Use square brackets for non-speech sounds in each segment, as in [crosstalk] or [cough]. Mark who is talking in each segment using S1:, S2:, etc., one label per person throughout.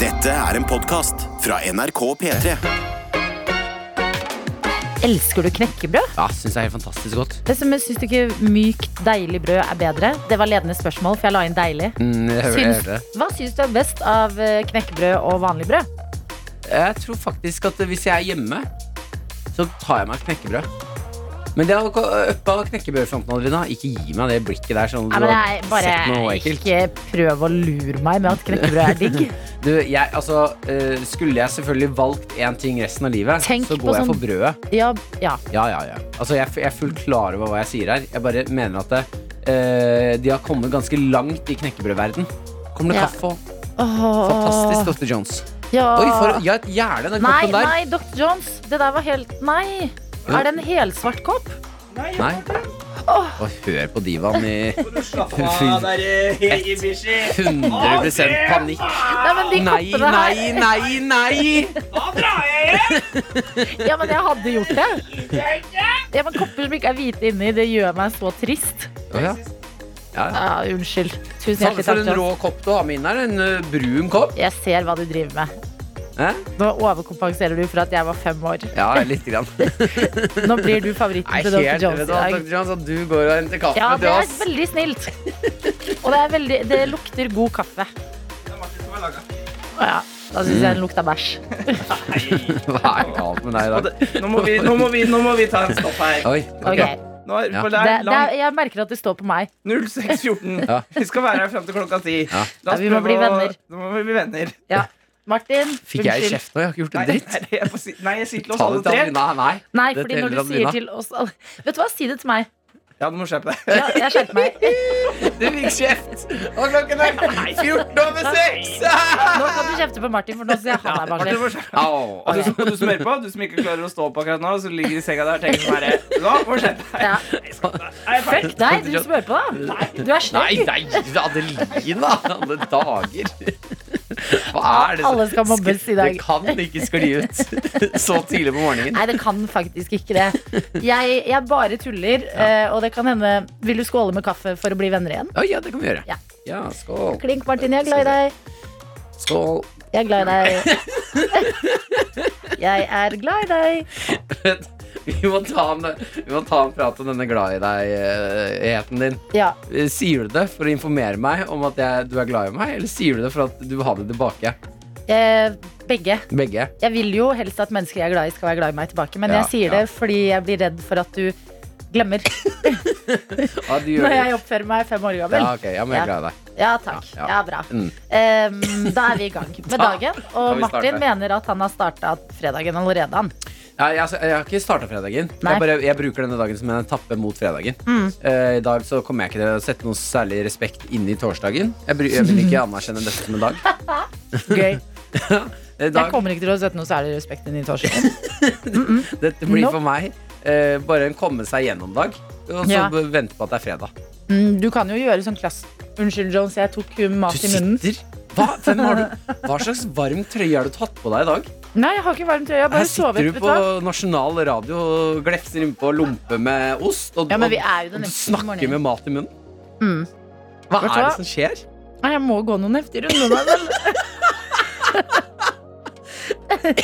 S1: Dette er en podcast fra NRK P3.
S2: Elsker du knekkebrød?
S3: Ja, syns jeg er helt fantastisk godt.
S2: Det som Syns du ikke mykt, deilig brød er bedre? Det var ledende spørsmål, for jeg la inn deilig.
S3: Mm, jeg, hører, jeg,
S2: Syns,
S3: hører det.
S2: hva syns du er best av eh, knekkebrød og vanlig brød?
S3: jeg tror faktisk at hvis jeg er hjemme, så tar jeg meg et knekkebrød. Men det å uppa øh, knekkebrødfronten, Adelina. Ikke gi meg det blikket der. Sånn,
S2: Nei, men jeg
S3: du har
S2: bare
S3: sett noe ekkelt.
S2: Ikke prøv å lure meg med at knekkebrød er
S3: [laughs]
S2: digg.
S3: Du, jeg, altså, eh, skulle jeg selvfølgelig valgt én ting resten av livet,
S2: Tenk
S3: så
S2: på
S3: går jeg
S2: sånn-
S3: for brødet.
S2: Ja, ja.
S3: Ja, ja, ja. Altså, jeg, er f- jeg er fullt klar over hva jeg sier her. Jeg bare mener at det, eh, de har kommet ganske langt i knekkebrødverden. Kommer det
S2: Ja.
S3: kaffe og
S2: Åh.
S3: Fantastisk, Dr. Jones.
S2: Ja.
S3: Oi, for ja, et gjerde den
S2: Nei,
S3: koppen der.
S2: nei, Dr. Jones. Det der var helt Nei.
S3: Jo.
S2: Er det en helsvart kopp?
S3: Nei. Og hør på divaen i [laughs]
S4: Slapp av der, eh, Ibishi.
S3: 100 panikk.
S2: Nei, men de
S3: Nei,
S2: koppene her
S3: nei, nei, nei!
S2: [laughs]
S4: Da drar jeg hjem!
S2: Ja, men jeg hadde gjort det. Ja, men Kopper som ikke er hvite inni, det gjør meg så trist.
S3: Å, ja. Ja, ja.
S2: Ja, unnskyld. Tusen
S3: Faen,
S2: hjertelig
S3: For
S2: takk.
S3: en rå
S2: Jonas.
S3: kopp du har med inn her. En ø, brun kopp.
S2: Jeg ser hva du driver med.
S3: Hæ?
S2: Nå overkompenserer du for at jeg var fem år.
S3: Ja,
S2: [laughs]
S3: litt grann.
S2: Nå blir du favoritten
S3: Nei,
S2: til Dr. Jones
S3: helt
S2: i
S3: redd av
S2: dag.
S3: Dr. Jones at du går og henter kaffe
S2: Ja,
S3: til
S2: det er
S3: oss.
S2: veldig snilt. Og det, er veldig, det lukter god kaffe. Å Ja, da syns jeg den lukta bæsj.
S3: Hva er galt med deg i
S4: Og
S3: dag?
S4: det- Nå må, vi, nå, må vi, nå må vi ta en stopp her.
S3: Oi.
S2: Ok,
S3: ok.
S4: Nå er,
S3: Ja.
S4: for det
S2: det,
S4: er
S2: det er,
S4: lang
S2: Jeg merker at det står på meg.
S4: 06.14.
S3: Ja.
S4: Vi skal være her fram til klokka ti.
S3: Ja.
S4: La oss
S2: Ja, vi må
S4: prøve
S2: bli
S4: å-
S2: venner.
S4: Nå må vi bli venner.
S2: Ja. Martin,
S3: Fikk jeg
S2: unnskyld.
S3: kjeft nå? Jeg har ikke gjort
S4: Nei,
S3: en dritt.
S4: nei, jeg, får si, nei, jeg sier til oss
S3: Ta
S4: alle
S3: det til
S4: tre.
S3: Adelina. Nei.
S2: Nei,
S3: Det
S2: fordi når
S3: teller
S2: du
S3: av Lina.
S2: sier til oss alle Vet du hva, si det til meg.
S4: Ja, du må skjerpe deg.
S2: Ja, jeg skjerper meg.
S3: [laughs] Du fikk kjeft. Og klokken er 14 over [laughs] 6.
S2: Nå kan du kjefte på Martin, for nå sier jeg han er
S4: Martin, du
S2: barnslig.
S4: må skjerpe deg. Og du, som- og du som hører på, du som ikke klarer å stå opp akkurat nå, så ligger i senga der og tenker sånn herre Nå må du skjerpe deg.
S2: Ja.
S4: Er jeg ferdig?
S2: Fuck deg, du som hører på, da. Du er
S3: Nei,
S2: slem.
S3: nei, Adelina! Alle dager. Hva er det? som-
S2: Alle skal mobbes i dag.
S3: Det kan ikke skli ut så tidlig på morgenen.
S2: Nei, det kan faktisk ikke det. Jeg, jeg bare tuller, eh, og det kan hende Vil du skåle med kaffe for å bli venner igjen?
S3: Å, ja, det kan vi gjøre.
S2: Ja.
S3: Ja, skål.
S2: Klink, Martin. Jeg er glad i deg.
S3: Skål.
S2: Jeg er glad i deg. Jeg er glad i deg.
S3: Vent, Vi må, ta en, vi må ta en prat om denne glad i deg-heten din.
S2: Ja.
S3: Eh, Sier du det for å informere meg om at jeg, du er glad i meg, eller sier du det for at du vil ha det tilbake?
S2: Eh, begge.
S3: Begge.
S2: Jeg vil jo helst at mennesker jeg er glad i, skal være glad i meg tilbake, men
S3: Ja,
S2: jeg sier
S3: ja.
S2: det fordi jeg blir redd for at du glemmer
S3: Ja, du gjør
S2: når jeg
S3: det.
S2: oppfører meg fem år gammel.
S3: Ja, ok, ja, men jeg er glad i deg.
S2: Ja, takk.
S3: Ja, ja.
S2: Ja, bra.
S3: Mm.
S2: Ehm, da er vi i gang
S3: [laughs]
S2: med dagen. Og
S3: vi
S2: Martin
S3: starte.
S2: mener at han har starta fredagen allerede. Han.
S3: Ja, jeg, altså, jeg har ikke starta fredagen.
S2: Nei. Mm.
S3: Jeg, bare, jeg bruker denne dagen som en etappe mot fredagen. Eh, I dag så kommer jeg ikke til å sette noe særlig respekt inn i torsdagen. Jeg, bry, jeg vil ikke
S2: [laughs]
S3: anerkjenne dette som en dag.
S2: Gøy.
S3: Eh,
S2: Jeg
S3: dag
S2: kommer ikke til å sette noe særlig respekt inn i [laughs] torsdagen.
S3: dette blir
S2: Nope.
S3: for meg eh, bare en komme seg gjennom-dag. Og så
S2: Ja.
S3: b- vente på at det er fredag.
S2: Mm, Du kan jo gjøre sånn klass... Unnskyld, Jones, jeg tok um, mat
S3: Du
S2: i munnen.
S3: sitter Hva, Hvem har du, hva slags varm trøye har du tatt på deg i dag?
S2: Nei, jeg har ikke varm trøye. Jeg har
S3: Her
S2: bare
S3: sitter
S2: sovet.
S3: du
S2: vet du
S3: på
S2: hva.
S3: nasjonal radio og glefser innpå lompe med ost. Og,
S2: Ja, men vi
S3: og-
S2: er jo den
S3: og
S2: neste
S3: snakker
S2: morgenen.
S3: med mat i munnen.
S2: Mm.
S3: Hva
S2: Vet du
S3: er
S2: hva?
S3: det som skjer?
S2: Nei, jeg må gå noen heftige runder, da [laughs] vel.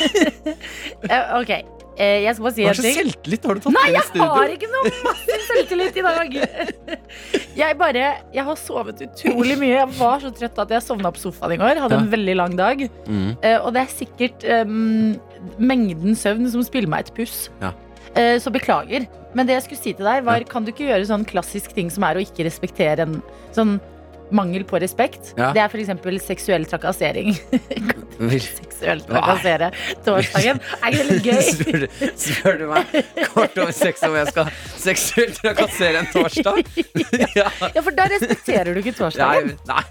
S2: Eh, OK. Eh, Jeg skal bare si
S3: Hva
S2: en ting.
S3: slags selvtillit har du tatt
S2: Nei,
S3: inn i
S2: jeg
S3: studio?
S2: har ikke noe masse selvtillit i dag. [laughs] Jeg bare, jeg har sovet utrolig mye. Jeg var så trøtt at jeg sovna på sofaen i går. Hadde en veldig lang dag.
S3: Mm.
S2: Eh, Og det er sikkert um, mengden søvn som spiller meg et puss.
S3: Ja.
S2: Eh, Så beklager. Men det jeg skulle si til deg, var kan du ikke gjøre sånn klassisk ting som er å ikke respektere en sånn mangel på respekt?
S3: Ja.
S2: Det er f.eks. seksuell trakassering. [laughs] Seksuell trakassere torsdagen. Er ikke det litt gøy? [laughs]
S3: [laughs] Spør, spør du meg kort over seks om jeg skal seksuelt trakassere en
S2: [laughs]
S3: torsdag? ja.
S2: Ja, for da respekterer du ikke
S3: Nei,
S2: torsdagen.
S3: nei.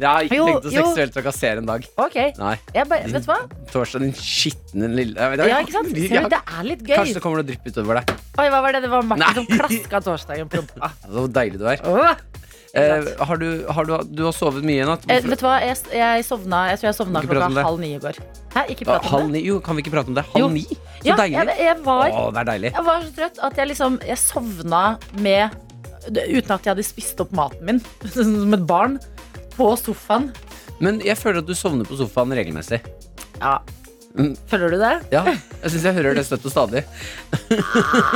S3: Jeg har ikke
S2: Jo,
S3: tenkt å
S2: jo.
S3: seksuelt trakassere en dag.
S2: Ok,
S3: Nei.
S2: jeg bare, vet du hva?
S3: Torsdag, din skitne lille jeg vet-
S2: Ja, ikke sant?
S3: jeg-
S2: Ser du, det er litt gøy.
S3: Kanskje det kommer noe drypp utover deg.
S2: Oi, hva var det? Det var Martin
S3: Nei.
S2: som klaska torsdagen på rumpa.
S3: Så deilig du er.
S2: Åh!
S3: Eh, har du, har du, du har sovet mye i natt?
S2: Eh, vet du hva, jeg, jeg sovna Jeg tror jeg sovna
S3: Ikke prat om
S2: klokka
S3: det.
S2: halv ni i går. Hæ, ikke
S3: Ah,
S2: prat om
S3: Halv
S2: det?
S3: ni? Jo, kan vi ikke prate om det?
S2: Jo.
S3: Halv ni? Så
S2: Ja,
S3: deilig.
S2: jeg, jeg, var,
S3: Å, det er deilig.
S2: jeg var så trøtt at jeg liksom Jeg sovna med [laughs] Uten at jeg hadde spist opp maten min, som et barn, på sofaen.
S3: Men jeg føler at du sovner på sofaen regelmessig.
S2: Ja.
S3: Mm.
S2: Føler du det? [laughs]
S3: Ja, jeg syns jeg hører det støtt og stadig. Mm.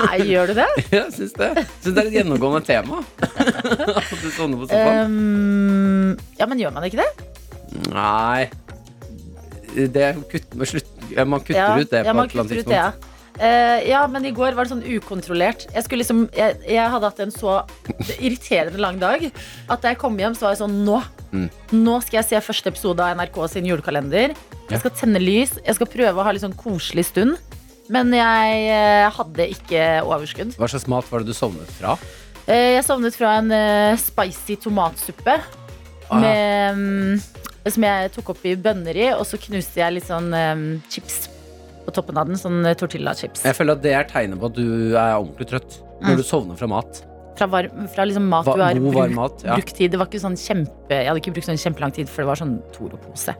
S2: Nei, gjør
S3: [laughs]
S2: du det?
S3: Jeg synes det. Synes det er et gjennomgående tema. [laughs] At du sovner på sofaen.
S2: Um, ja, men gjør man ikke det?
S3: Nei. Det er kutt, man slutt- ja, man kutter
S2: ja,
S3: ut det på
S2: ja, man
S3: et eller annet
S2: kutter ut
S3: tidspunkt.
S2: det, ja. Eh, ja, men i går var det sånn ukontrollert. Jeg, skulle liksom, jeg, jeg hadde hatt en så irriterende lang dag at da jeg kom hjem, så var jeg sånn Nå!
S3: Mm.
S2: Nå skal jeg se første episode av NRK sin julekalender.
S3: Ja.
S2: Jeg skal tenne lys. Jeg skal prøve å ha litt sånn koselig stund. Men jeg eh, hadde ikke overskudd.
S3: Hva slags mat var det du sovnet fra?
S2: Eh, Jeg sovnet fra en eh, spicy tomatsuppe
S3: Ah.
S2: med, mm, som jeg tok opp i bønner i, og så knuste jeg litt sånn eh, chips på toppen av den. Sånn eh, tortillachips.
S3: Jeg føler at det er tegnet på at du er ordentlig trøtt. Når
S2: Mm.
S3: du sovner fra mat.
S2: Fra, varm, fra liksom mat
S3: Va
S2: du har
S3: god,
S2: brukt,
S3: varm mat. Ja.
S2: brukt tid. Det var ikke sånn kjempe Jeg hadde ikke brukt sånn kjempelang tid, for det var sånn Toro-pose.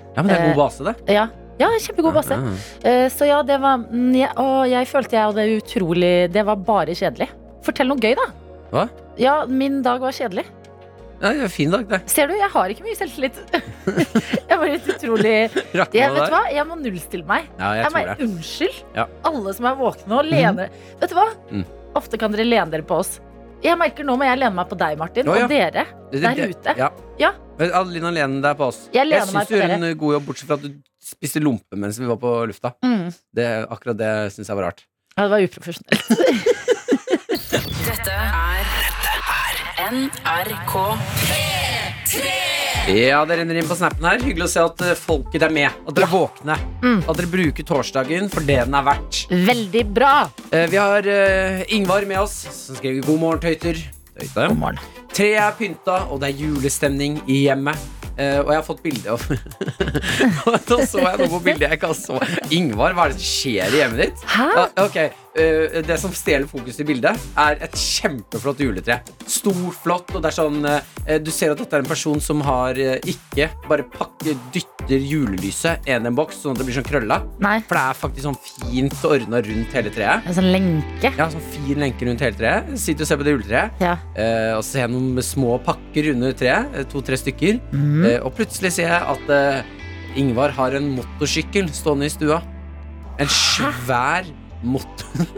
S3: ja, men det er god base, det.
S2: Ja, ja kjempegod eh, base.
S3: Ja, ja.
S2: Eh, Så ja, det var mm, jeg, Å, jeg følte jeg hadde utrolig Det var bare kjedelig. Fortell noe gøy, da.
S3: Hva?
S2: Ja, min dag var kjedelig.
S3: Ja, det er en fin dag, det.
S2: Ser du, jeg har ikke mye selvtillit. [laughs] jeg var litt utrolig
S3: Rakk
S2: jeg, Vet
S3: meg
S2: du
S3: der.
S2: hva, jeg må nullstille meg.
S3: Ja, jeg
S2: Jeg
S3: tror
S2: mener,
S3: det.
S2: Unnskyld,
S3: Ja.
S2: alle som er våkne og lener Vet du hva?
S3: Mm.
S2: Ofte kan dere lene dere på oss. Jeg merker Nå må jeg lene meg på deg, Martin,
S3: Å, ja.
S2: og dere.
S3: Det-
S2: der
S3: det-
S2: ute.
S3: Ja.
S2: Ja.
S3: Men Adelina, len deg på oss.
S2: Jeg lener meg på
S3: syns du gjør
S2: dere.
S3: en uh, god jobb, bortsett fra at du spiste lompe mens vi var på lufta.
S2: Mm.
S3: Det, akkurat det syns jeg var rart.
S2: Ja, det var uprofesjonelt.
S3: Ja, det renner inn på snappen her. Hyggelig å se at uh, folket er med. At dere er våkne.
S2: Mm.
S3: At dere bruker torsdagen for det den er verdt.
S2: Veldig bra.
S3: Eh, vi har eh, Ingvar med oss, som skriver 'God morgen, tøyter'. Tøyte.
S2: God morgen.
S3: Tre er pynta, og det er julestemning i hjemmet. Eh, og jeg har fått bilde av [laughs] Da så jeg noe på bildet jeg ikke har så Ingvar, hva er det som skjer i hjemmet ditt?
S2: Hæ?
S3: Ja, ok, eh, Det som stjeler fokus i bildet, er et kjempeflott juletre. Stort, flott, og det er sånn eh, Du ser at dette er en person som har eh, ikke bare pakker, dytter julelyset inn i en boks, sånn at det blir sånn krølla.
S2: Nei,
S3: For det er faktisk sånn fint ordna rundt hele treet.
S2: en sånn lenke.
S3: Jeg har sånn fin lenke rundt hele treet. Sitter og ser på det juletreet.
S2: Ja.
S3: Eh, og så ser jeg noen små pakker under treet, eh, to-tre stykker.
S2: Mm.
S3: Eh, og plutselig ser jeg at eh, Ingvar har en motorsykkel stående i stua. En svær motor...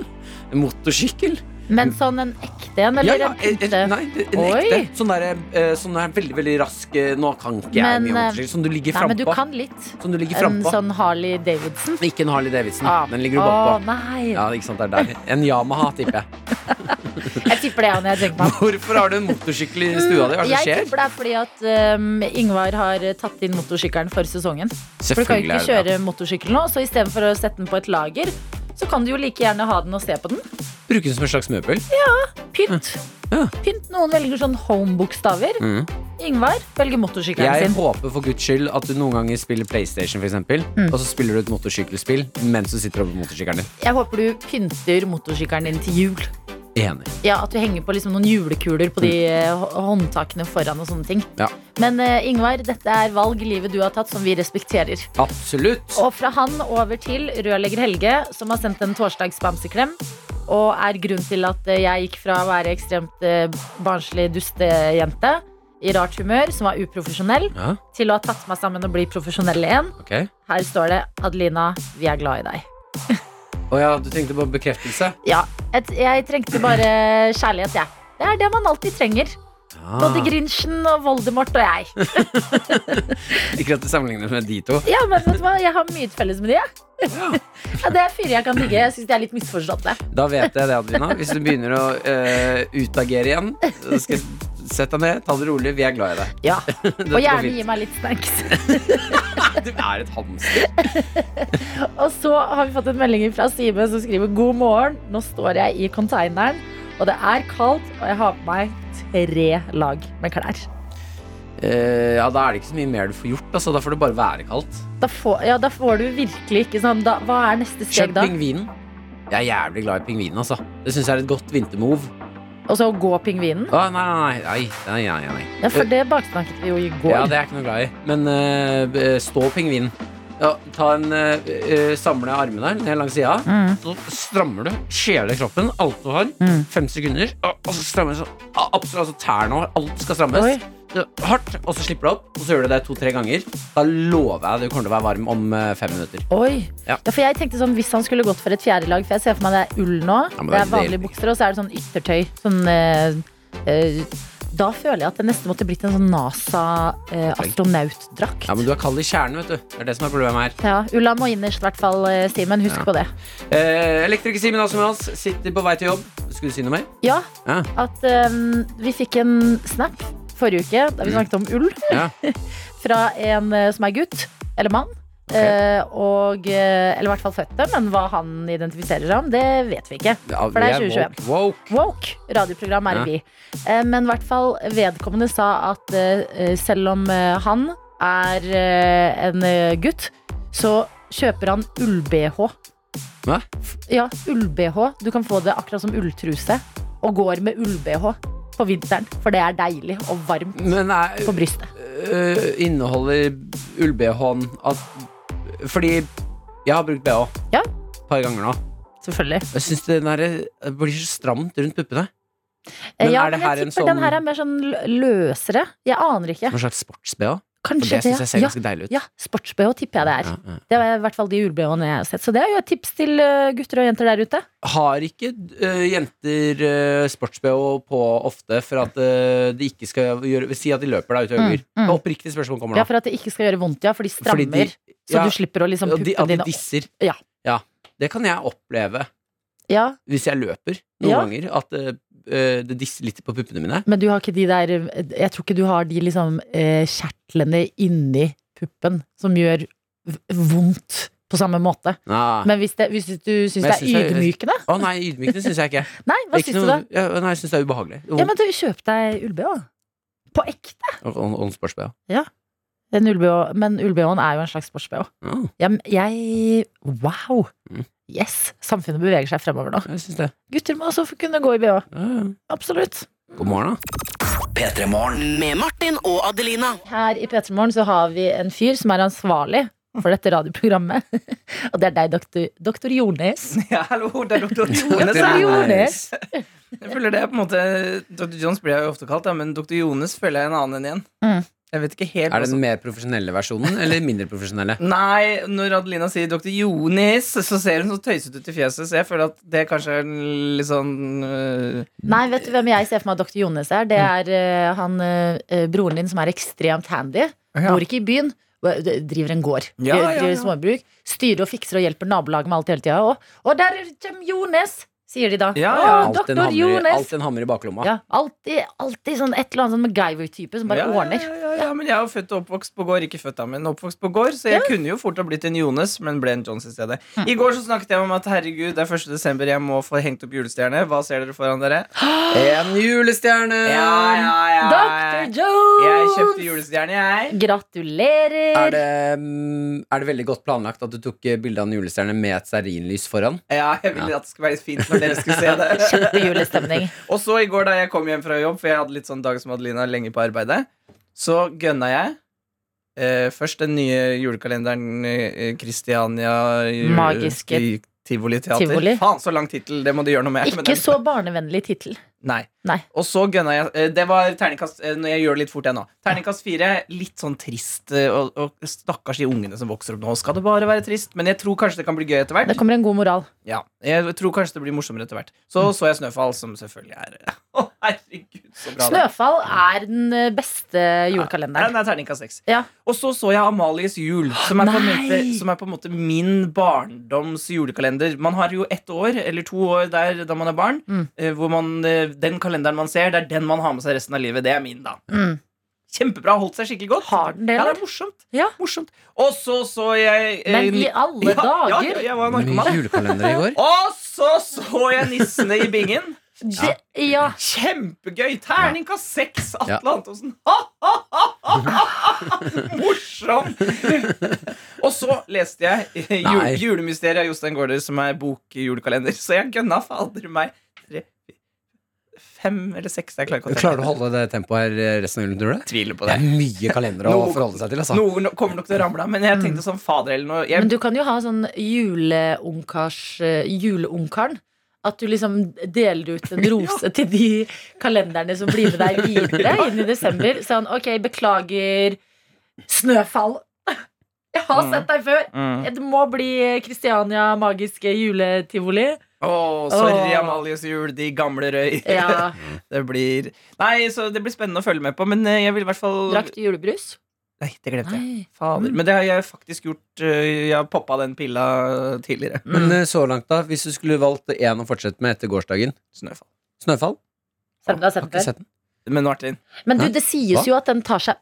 S3: en [laughs] motorsykkel?
S2: Men sånn en ekte en, eller en
S3: en,
S2: pynte?
S3: en, nei, en
S2: Oi.
S3: ekte. Sånn der, eh, sånn der veldig, veldig rask eh, Nå kan ikke jeg
S2: Men,
S3: mye om
S2: eh,
S3: motorsykkel. Som du ligger
S2: Nei, men du
S3: frampå.
S2: kan litt.
S3: Som du ligger
S2: En
S3: frampå.
S2: sånn Harley Davidson.
S3: Ikke en Harley Davidson.
S2: Ah.
S3: Mm, Den ligger du
S2: Å,
S3: bakpå.
S2: nei.
S3: Ja, ikke sant, det er der. En Yamaha, tipper jeg.
S2: Jeg tipper det er når jeg tenker meg om.
S3: Hvorfor har du en motorsykkel i [laughs] stua di? Hva er det som
S2: Jeg
S3: skjer?
S2: tipper det er fordi at um, Ingvar har eh, tatt inn motorsykkelen for sesongen. For du kan jo ikke
S3: er det det.
S2: kjøre motorsykkel nå, så istedenfor å sette den på et lager, så kan du jo like gjerne ha den og se på den.
S3: Bruker den som en slags møbel.
S2: Pynt.
S3: Ja.
S2: Pynt. Noen velger sånn home-bokstaver.
S3: Mm.
S2: Ingvar velger motorsykkelen
S3: Jeg
S2: sin.
S3: håper for guds skyld at du noen ganger spiller PlayStation, for eksempel,
S2: Mm.
S3: og så spiller du et motorsykkelspill mens du sitter oppe på motorsykkelen din.
S2: Jeg håper du pynter motorsykkelen din til jul.
S3: Enig.
S2: Ja, At du henger på liksom noen julekuler på de eh, hå- håndtakene foran og sånne ting.
S3: Mm. Ja.
S2: Men eh, Ingvar, dette er valg i livet du har tatt som vi respekterer.
S3: Absolutt.
S2: Og fra han over til rørlegger Helge, som har sendt en torsdagsbamseklem. Og er grunnen til at eh, jeg gikk fra å være ekstremt eh, barnslig dustejente i rart humør, som var uprofesjonell,
S3: Ja,
S2: til å ha tatt meg sammen og bli profesjonell igjen.
S3: ok.
S2: Her står det 'Adelina, vi er glad i deg'.
S3: Å ja, du tenkte på bekreftelse?
S2: Ja, et, jeg trengte bare kjærlighet, jeg. Det er det man alltid trenger.
S3: Ah,
S2: Både Grinchen og Voldemort og jeg.
S3: Ah. ikke at det sammenlignes med de to.
S2: Ja, men vet du hva? Jeg har mye felles med de,
S3: [laughs]
S2: jeg. Ja, det er fyrer jeg kan digge. Jeg syns de er litt misforståtte.
S3: Da vet jeg det, Adelina. Hvis du begynner å eh, utagere igjen, så skal jeg sette deg ned, ta det rolig. Vi er glad i deg.
S2: [laughs] Ja,
S3: Dette
S2: Og
S3: går
S2: gjerne
S3: fint.
S2: gi meg litt snacks. [laughs]
S3: Du er et hamster.
S2: Og så har vi fått en melding fra Simen som skriver God morgen, nå står jeg i konteineren Og det er kaldt, og jeg har på meg tre lag med klær
S3: Eh, ja, da er det ikke så mye mer du får gjort. Altså. Da får det bare være kaldt.
S2: da får, ja, da får du virkelig ikke sånn da, Hva er neste steg
S3: Kjøp
S2: da?
S3: pingvinen. Jeg er jævlig glad i pingvinen, altså. Det syns jeg er et godt vintermove.
S2: Og så gå pingvinen
S3: Å, nei, nei, nei, nei, nei, nei, nei.
S2: ja, For det baksnakket vi jo i går
S3: Ja, det er jeg ikke noe glad i. Men eh, eh, stå pingvinen. Ja, ta en eh, eh, Samle armene ned langs sida.
S2: Mm.
S3: Så strammer du hele kroppen, alt du har.
S2: Mm.
S3: Fem sekunder. Og, og så strammer du sånn. A- Absolutt altså tærne og alt skal strammes.
S2: Oi.
S3: eh, hardt, og så slipper du opp, og så gjør du det to-tre ganger. Da lover jeg du kommer til å være varm om eh, fem minutter.
S2: Oi.
S3: Ja.
S2: Ja. for jeg tenkte sånn, Hvis han skulle gått for et fjerde lag For jeg ser for meg det er ull nå.
S3: Ja, men
S2: det
S3: det
S2: er
S3: er
S2: vanlige
S3: veldig-
S2: bukser, og så er det sånn yttertøy. Sånn, eh, eh, da føler jeg at det nesten måtte blitt en sånn eh, NASA-astronautdrakt.
S3: Ja, men du er kald i kjernen, vet du. Det er det som er problemet her.
S2: ja, Ulla må innerst, i hvert fall, eh, Simen. Husk
S3: Ja.
S2: på det.
S3: Eh, Elektriker Simen Asmehals sitter på vei til jobb. Skulle du si noe mer?
S2: Ja,
S3: Ja.
S2: at eh, vi fikk en snap forrige uke da vi snakket om ull,
S3: Ja.
S2: [laughs] fra en eh, som er gutt, eller mann. eh, og, eh, eller i hvert fall fødte, men hva han identifiserer seg om, det vet vi ikke.
S3: Ja,
S2: For det er
S3: vi
S2: 2021.
S3: Woke. woke.
S2: Woke, radioprogram er
S3: Ja.
S2: vi. Eh, Men i hvert fall vedkommende sa at eh, selv om eh, han er eh, en eh, gutt, så kjøper han ull-BH.
S3: Hva?
S2: Ja, ull-BH. Du kan få det akkurat som ulltruse, og går med ull-BH på vinteren, for det er deilig og varmt
S3: Men eh, er,
S2: på brystet.
S3: øh, inneholder ull-BH-en at Fordi jeg har brukt BH
S2: Ja.
S3: et par ganger nå.
S2: Selvfølgelig.
S3: Jeg syns det der, det blir så stramt rundt puppene.
S2: Eh,
S3: Men
S2: ja,
S3: er det
S2: men
S3: her en
S2: jeg tipper den
S3: sånn-
S2: her er mer sånn lø- løsere. Jeg aner ikke.
S3: Noe slags sports-BH. For
S2: Kanskje
S3: det syns jeg ser
S2: Ja,
S3: ganske deilig ut.
S2: ja sports-BH tipper jeg det er.
S3: Ja, ja.
S2: Det er i hvert fall de jule-BH-ene jeg har sett. Så det er jo et tips til eh, gutter og jenter der ute.
S3: Har ikke øh, jenter øh, sports-BH på ofte for at øh, de ikke skal gjøre Si at de løper deg ut i øyer.
S2: Mm, mm.
S3: Oppriktig spørsmål kommer
S2: Ja,
S3: nå.
S2: for at det ikke skal gjøre vondt, ja. For de strammer, så
S3: ja,
S2: du slipper å liksom
S3: og de,
S2: puppe
S3: at de
S2: dine opp.
S3: disser.
S2: Ja.
S3: Det kan jeg oppleve
S2: Ja,
S3: hvis jeg løper noen
S2: Ja.
S3: ganger. At øh, øh, det disser litt på puppene mine.
S2: men du har ikke de der Jeg tror ikke du har de liksom eh, kjertlene inni puppen som gjør v- vondt på samme måte.
S3: Nei.
S2: Men hvis, det, hvis du syns det
S3: Men jeg
S2: er
S3: synes det er-
S2: ydmykende
S3: Å nei, ydmykende syns jeg ikke.
S2: Nei, [laughs] hva
S3: Ikke
S2: syns du da?
S3: noe- Ja, nei, jeg syns det er ubehagelig.
S2: Ja, men du, kjøp deg ull-BH. På ekte.
S3: Og- og- og en sports-BH.
S2: En ull-BH, men ull-BH-en er jo en slags sports-BH.
S3: Ja,
S2: Jeg, jeg Wow!
S3: Mm.
S2: Yes! Samfunnet beveger seg fremover nå.
S3: jeg syns det.
S2: Gutter må også få kunne gå i BH.
S3: Ja, ja.
S2: Absolutt.
S3: God morgen, da.
S5: Med Martin og Adelina.
S2: Her i P3 Morgen så har vi en fyr som er ansvarlig for dette radioprogrammet. [laughs] Og det er deg, doktor, doktor Jones.
S4: Ja, hallo, det er doktor
S2: Jonas
S4: Jones.
S2: er
S4: her. [laughs]
S2: Jonas.
S4: Jeg føler det er på en måte Dr. Jones blir jeg jo ofte kalt, da, men Dr. Jones føler jeg en annen enn igjen.
S2: Mm.
S4: Jeg vet ikke helt
S3: Er det
S4: hva som-
S3: den mer profesjonelle versjonen eller mindre
S2: [laughs]
S3: profesjonelle?
S4: Nei, når Adelina sier Dr. Jonis, så ser hun så tøysete ut i fjeset, så jeg føler at det kanskje er en litt sånn øh,
S2: Nei, vet du hvem jeg ser for meg at doktor Jones er? Det er eh, han eh, broren din som er ekstremt handy.
S4: ja.
S2: Bor ikke i byen. Driver en gård.
S4: Ja, ja, ja.
S2: Driver småbruk. Styrer og fikser og hjelper nabolaget med alt hele tida. Og, og der kommer Jones, sier de da.
S4: Ja, ja.
S2: Å,
S3: Alt en
S2: doktor
S3: hammer, i-
S2: Jones.
S3: alt en hammer i baklomma.
S2: Ja, alltid, alltid sånn et eller annet sånn MacGyver-type som bare
S4: ja,
S2: ordner.
S4: Ja, ja, ja, men jeg er jo født og oppvokst på gård. Ikke født da, men oppvokst på gård, så jeg kunne jo fort ha blitt en Jones, men ble en Jones i stedet.
S2: Mm.
S4: I går så snakket jeg om at herregud, det er 1. desember, jeg må få hengt opp julestjerne. Hva ser dere foran dere?
S3: En julestjerne!
S4: ja.
S2: Dr.
S4: Jeg
S2: Jones!
S4: kjøpte julestjerne, jeg.
S2: Gratulerer!
S3: Er det, mm, er det veldig godt planlagt at du tok eh, bilde av en julestjerne med et stearinlys foran?
S4: Ja, jeg ville at det skulle være litt fint når dere
S2: [laughs]
S4: skulle se det.
S2: Kjempe
S4: [laughs]
S2: julestemning.
S4: Og så i går da jeg kom hjem fra jobb, for jeg hadde litt sånn dag som Adelina lenge på arbeidet, så gønna jeg eh, først den nye julekalenderen eh, Christiania jule-
S2: Magiske
S4: i Tivoli Teater.
S2: Tivoli.
S4: Faen, så lang tittel! Det må du gjøre noe med. men
S2: Ikke
S4: den-
S2: så barnevennlig tittel.
S4: Nei.
S2: Nei.
S4: Og så gønna jeg eh, Det var terningkast eh, Når jeg gjør det litt fort, jeg nå. Terningkast fire. Litt sånn trist. eh, Og, og stakkars de ungene som vokser opp nå. Skal det bare være trist? Men jeg tror kanskje det kan bli gøy etter hvert.
S2: Det kommer en god moral.
S4: Ja, jeg tror kanskje det blir morsommere etter hvert. Så så jeg Snøfall, som selvfølgelig er eh, [laughs] Å, herregud, så bra. det er.
S2: Snøfall er den eh, beste
S4: Nei,
S2: julekalenderen.
S4: det er terningkast seks.
S2: Ja.
S4: Og så så jeg Amalies jul, som er, på en måte,
S2: Nei!
S4: som er på en måte min barndoms julekalender. Man har jo ett år eller to år der da man er barn,
S2: Mm.
S4: eh, hvor man, eh, den kalenderen man ser, det er den man har med seg resten av livet. Det er min, da.
S2: Mm.
S4: Kjempebra. Holdt seg skikkelig godt.
S2: Har den det,
S4: Ja, det
S2: eller?
S4: er morsomt.
S2: Ja.
S4: morsomt. Og så så jeg eh,
S2: Men i
S4: ni-
S2: alle
S4: [laughs] Ja, ja,
S2: dager!
S4: jeg var
S3: Mye
S4: narkoman.
S3: julekalender i
S2: [laughs]
S3: går.
S4: Og så så jeg nissene i bingen.
S2: Det, ja.
S4: Kjempegøy! Terningkast seks, Atle
S3: Ja.
S4: Antonsen. Ha, ha, ha, ha, ha, ha. Morsom! Og så leste jeg eh, jul,
S3: Nei.
S4: 'Julemysteriet' av Jostein Gaarder, som er bokjulekalender. Så jeg gønna fader meg tre, fem eller seks. Jeg klarer ikke å
S3: Klarer du å holde det tempoet her eh, resten av julen, tror du?
S4: Tviler på
S3: Det
S4: det.
S3: er mye kalendere å
S4: Noe-
S3: forholde seg til. Altså.
S4: Noen kommer nok til å ramle av, men jeg tenkte
S3: Mm.
S4: sånn fader eller noe. Jeg,
S2: Men du kan jo ha sånn juleungkars eh, Juleungkaren. At du liksom deler ut
S4: [laughs]
S2: en rose til de kalenderne som blir med deg videre inn i desember. Sånn, ok, beklager snøfall. [laughs] Jeg har
S4: Mm.
S2: sett deg før.
S4: Mm.
S2: Det må bli Kristiania magiske juletivoli.
S4: Åh, sorry,
S2: Åh.
S4: Amalies jul, de gamle røy.
S2: Ja,
S4: [laughs] Det blir Nei, så det blir spennende å følge med på, men eh, jeg vil i hvert fall
S2: Drakk du julebrus?
S4: Nei, det glemte jeg.
S2: Nei.
S4: Fader. Men det har jeg faktisk gjort. eh, Jeg har poppa den pilla tidligere.
S3: Men
S2: Mm.
S3: eh, så langt, da. Hvis du skulle valgt én å fortsette med etter gårsdagen?
S4: Snøfall.
S3: Snøfall?
S2: Send deg
S3: Har ikke
S2: senter.
S3: sett den.
S4: Men Martin
S2: Men du,
S3: Hæ?
S2: det sies
S3: Hva?
S2: jo at den tar seg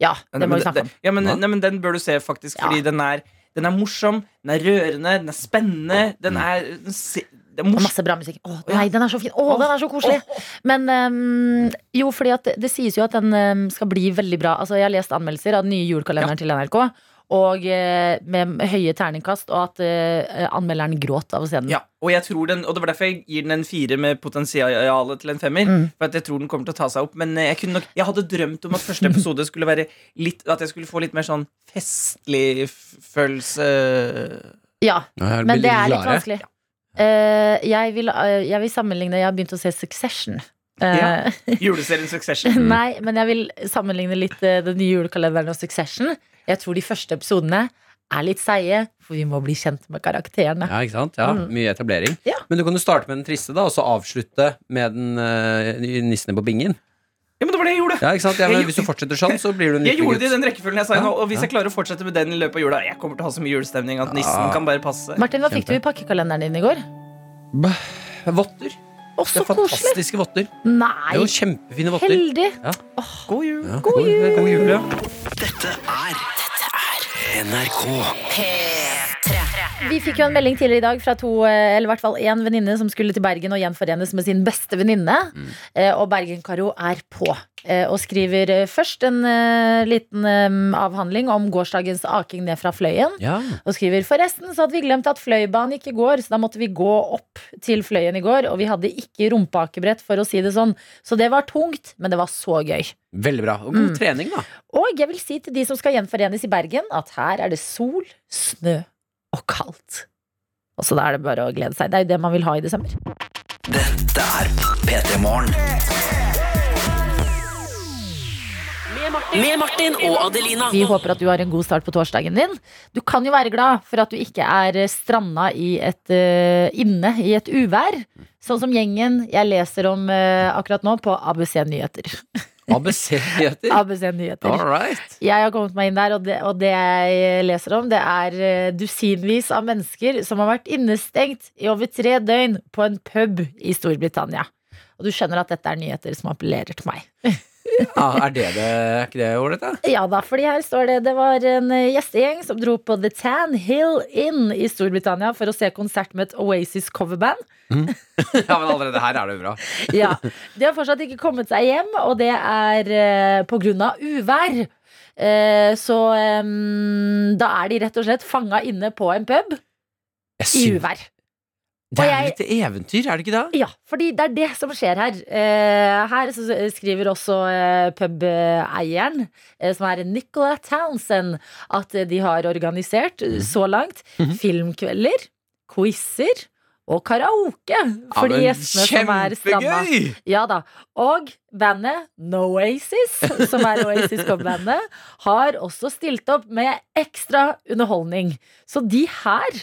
S2: Ja, det
S4: Nei,
S2: må
S4: men
S2: vi snakke om.
S4: det- Ja, men,
S3: Hva?
S4: nei, men den bør du se, faktisk,
S2: Ja.
S4: fordi den er, den er morsom, den er rørende, den er spennende, den
S2: Mm.
S4: er, den se- det er
S2: Og
S4: morsom.
S2: masse bra musikk. Å, nei, den er så fin! Å, den er så koselig! Men ehm, jo, fordi at det, det sies jo at den ehm, skal bli veldig bra. Altså, jeg har lest anmeldelser av den nye julekalenderen til NRK. Og eh, med høye terningkast, og at eh, anmelderen gråt av å se den.
S4: Ja, og, jeg tror den, og det var derfor jeg gir den en fire med potensialet til en femmer.
S2: Mm.
S4: For at jeg tror den kommer til å ta seg opp. Men eh, jeg, kunne nok, jeg hadde drømt om at
S2: [laughs]
S4: første episode skulle være litt At jeg skulle få litt mer sånn festlig f- følelse.
S2: [laughs] Ja,
S3: Ja,
S2: Men
S3: blir
S2: det er litt
S3: gladere.
S2: vanskelig. Eh, jeg, vil, eh, jeg vil sammenligne Jeg har begynt å se Succession. Eh, [laughs]
S4: Juleserien Succession.
S3: Mm.
S2: Nei, men jeg vil sammenligne litt eh, den nye julekalenderen og Succession. Jeg tror de første episodene er litt seige, for vi må bli kjent med karakterene.
S3: Ja, ikke sant? Ja,
S2: Mm.
S3: Mye etablering.
S2: Ja.
S3: Men du kan jo starte med den triste, da, og så avslutte med den eh, nissen på bingen.
S4: Ja, men det var det jeg gjorde!
S3: Ja, ikke sant? Ja, men
S4: Jeg-
S3: hvis du fortsetter sånn, så blir du en
S4: Jeg gjorde det i
S3: liten gutt.
S4: den rekkefølgen jeg sa
S3: Ja,
S4: nå. Og hvis
S3: ja.
S4: jeg klarer å fortsette med den i løpet av jula Jeg kommer til å ha så mye julestemning at nissen
S3: Ja.
S4: kan bare passe.
S2: Martin, hva fikk du i
S3: Kjempe.
S2: pakkekalenderen din i går?
S3: Votter.
S2: Å,
S3: Det
S2: så
S3: er
S2: koselig!
S3: fantastiske votter. Det
S2: Nei,
S3: er jo kjempefine votter.
S2: heldig!
S4: God jul.
S3: Ja, god jul.
S4: God jul, ja.
S1: NRK.
S2: Vi fikk jo en melding tidligere i dag fra to, eh, eller i hvert fall én venninne som skulle til Bergen og gjenforenes med sin beste venninne. Eh, Og Bergen-Karo er på. eh, Og skriver eh, først en eh, liten eh, avhandling om gårsdagens aking ned fra Fløyen.
S3: Ja.
S2: Og skriver forresten så hadde vi glemt at Fløibanen ikke går, så da måtte vi gå opp til Fløyen i går. Og vi hadde ikke rumpeakebrett, for å si det sånn. Så det var tungt, men det var så gøy.
S3: Veldig bra. Og god
S2: Mm.
S3: trening, da.
S2: Og jeg vil si til de som skal gjenforenes i Bergen, at her er det sol, snø og kaldt. Og så da er det bare å glede seg. Det er jo det man vil ha i desember.
S5: Med Martin og Adelina.
S2: Vi håper at du har en god start på torsdagen din. Du kan jo være glad for at du ikke er eh, stranda i et, eh, inne i et uvær. Sånn som gjengen jeg leser om eh, akkurat nå på ABC Nyheter. [laughs]
S3: ABC-nyheter.
S2: ABC Nyheter.
S3: All right.
S2: Jeg har kommet meg inn der, og det, og det jeg leser om, det er eh, dusinvis av mennesker som har vært innestengt i over tre døgn på en pub i Storbritannia. Og du skjønner at dette er nyheter som appellerer til meg.
S3: Ja, er det det? Er ikke det ålreit, da? [laughs]
S2: Ja da, fordi her står det det var en eh, gjestegjeng som dro på The Tan Hill Inn i Storbritannia for å se konsert med et Oasis coverband.
S3: Ja, men allerede her er det jo bra.
S2: Ja, De har fortsatt ikke kommet seg hjem, og det er eh, på grunn av uvær. Eh, så eh, da er de rett og slett fanga inne på en pub
S3: Jeg
S2: i
S3: synes,
S2: uvær.
S3: det er
S2: og
S3: litt eventyr, er det ikke det?
S2: Ja, fordi det er det som skjer her. Eh, her så skriver også eh, pubeieren, eh, som er Nicola Townsend, at eh, de har organisert eh, så langt filmkvelder, quizer og karaoke for de gjestene som er stranda.
S3: kjempegøy!
S2: Ja da. Og bandet Noasis, som er Oasis Cobb-bandet, har også stilt opp med ekstra underholdning. Så de her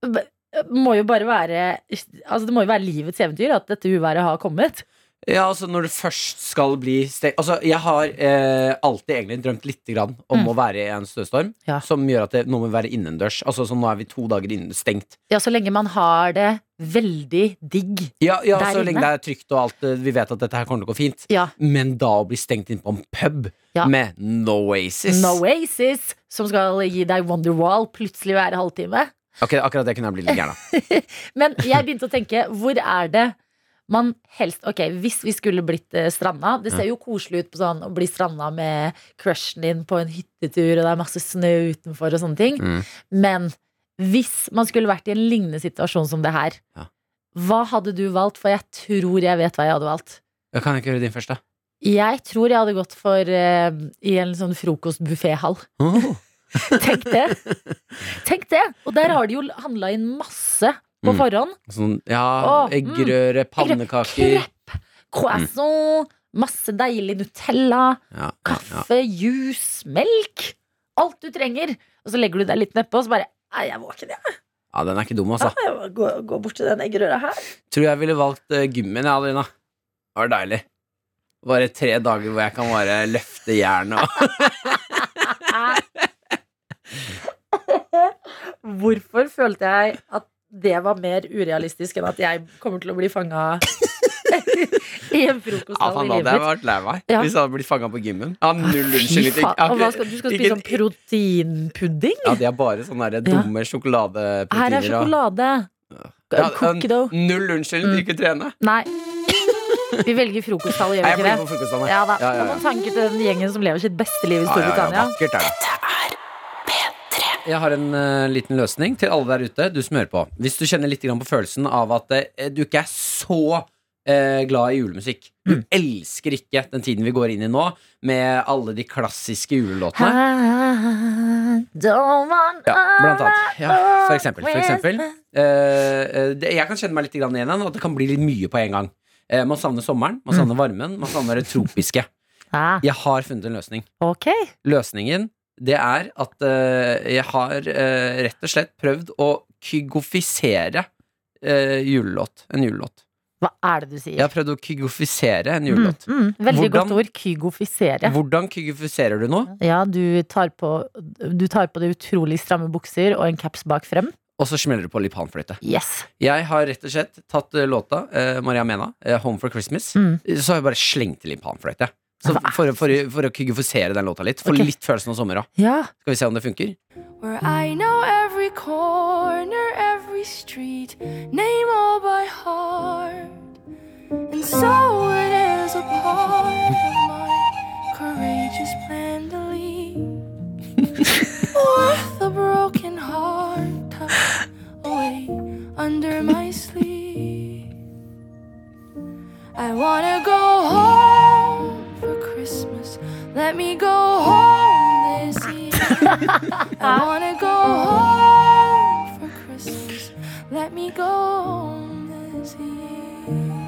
S2: b- må jo bare være Altså Det må jo være livets eventyr at dette uværet har kommet.
S3: Ja, altså Når du først skal bli stengt Altså, Jeg har eh, alltid egentlig drømt litt grann om
S2: Mm.
S3: å være i en snøstorm
S2: Ja.
S3: som gjør at det, nå må vi være innendørs. Altså, så Nå er vi to dager innen stengt.
S2: Ja, så lenge man har det veldig digg.
S3: Ja, ja
S2: Der
S3: Så
S2: inne?
S3: lenge det er trygt og alt, eh, vi vet at dette her kommer til å gå fint.
S2: Ja.
S3: Men da å bli stengt inn på en pub
S2: Ja.
S3: med Noasis
S2: Noasis, som skal gi deg Wonderwall plutselig hver halvtime.
S3: Ok, Akkurat det kunne jeg bli litt gæren av.
S2: Men jeg begynte å tenke, hvor er det man helst Ok, hvis vi skulle blitt eh, stranda Det ser jo koselig ut på sånn å bli stranda med crushen din på en hyttetur, og det er masse snø utenfor og sånne ting.
S3: Mm.
S2: Men hvis man skulle vært i en lignende situasjon som det her,
S3: Ja.
S2: hva hadde du valgt? For jeg tror jeg vet hva jeg hadde valgt.
S3: Ja, Kan jeg ikke høre din først, da?
S2: Jeg tror jeg hadde gått for eh, i en sånn frokostbufféhall.
S3: Åh. [laughs]
S2: Tenk det! Tenk det! Og der har de jo handla inn masse på
S3: Mm.
S2: forhånd.
S3: Sånn, ja,
S2: Å, mm.
S3: eggerøre, pannekaker
S2: Krepp, croissant, masse deilig Nutella,
S3: ja, ja, ja.
S2: kaffe, juice, melk. Alt du trenger. Og så legger du deg litt nedpå, og så bare Nei, jeg er våken, jeg.
S3: ja, den er ikke dum, altså.
S2: jeg må gå, gå bort til den eggerøra her.
S3: Tror jeg ville valgt eh, gymmen, jeg, Adelina. Det var deilig. Bare tre dager hvor jeg kan bare løfte jernet og
S2: [laughs] Hvorfor følte jeg at det var mer urealistisk enn at jeg kommer til å bli [laughs] fanga i en
S3: Ja,
S2: frokosthall
S3: faen,
S2: i livet
S3: da hadde jeg
S2: mitt?
S3: vært lei meg
S2: Ja.
S3: hvis jeg hadde blitt fanga på gymmen. Ja, null unnskyldning.
S2: Fy faen, Og hva skal, du skal spise sånn
S3: Ikke-
S2: proteinpudding?
S3: Ja, de er bare sånne der dumme
S2: Her er
S3: sjokoladeproteiner. og-
S2: sjokolade. Mm.
S3: Ja,
S2: Cookie dough.
S3: null unnskyldning til ikke trene.
S2: Nei. Vi velger frokosthall, gjør
S3: Nei, jeg
S2: vi
S3: blir
S2: ikke
S3: på
S2: det?
S3: frokostene.
S2: Ja da.
S3: Ja, ja, ja.
S2: Noen tanker til den gjengen som lever sitt beste liv i Storbritannia.
S3: vakkert er det. Jeg har en eh, liten løsning til alle der ute. Du som hører på. Hvis du kjenner litt grann på følelsen av at eh, du ikke er så eh, glad i julemusikk Du elsker ikke den tiden vi går inn i nå, med alle de klassiske julelåtene.
S2: I don't want
S3: Ja, blant annet. Ja, for eksempel. For eksempel. Eh, eh, det, jeg kan kjenne meg litt grann igjen i den, at det kan bli litt mye på en gang. Eh, man savner sommeren, man savner varmen, man savner det tropiske.
S2: Ah,
S3: Jeg har funnet en løsning.
S2: ok.
S3: Løsningen det er at eh, jeg har eh, rett og slett prøvd å kygofisere eh, julelåt. En julelåt.
S2: Hva er det du sier?
S3: Jeg har prøvd å kygofisere en julelåt.
S2: Mm, veldig
S3: Hvordan-
S2: godt ord. Kygofisere.
S3: Hvordan kygofiserer du noe?
S2: Ja, du tar på Du tar på deg utrolig stramme bukser og en caps bak frem.
S3: Og så smeller du på litt panfløyte.
S2: Yes.
S3: Jeg har rett og slett tatt eh, låta eh, Maria Mena, eh, 'Home for Christmas',
S2: Mm. Altså,
S3: så har jeg bare slengt til litt panfløyte. Så
S2: Hva er
S3: for, for, for å kygofisere den låta litt. For
S2: Ok.
S3: litt følelsen av sommer òg.
S2: Ja.
S3: Skal vi se om det funker?
S6: Where I know every corner, every street, name all by heart. And so it is a part of my courageous plan to leave. With a broken heart tucked away under my sleeve. I wanna go home for Christmas. Let me go home this year. I wanna go home for Christmas. Let me go home this year.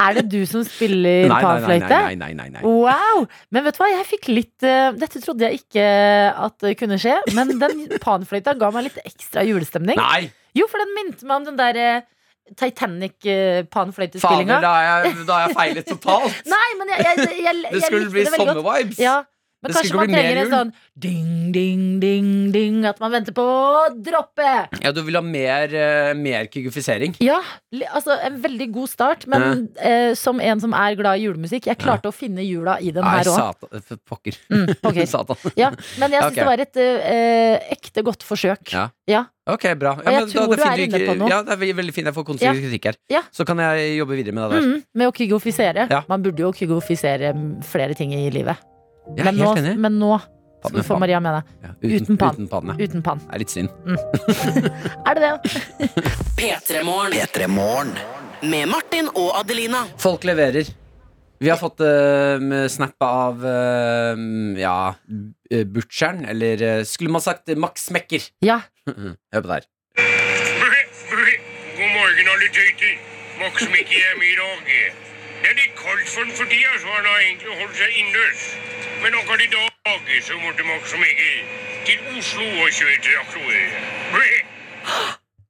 S2: Er det du som spiller
S3: Nei, nei, nei,
S2: panfløyte? Oh,
S3: nei, nei, nei, nei.
S2: Wow! Men vet du hva, jeg fikk litt eh, Dette trodde jeg ikke eh, at det kunne skje, men
S3: [laughs]
S2: den panfløyta ga meg litt ekstra julestemning.
S3: nei.
S2: Jo, for den minte meg om den der eh,
S3: Fader,
S2: Titanic-panfløytespillinga.
S3: da har jeg, da har jeg feilet
S2: [laughs]
S3: totalt.
S2: Nei, men jeg, jeg, jeg, jeg,
S3: [laughs] Det
S2: jeg
S3: skulle
S2: likte
S3: bli
S2: det veldig godt.
S3: sommervibes.
S2: Ja, men
S3: Det skulle
S2: kanskje man
S3: bli mer
S2: trenger en
S3: jul.
S2: sånn ding, ding, ding, ding At man venter på å droppe.
S3: Ja, du vil ha mer, eh, mer kygufisering.
S2: Ja, li- altså en veldig god start, men eh, som en som er glad i julemusikk Jeg klarte å finne jula i den
S3: Nei,
S2: her òg.
S3: satan. for Pokker.
S2: Mm, ok.
S3: [laughs] satan.
S2: Ja, men jeg syns
S3: Ok.
S2: det var et eh, ekte godt forsøk.
S3: Ja.
S2: Ja.
S3: Ok, bra.
S2: Og jeg tror
S3: det
S2: du er
S3: fint
S2: inne på noe.
S3: Ja, det er ve- veldig fint. Jeg får konstruktiv kritikk her.
S2: Ja.
S3: Så kan jeg jobbe videre med det der.
S2: Mm, med å kygofisere.
S3: Ja.
S2: Man burde jo kygofisere flere ting i livet.
S3: Jeg er
S2: men, nå,
S3: helt enig.
S2: men nå skal
S3: Panne,
S2: vi få
S3: panne.
S2: Maria med deg.
S3: Ja,
S2: uten pann.
S3: Uten panne.
S2: Uten pann.
S3: Det er litt synd.
S2: Er det
S3: [laughs]
S2: det?
S5: P3-morgen. Med Martin og Adelina.
S3: Folk leverer. Vi har fått uh, snap av eh, ja, eh, butcheren, eller eh, skulle man sagt eh, Max Mekker. [laughs]
S2: Ja.
S3: Hør på det her.
S7: God morgen, alle tøyter. Max som ikke hjemme i dag. Det er litt kaldt for den for tida, så han har egentlig holdt seg innendørs. Men akkurat i dag så måtte Max og Mikkel til Oslo og kjøre traktorer. Bleh.
S3: [laughs]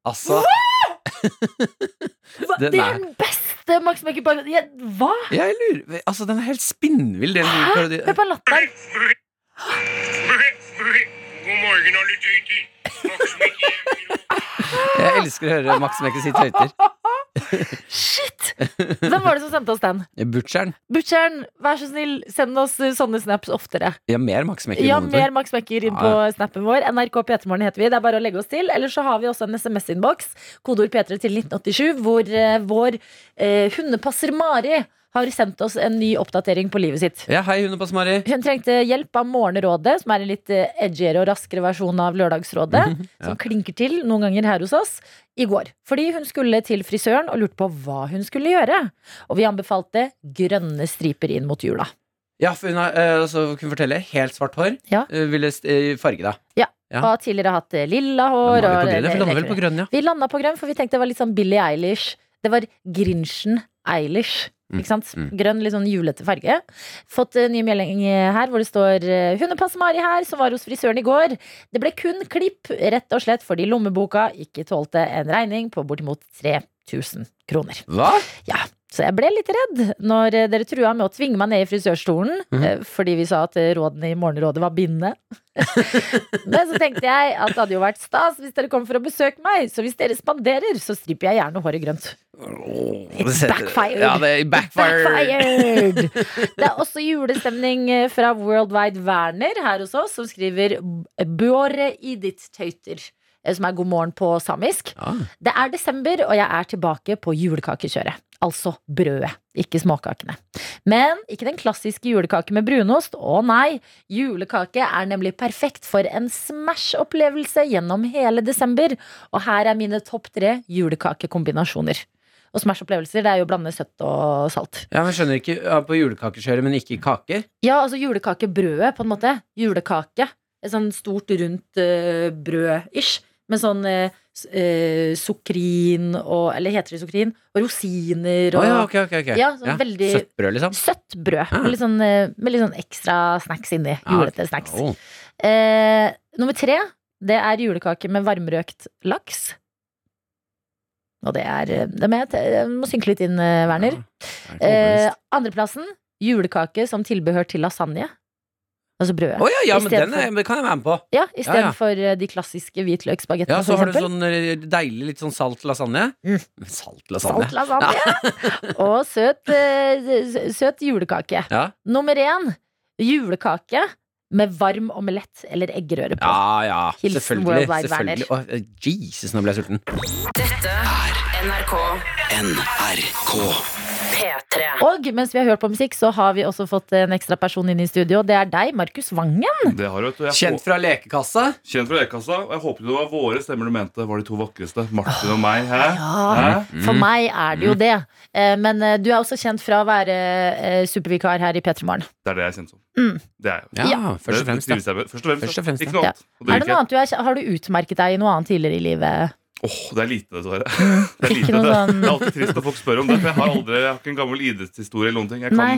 S3: Altså
S2: Hva,
S3: Den
S2: det
S3: er-
S2: er den beste Max Mekker-parodien. Ja, hva?
S3: Jeg lurer Altså, den er helt spinnvill, den parodien.
S2: Hør på latteren.
S7: Bleh. Bleh. Bleh. God morgen, alle tøyter. Max som ikke hjemme i dag.
S3: Jeg elsker å høre Max Mekker si tøyter. [laughs]
S2: Shit! Hvem var det som sendte oss den?
S3: Butcheren.
S2: Butcheren, vær så snill, send oss eh, sånne snaps oftere.
S3: Vi har mer Max Mekker. i
S2: Ja,
S3: monitor.
S2: mer Max Mekker inn
S3: Ja,
S2: på snappen vår. NRK P3morgen heter vi. Det er bare å legge oss til. Eller så har vi også en SMS-innboks, kodeord P3 til 1987, hvor eh, vår eh, hundepasser Mari har sendt oss en ny oppdatering på livet sitt.
S3: Ja, hei, hundepass, Mari.
S2: Hun trengte hjelp av Morgenrådet, som er en litt eh, edgiere og raskere versjon av Lørdagsrådet.
S3: Mhm,
S2: [laughs] Som klinker til noen ganger her hos oss i går. Fordi hun skulle til frisøren og lurte på hva hun skulle gjøre. Og vi anbefalte grønne striper inn mot jula.
S3: Ja, for hun har, eh, så kunne fortelle, helt svart hår.
S2: Ja.
S3: Eh, ville st- eh, farge deg. Ja.
S2: Og har tidligere hatt eh, lilla hår.
S3: Lander
S2: og-
S3: vi på grønn, ja, for lander vel på grønn, ja.
S2: Vi landa på grønn, for vi tenkte det var litt sånn Billie Eilish. Det var Grinchen Eilish.
S3: Mm,
S2: Ikke sant?
S3: mm.
S2: Grønn, litt sånn julete farge. Fått eh, ny melding eh, her hvor det står eh, 'Hundepass Mari her, som var hos frisøren i går'. Det ble kun klipp, rett og slett fordi lommeboka ikke tålte en regning på bortimot 3000 kroner.
S3: Hva?
S2: Så jeg ble litt redd når eh, dere trua med å tvinge meg ned i frisørstolen
S3: Mhm.
S2: eh, fordi vi sa at eh, rådene i Morgenrådet var bindende. Men så tenkte jeg at det hadde jo vært stas hvis dere kom for å besøke meg, så hvis dere spanderer, så stripper jeg gjerne håret grønt.
S3: Det setter-
S2: backfired.
S3: Ja, det backfired.
S2: Backfired! [laughs] Det er også julestemning eh, fra Worldwide Werner her hos oss, som skriver Bjore i ditt tøyter, eh, som er god morgen på samisk.
S3: Ja.
S2: Det er desember, og jeg er tilbake på julekakekjøret. Altså brødet, ikke småkakene. Men ikke den klassiske julekake med brunost. Å nei, julekake er nemlig perfekt for en Smash-opplevelse gjennom hele desember. Og her er mine topp tre julekakekombinasjoner. Og Smash-opplevelser det er jo å blande søtt og salt.
S3: ja, men skjønner ikke ja, På julekakekjøret, men ikke i kaker?
S2: Ja, altså julekakebrødet, på en måte. Julekake. Et sånn stort, rundt eh, brød-ish. Med sånn eh, s- eh, sukrin og Eller heter det sukrin? Og rosiner
S3: Å
S2: og
S3: ja, ok, ok, ok.
S2: Ja, sånn veldig-
S3: Søtt brød, liksom?
S2: Søtt brød.
S3: Ah.
S2: Med, litt sånn, eh, med litt sånn ekstra snacks inni.
S3: Ja,
S2: Julete snacks.
S3: Å,
S2: Eh, nummer tre, det er julekake med varmrøkt laks. Og det er eh, det må jeg, te- jeg må synke litt inn, eh, Werner.
S3: jeg er ikke
S2: Eh,
S3: overbevist.
S2: andreplassen, julekake som tilbehør til lasagne. Altså brødet.
S3: Å ja, ja,
S2: i
S3: men
S2: stedet
S3: den
S2: for-
S3: er, men kan jeg være med på.
S2: Ja, Istedenfor
S3: ja.
S2: for eh, de klassiske hvitløksbagettene,
S3: Ja, så
S2: for
S3: har du
S2: eksempel.
S3: sånn eh, deilig, litt sånn salt lasagne. Mm. Salt lasagne.
S2: Salt lasagne. [laughs] Og søt, eh, s- søt julekake.
S3: Ja.
S2: Nummer én, julekake med varm omelett eller eggerøre på.
S3: Ja, ja,
S2: Hilsen
S3: selvfølgelig.
S2: Worldwide
S3: selvfølgelig. Å, eh, Jesus, nå ble jeg sulten.
S5: NRK
S1: NRK.
S5: P3.
S2: Og mens vi har hørt på musikk, så har vi også fått en ekstra person inn i studio. og Det er deg, Markus Vangen.
S8: Det har du, vet du. Jeg
S3: Kjent fra lekekassa.
S8: hå- Kjent fra lekekassa. Og jeg håper det var våre stemmer du mente var de to vakreste. Martin og meg. Hæ? Hæ?
S3: Mm.
S2: For meg er det jo det. Eh, Men eh, du er også kjent fra å være eh, supervikar her i P3 Morgen.
S8: Det er det jeg er kjent som. Det er jeg.
S3: Ja, Mm. først
S8: Det-
S3: og fremst.
S8: det
S3: Ja.
S8: trives jeg med. Først og fremst.
S3: Først og fremst,
S8: Ikke
S3: ja.
S8: noe annet. Og det
S2: Er det
S8: liker
S2: noe
S8: jeg.
S2: annet du er, kj- har du utmerket deg i noe annet tidligere i livet?
S8: Åh, det er lite,
S9: [laughs]
S8: dessverre. Det er, lite.
S2: Ikke noe
S8: Det,
S2: sånn-
S8: det er alltid trist når folk spør om det. For jeg har aldri, jeg har ikke en gammel idrettshistorie eller noen ting. Jeg kan
S2: Nei.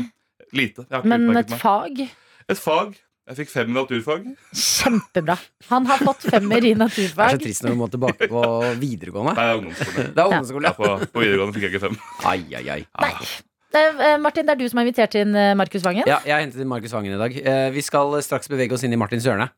S8: lite. Jeg har ikke
S2: Men
S8: utmerket
S2: et
S8: meg.
S2: fag?
S8: Et fag. Jeg fikk fem i naturfag.
S2: Kjempebra. Han har fått femmer i
S3: [laughs] Det er så
S2: naturfag.
S3: trist når du må tilbake på videregående.
S8: Nei, ungdomsskolen.
S3: Det er ungdomsskole.
S8: Ja, på, på videregående fikk jeg ikke fem.
S3: Ai, ai, ai.
S2: Nei. Eh, eh, Martin, det er du som har invitert inn eh, Markus Vangen.
S3: Ja, jeg hentet inn Markus Vangen i dag. Eh, Vi skal straks bevege oss inn i Martins hjørne.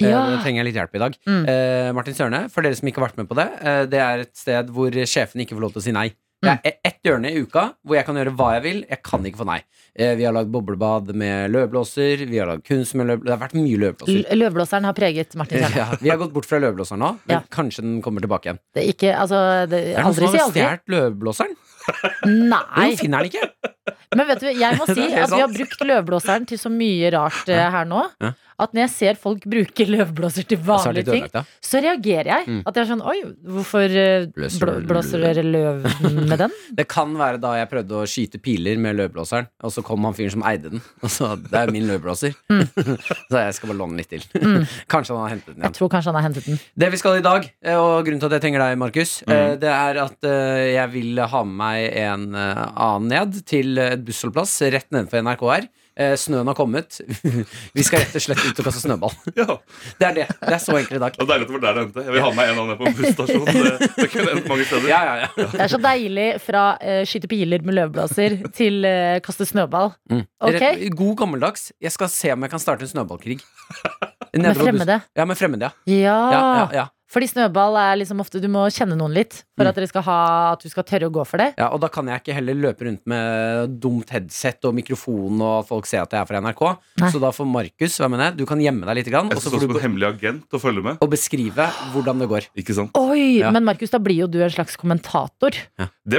S3: Eh,
S2: Ja.
S3: Nå trenger jeg litt hjelp i dag.
S2: Mm.
S3: Eh, Martins hjørne, for dere som ikke har vært med på det, eh, det er et sted hvor sjefen ikke får lov til å si nei. Det
S2: Mm.
S3: er e- ett hjørne i uka hvor jeg kan gjøre hva jeg vil. Jeg kan ikke få nei. Eh, Vi har lagd boblebad med løvblåser, vi har lagd kunst med løvblåser. Det har vært mye løvblåser.
S2: L- Løvblåseren har preget Martin Kjerne.
S3: [laughs] Ja, vi har gått bort fra løvblåseren nå, men
S2: Ja.
S3: kanskje den kommer tilbake igjen.
S2: Det er Ikke, altså, det,
S3: Er det noen
S2: aldri
S3: som
S2: si aldri.
S3: har stjålet løvblåseren?
S2: Nei.
S3: Jo, finner den ikke!
S2: Men vet du, jeg
S3: [laughs]
S2: må si
S3: Det er helt
S2: at vi har
S3: sant.
S2: brukt løvblåseren til så mye rart eh, her nå.
S3: Ja.
S2: At når jeg ser folk bruke løvblåser til
S3: Så er det
S2: vanlige
S3: litt
S2: ting,
S3: ødelagt, da.
S2: så reagerer jeg.
S3: Mm.
S2: At jeg er sånn Oi, hvorfor eh,
S3: Blåser
S2: blå,
S3: dere
S2: blåser dere løv med den?
S3: Det kan være da jeg prøvde å skyte piler med løvblåseren, og så kom han fyren som eide den. Og så det er min løvblåser.
S2: Mm.
S3: [laughs] så jeg skal bare låne litt til. [laughs] Kanskje han har hentet den
S2: Jeg
S3: igjen.
S2: tror kanskje han har hentet den.
S3: Det vi skal i dag, eh, og grunnen til at jeg trenger deg, Markus, eh, det er at eh, jeg vil ha med meg en eh, annen ned til et bussholdeplass rett nedenfor NRK her. Eh, Snøen har kommet. [laughs] vi skal rett og slett ut og kaste snøball.
S8: Ja.
S3: Det er det. Det er så enkelt i dag.
S8: Det er deilig at det var der det endte. Jeg vil ha med meg en av dem på en busstasjon. Det, det kunne endt mange steder.
S3: Ja, ja, ja.
S2: Det er så deilig fra eh, skyte piler med løvblåser til eh, kaste snøball.
S3: Mm.
S2: Ok.
S3: Rett, god gammeldags. Jeg skal se om jeg kan starte en snøballkrig.
S2: [laughs] Med fremmede.
S3: Ja, med fremmede, ja. ja, ja, Mm.
S2: Ja.
S3: ja.
S2: Fordi snøball er liksom ofte Du må kjenne noen litt for at, dere skal ha, at du skal tørre å gå for det.
S3: Ja, og da kan jeg ikke heller løpe rundt med dumt headset og mikrofon og at folk ser at jeg er fra NRK.
S2: Nei.
S3: Så da får Markus, hva mener jeg, du kan gjemme deg litt, grann,
S8: Jeg
S3: og
S8: synes
S3: så får
S8: også
S3: du
S8: som en
S3: gå
S8: hemmelig agent å følge med.
S3: og beskrive hvordan det går.
S8: Ikke sant?
S2: Oi,
S3: Ja.
S2: Men Markus, da blir jo du en slags kommentator.
S8: Det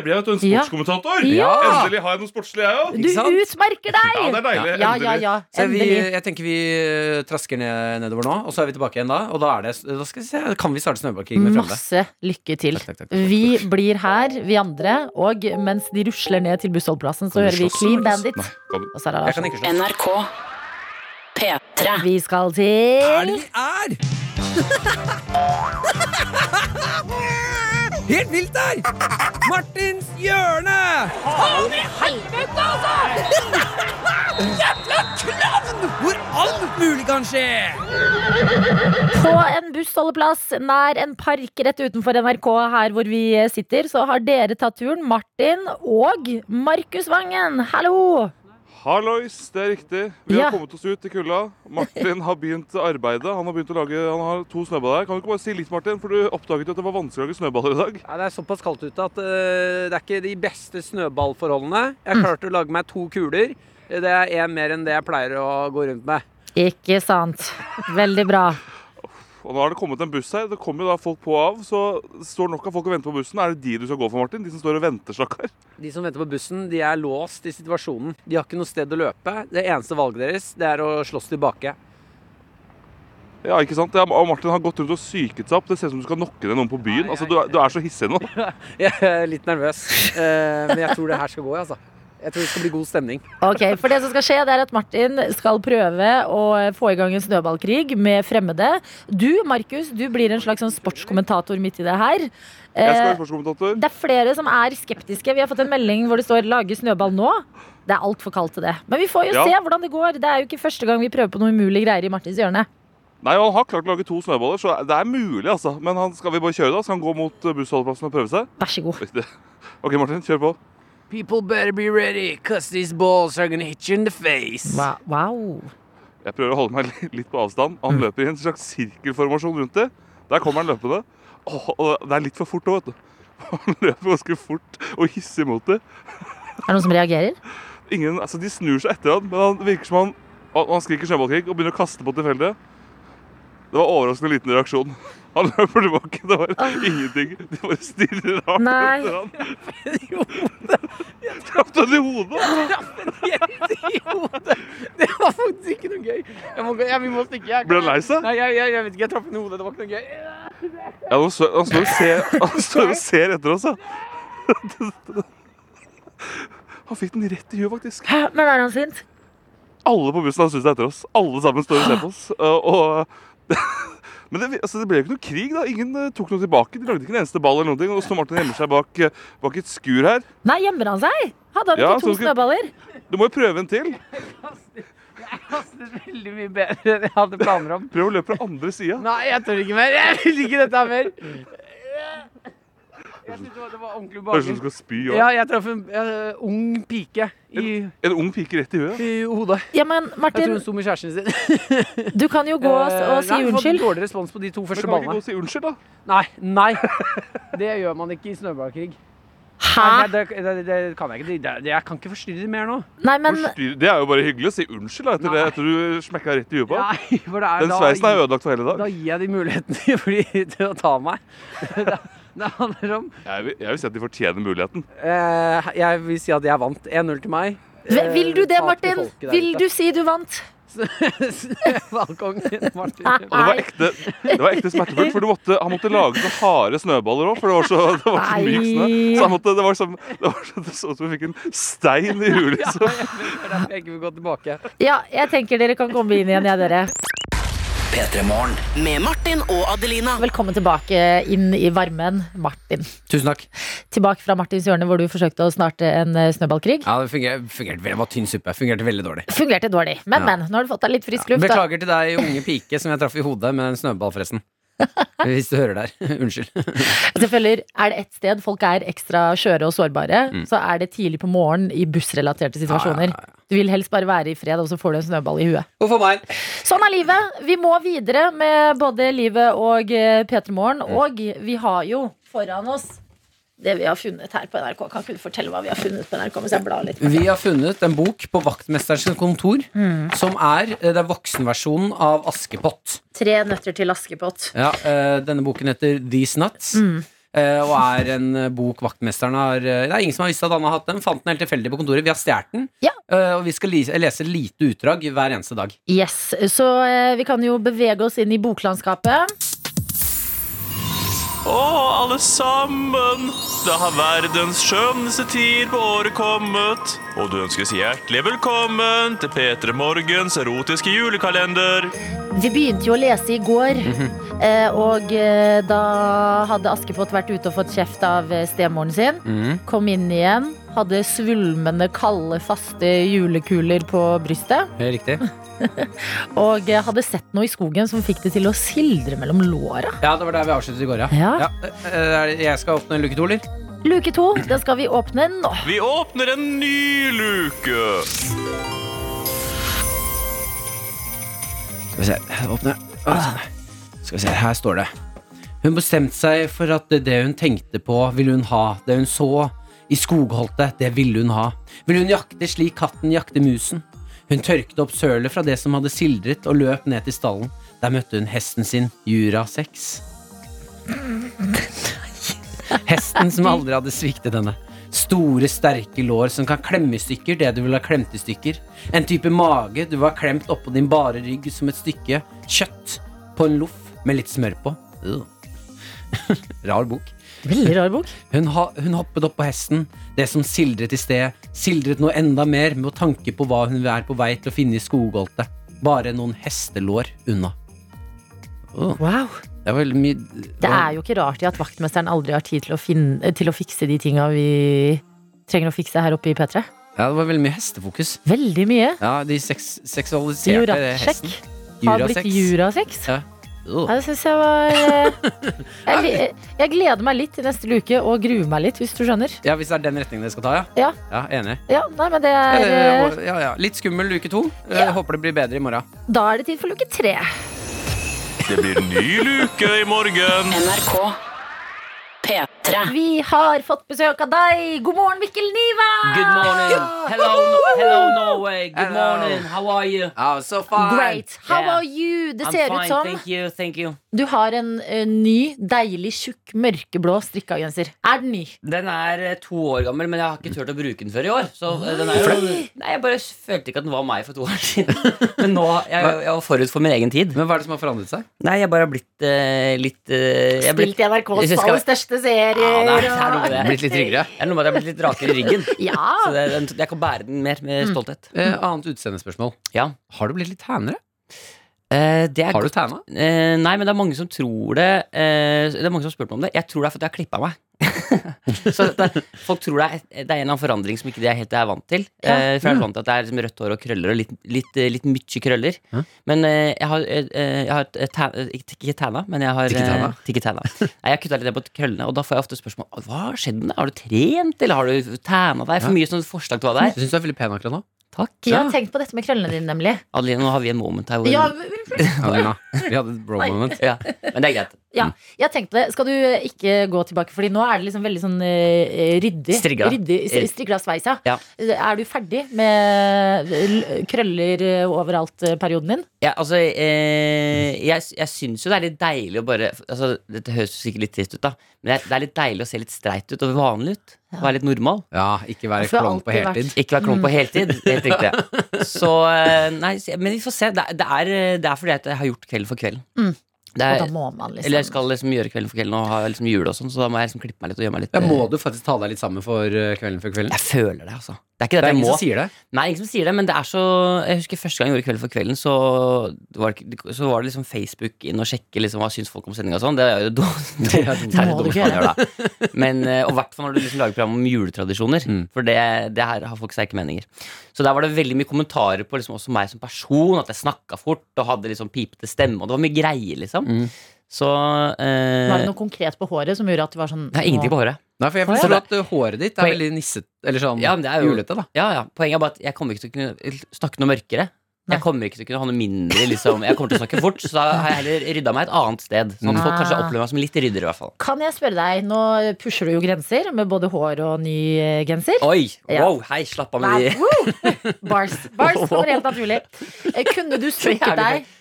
S8: ble jeg, vet du, en
S2: Ja.
S8: sportskommentator!
S2: Ja.
S8: Endelig har jeg noe sportslig, jeg òg!
S2: Du
S3: sant?
S2: utmerker deg!
S8: Ja, det er deilig.
S2: Ja, ja,
S8: Endelig.
S2: ja.
S3: Så vi,
S2: Endelig.
S3: jeg tenker vi eh, trasker ned, nedover nå, og så er vi tilbake igjen da. Og da, er det, da skal vi se, kan vi vi starte snøballkrig med Frende.
S2: Masse lykke til.
S3: Takk, takk, takk, takk, takk.
S2: Vi blir her, vi andre, og mens de rusler ned til bussholdeplassen, så
S8: Kan du
S2: hører vi
S8: slåss,
S2: Clean
S8: eller?
S2: Bandit.
S8: Nei, kan du-
S2: Og Sara
S3: Jeg
S2: Larsson.
S3: kan ikke slå.
S5: NRK P3
S2: Vi skal til
S3: vi er? [laughs] Helt vilt der! Martins hjørne! Faen i helvete, altså! Jævla klovn! Hvor alt mulig kan skje!
S2: På en bussholdeplass nær en park rett utenfor NRK her hvor vi sitter, så har dere tatt turen, Martin og Markus Vangen. Hallo!
S10: Hallois, det er riktig. Vi
S2: Ja.
S10: har kommet oss ut til kulda. Martin har begynt arbeidet. Han har begynt å lage, han har to snøballer her. Kan du ikke bare si litt, Martin? For du oppdaget jo at det var vanskelig å lage snøballer i dag.
S11: Ja, det er såpass kaldt ute at eh, det er ikke de beste snøballforholdene. Jeg klarte å lage meg to kuler. Det er én mer enn det jeg pleier å gå rundt med.
S2: Ikke sant. Veldig bra.
S10: Og nå har det kommet en buss her. Det kommer jo da folk på og av. Så står nok av folk og venter på bussen. Er det de du skal gå for, Martin? De som står og venter, stakkar?
S11: De som venter på bussen, de er låst i situasjonen. De har ikke noe sted å løpe. Det eneste valget deres, det er å slåss tilbake. [laughs]
S10: Ja, ikke sant? Ja, og Martin har gått rundt og psyket seg opp. Det ser ut som du skal nokke ned noen på byen. Altså, du er, du er så hissig nå.
S11: Jeg er litt nervøs, eh, men jeg tror det her skal gå, altså. Jeg tror det skal bli god stemning.
S2: Ok, for det som skal skje det er at Martin skal prøve å få i gang en snøballkrig med fremmede. Du, Markus, du blir en slags sånn sportskommentator midt i det her.
S10: Jeg skal
S2: Eh,
S10: være sportskommentator.
S2: Det er flere som er skeptiske. Vi har fått en melding hvor det står 'lage snøball nå'. Det er altfor kaldt til det. Men vi får jo
S10: Ja.
S2: se hvordan det går. Det er jo ikke første gang vi prøver på noe umulige greier i Martins hjørne.
S10: Nei, han har klart å lage to snøballer, så det er mulig, altså. Men han, skal vi bare kjøre, da? Skal han gå mot eh, bussholdeplassen og prøve seg?
S2: Vær så god.
S10: Oi, det- OK, Martin, kjør på.
S11: People better be ready, cause these balls are gonna hit you in the face.
S2: Wow. wow.
S10: Jeg prøver å holde meg li- litt på avstand. Han løper i en slags sirkelformasjon rundt det. Der kommer han løpende. Åh, og det er litt for fort òg, vet du. [laughs] Han løper ganske fort og hisser mot det.
S2: Er det noen som reagerer?
S10: Ingen, altså, de snur seg etter han, men han virker som han Han, han skriker snøballkrig og begynner å kaste på tilfeldige. Det var overraskende liten reaksjon. Han løper tilbake. Det var ingenting. De bare stirrer rart
S2: Nei.
S10: etter han. Traff han i hodet?
S11: Helt i hodet. Det var faktisk ikke noe gøy. Jeg må, gå- jeg, vi må stikke. Jeg,
S10: Ble han lei seg?
S11: Nei, jeg, jeg, jeg vet ikke. Jeg traff henne i hodet. Det var ikke noe gøy.
S10: Ja, han står, han, står og ser, han står og ser etter oss, ja. Han fikk den rett i huet, faktisk.
S2: Hæ, Men er han sint?
S10: Alle på bussen har snudd seg etter oss. Alle sammen står og ser på oss. Eh, Og, [laughs] og- men det, altså, det ble jo ikke noe krig, da. Ingen eh, tok noe tilbake. De lagde ikke en eneste ball eller noen ting. Og nå står Martin gjemmer seg bak, eh, bak et skur her.
S2: Nei, gjemmer han seg? Hadde han
S10: Ja,
S2: ikke to
S10: så ikke-
S2: snøballer?
S10: Du må jo prøve en til.
S11: Det er veldig mye bedre enn [laughs] jeg hadde planer om.
S10: Prøv å løpe fra andre sida.
S11: Nei, jeg tør ikke mer. Jeg vil ikke dette her mer. Jeg synes det var, det var ordentlig
S10: Høres ut som sånn du
S11: ubehagelig.
S10: skal spy.
S11: Ja,
S10: Ja.
S11: jeg traff en eh, ung pike i,
S10: En ung pike rett i huet.
S11: i hodet.
S2: Ja,
S11: Jeg
S2: men
S11: tror hun
S2: Martin,
S11: sto med kjæresten
S2: [laughs]
S11: sin.
S2: du kan jo gå
S11: Eh,
S2: og si
S11: nei, jeg har fått
S2: unnskyld.
S11: Dårlig respons på de to
S10: Men
S11: første
S10: kan vi ikke gå
S11: ballene.
S10: og si unnskyld, da?
S11: Nei, nei.
S10: [laughs]
S11: Det gjør man ikke i snøballkrig. Nei,
S2: Hæ?
S11: det, det, det kan jeg ikke. Det, det, jeg kan ikke forstyrre mer nå.
S2: Nei, men
S10: Forstyrr- Det er jo bare hyggelig å si unnskyld da, etter, det,
S11: Nei.
S10: etter du smekka rett i huet på ham.
S11: Nei, [laughs] for det er,
S10: Den sveisen er ødelagt for hele dag.
S11: Da gir jeg de muligheten til, fordi, til å ta meg. Det, [laughs] det handler om
S10: Jeg vil, jeg vil si at de fortjener muligheten.
S11: eh, Jeg vil si at jeg vant. 1-0 til meg. [laughs] Eh,
S2: vil du det,
S11: tap til
S2: Martin?
S11: folket der
S2: Vil
S11: ute.
S2: du si du vant?
S11: Valgkongen Martin.
S10: Og det var
S2: Nei.
S10: ekte, det var ekte smertefullt, for du måtte, han måtte lage så harde snøballer òg, for det var så, det var så myk snø.
S2: Nei.
S10: Så han måtte, det var som, det var så, det så ut som vi fikk en stein i
S11: [laughs]
S10: liksom. hulet. Så.
S11: Det er derfor jeg ikke vil gå tilbake.
S2: Ja, jeg tenker dere kan komme inn igjen, jeg, dere.
S1: P3 Morgen.
S5: Med Martin og Adelina
S2: Velkommen tilbake inn i varmen, Martin.
S3: Tusen takk.
S2: Tilbake fra Martins hjørne, hvor du forsøkte å snarte en eh, snøballkrig.
S3: Ja, det fungerte, fungerte veldig, det var tynn suppe. Fungerte veldig dårlig.
S2: Fungerte dårlig. Men,
S3: Ja.
S2: men. Nå har du fått deg litt frisk luft. da.
S3: Beklager til deg, unge pike, som jeg traff i hodet med en snøball,
S2: [laughs]
S3: forresten. Hvis du hører der. [laughs] Unnskyld.
S2: Selvfølgelig Altså, er det ett sted folk er ekstra skjøre og sårbare,
S3: Mm.
S2: så er det tidlig på morgenen i bussrelaterte situasjoner. Du vil helst bare være i fred, og så får du en snøball i huet.
S11: Huff a meg.
S2: Sånn er livet. Vi må videre med både livet og eh, P3 Morgen.
S3: Mm.
S2: Og vi har jo foran oss det vi har funnet her på NRK. Kan ikke du fortelle hva vi har funnet på NRK mens jeg blar litt?
S3: Vi har funnet en bok på vaktmesterens kontor
S2: Mm.
S3: som er, eh, det er voksenversjonen av Askepott.
S2: Tre nøtter til Askepott.
S3: Ja, eh, denne boken heter These Nuts.
S2: Mm.
S3: eh, og er en eh, bok vaktmesteren har eh, Det er ingen som har visst at han har hatt den. Fant den helt tilfeldig på kontoret. Vi har stjålet den.
S2: Ja.
S3: eh, og vi skal li- lese lite utdrag hver eneste dag.
S2: Yes, Så eh, vi kan jo bevege oss inn i boklandskapet.
S12: Å, alle sammen! Da har verdens skjønneste tid på året kommet. Og du ønskes hjertelig velkommen til P3 Morgens erotiske julekalender.
S2: Vi begynte jo å lese i går, eh, og eh, da hadde Askepott vært ute og fått kjeft av eh, stemoren sin. Kom inn igjen, hadde svulmende, kalde, faste julekuler på brystet.
S3: Riktig.
S2: Og eh, hadde sett noe i skogen som fikk det til å sildre mellom låra.
S3: Ja, det var der vi avsluttet i går, ja.
S2: Ja.
S3: Eh, eh, Jeg skal åpne luke to, eller?
S2: Luke to, den skal vi åpne nå.
S12: Vi åpner en ny luke.
S3: Skal vi se, åpne Åh, Skal vi se, her står det Hun bestemte seg for at det hun tenkte på Ville hun ha, det hun så I skogholtet, det ville hun ha Ville hun jakte slik katten jakte musen Hun tørkte opp sølet fra det som hadde sildret Og løp ned til stallen Der møtte hun hesten sin, Jura 6 Hesten som aldri hadde sviktet henne. Store, sterke lår som kan klemme i stykker det du vil ha klemt i stykker. En type mage du vil ha klemt oppå din bare rygg som et stykke kjøtt på en loff med litt smør på. Ugh. [laughs] Rar bok.
S2: Veldig rar bok.
S3: Hun, ha, hun hoppet opp på hesten, det som sildret i sted, sildret noe enda mer med å tanke på hva hun er på vei til å finne i skogholtet. Bare noen hestelår unna. Ugh. Det var veldig mye
S2: Det er jo ikke rart i at vaktmesteren aldri har tid til å, finne, til å fikse de tinga vi trenger å fikse her oppe i P3.
S3: Ja, det var veldig mye hestefokus.
S2: Veldig mye.
S3: Ja, de seks seksualiserte
S2: Jurasjekk.
S3: hesten.
S2: Fabrikk Jurasex.
S3: Ja.
S2: Ja,
S3: Ugh.
S2: det syns jeg var [laughs] eh, jeg, li- jeg gleder meg litt til neste luke og gruer meg litt, hvis du skjønner.
S3: ja, hvis det er den retningen dere skal ta, ja?
S2: Ja.
S3: Ja, Enig.
S2: Ja, nei, men det
S3: Eh,
S2: er eh,
S3: Ja, ja. Litt skummel uke to. Eh, Håper det blir bedre i morgen.
S2: Da er det tid for luke tre.
S12: Det blir ny luke i morgen.
S5: NRK P3
S2: Vi har fått besøk av deg. God morgen, Mikkel Niva!
S13: Good morning. Hello, no- hello Norway. Good
S2: Hello.
S13: morning. How are you?
S3: Oh, so
S2: Great. How are you? Det
S13: I'm
S2: ser
S13: fine.
S2: ut som
S13: Thank you, thank you.
S2: du har en eh, ny, deilig, tjukk, mørkeblå strikka genser. Er den ny?
S13: Den er eh, to år gammel, men jeg har ikke turt å bruke den før i år. Så eh, den er jo, nei, Jeg bare følte ikke at den var meg for to år siden. [laughs] Men nå, jeg, jeg var forut for min egen tid.
S3: Men Hva er det som har forandret seg?
S13: Nei, jeg bare har blitt eh, litt eh, jeg har blitt-
S2: Spilt i
S13: Jeg
S2: NRKs
S13: synes jeg
S2: aller
S13: skal-
S2: største serier.
S13: Ja, det er- det er noe med det.
S2: og-
S13: Det er noe med at jeg har blitt litt rakere i ryggen.
S2: Ja.
S13: Så det, den, jeg kan bære den mer med
S5: Mm.
S13: stolthet.
S3: Eh, annet utseendespørsmål.
S13: Ja.
S3: Har du blitt litt tænere?
S13: Eh, det er
S3: Har du
S13: godt.
S3: tæna?
S13: Eh, nei, men det er mange som tror det. Eh, det er mange som har spurt meg om det. Jeg tror det er fordi jeg har klippa meg. [laughs] så det, folk tror det er, det er en eller annen forandring som ikke de er helt er vant til.
S9: Ja.
S13: Eh, for jeg
S9: Mm.
S13: er vant til at det er liksom rødt hår og krøller og litt, litt, eh, litt mye krøller.
S9: Hæ?
S13: Men eh, jeg har, eh, eh, jeg har eh, tæ, eh, ikke, ikke tæna, men jeg har
S9: Tikki-tæna.
S13: eh, tikki-tæna. Nei, jeg har kutta litt ned på krøllene, og da får jeg ofte spørsmål «Å, Hva har skjedd med det. Har du trent, eller har du tæna deg?
S2: Ja.
S13: For mye sånne forslag til hva det er.
S3: Jeg syns du er veldig pen akkurat nå.
S13: Takk.
S2: Jeg har tenkt på dette med krøllene dine, nemlig.
S13: Adeline, nå har vi en moment her. hvor-
S2: Ja,
S13: [laughs]
S3: Adelina, vi hadde et bro
S2: Oi.
S3: moment.
S13: Ja, men det er greit.
S2: ja, jeg har tenkt på det. Skal du eh, ikke gå tilbake? Fordi nå er det liksom veldig sånn eh, ryddig.
S13: Strigla.
S2: ryddig s- strigla sveis, ja.
S13: Ja.
S2: Er du ferdig med l- krøller eh, overalt-perioden din?
S13: Ja, altså, eh, jeg, jeg syns jo det er litt deilig å bare altså, Dette høres jo sikkert litt trist ut, da, men det er, det er litt deilig å se litt streit ut og vanlig ut. Være litt normal.
S3: Ja, ikke være
S13: For det har
S3: klovn på
S13: alltid
S3: heltid.
S13: vært- Ikke være klovn på
S3: Mm.
S13: heltid. Helt riktig. Så eh, Nei, se- men vi får se. Det, er- det, er, eh, det er fordi at jeg har gjort Kvelden for kvelden.
S2: Mm.
S13: Det er-
S2: Og da må man liksom-
S13: Eller jeg skal liksom gjøre Kvelden for kvelden og ha liksom jul og sånn, så da må jeg liksom klippe meg litt og gjøre meg litt
S3: Ja,
S13: eh,
S3: må du faktisk ta deg litt sammen for eh, kvelden før kvelden?
S13: Jeg føler det, altså. Det
S3: Det
S13: er ikke det,
S3: er
S13: jeg
S3: ingen
S13: må.
S3: som sier det.
S13: Nei, ingen som sier det, men det er så Jeg husker første gang jeg gjorde Kveld for kvelden, så var det, ikke- så var det liksom Facebook inn og sjekke liksom, hva syns folk om sendinga og sånn. Det er jo [laughs] dum- det er det
S9: Må du
S13: dummeste
S9: ikke
S13: man gjør, da. Men, eh, og i hvert fall når du liksom lager program om juletradisjoner, for det, det her har folk sterke meninger. Så der var det veldig mye kommentarer på liksom, også meg som person, at jeg snakka fort og hadde liksom pipete stemme, og det var mye greier, liksom. Så eh,
S2: Var det noe konkret på håret som gjorde at du var sånn
S13: Nei, ingenting på håret.
S3: Nei, for jeg
S13: Å, ja.
S3: forstår at eh, håret ditt er veldig nisset, eller sånn
S13: Ja, men det er jo,
S3: julete, da.
S13: Ja, ja. Poenget er bare at jeg kommer ikke til å kunne snakke noe mørkere. Jeg kommer ikke til å kunne ha noe mindre liksom. Jeg kommer til å snakke fort, så da har jeg heller rydda meg et annet sted. Sånn at folk kanskje
S2: Ah.
S13: opplever meg som litt rydder, i hvert fall.
S2: Kan jeg spørre deg, nå pusher du jo grenser med både hår og ny eh, genser.
S13: Oi!
S2: Ja.
S13: Wow, hei, slapp av med
S2: Nei,
S13: de
S2: woo! Bars.
S13: [laughs]
S2: Bars kommer helt naturlig. Eh, Kunne du
S13: Så
S2: strukket
S13: jævlig
S2: deg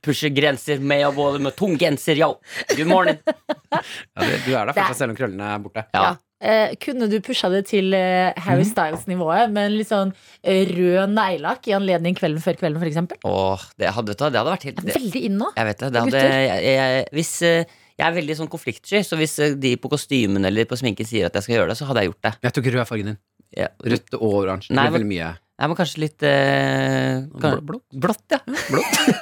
S13: pusher grenser med og både med tung genser, yo. Good morning.
S3: Ja, du, du er der fortsatt selv om krøllene er borte.
S13: Ja.
S2: Eh, kunne du pusha det til eh, Harry
S13: Mhm.
S2: Styles-nivået med en litt sånn eh, rød neglelakk i anledning Kvelden før kvelden, f.eks.?
S13: Åh, det hadde, vet du hva, det hadde vært helt
S2: Veldig inn nå.
S13: Jeg vet det. det hadde,
S2: Gutter.
S13: jeg, jeg, hvis eh, Jeg er veldig sånn konfliktsky, så hvis eh, de på kostymen eller på sminken sier at jeg skal gjøre det, så hadde jeg gjort det.
S3: Jeg tok rød fargen din. Rødt og oransje.
S13: Nei,
S3: Det ble
S13: men-
S3: veldig mye.
S13: Nei, men kanskje litt eh, kan-
S3: Blått.
S13: Blått, ja.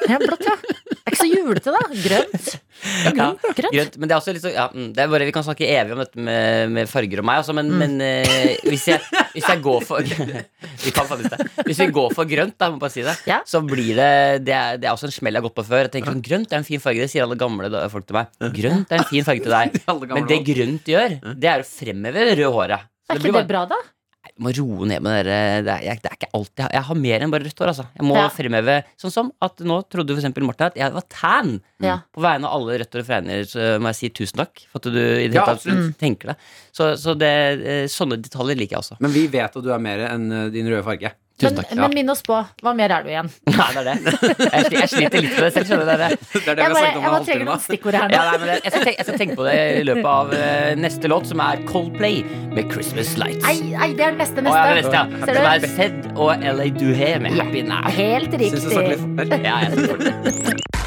S2: Ja, blått, ja. Det er ikke så julete, da. Grønt. grønt,
S13: [laughs] ja, grønt. Men det er også litt så, ja, mm, det er bare, vi kan snakke evig om dette med, med farger og meg, altså, men, men eh, hvis, jeg, hvis jeg går
S3: [laughs]
S13: for Vi kan faktisk det. Hvis vi går for grønt, da, må jeg bare si det, så blir det det er, det er også en smell jeg har gått på før. Jeg tenker sånn, Grønt er en fin farge, det sier alle gamle da- folk til meg. Grønt er en fin farge
S3: [laughs]
S13: til deg. Men det grønt gjør, det er å fremheve det røde håret. Så
S2: Er
S13: blir
S2: ikke
S13: bare-
S2: det bra, da?
S13: jeg må roe ned med dere. Det er, jeg, det er ikke alltid Jeg har mer enn bare rødt hår, altså. Jeg må
S2: Ja.
S13: fremheve Sånn som at nå trodde for eksempel Martha at jeg var tan.
S2: Ja.
S13: På vegne av alle rødt hår og fregner så må jeg si tusen takk for at du i det
S3: Ja,
S13: hele tatt
S3: absolutt.
S13: tenker det. Så, så det, eh, sånne detaljer liker jeg også.
S3: Men vi vet at du er mer enn eh, din røde farge.
S2: Men, men minn oss på. Hva mer er du igjen?
S13: Nei, det er det. Jeg, sli- jeg sliter litt med det selv, skjønner dere. Det
S2: det vi
S3: er
S2: Jeg har bare- snakket om jeg en bare trenger halvtime, noen da. stikkord her nå.
S13: Ja, nei, men jeg, jeg, skal tenke, jeg skal tenke på det i løpet av eh, neste låt, som er Coldplay med Christmas Lights.
S2: Nei, nei, det er neste,
S13: Å,
S2: neste.
S13: ja, det visste jeg.
S2: Ser
S13: Det
S2: du?
S13: er Sed og LA Duhé med Happy Now.
S2: Helt riktig. Synes jeg snakker litt
S13: Ja, jeg synes det.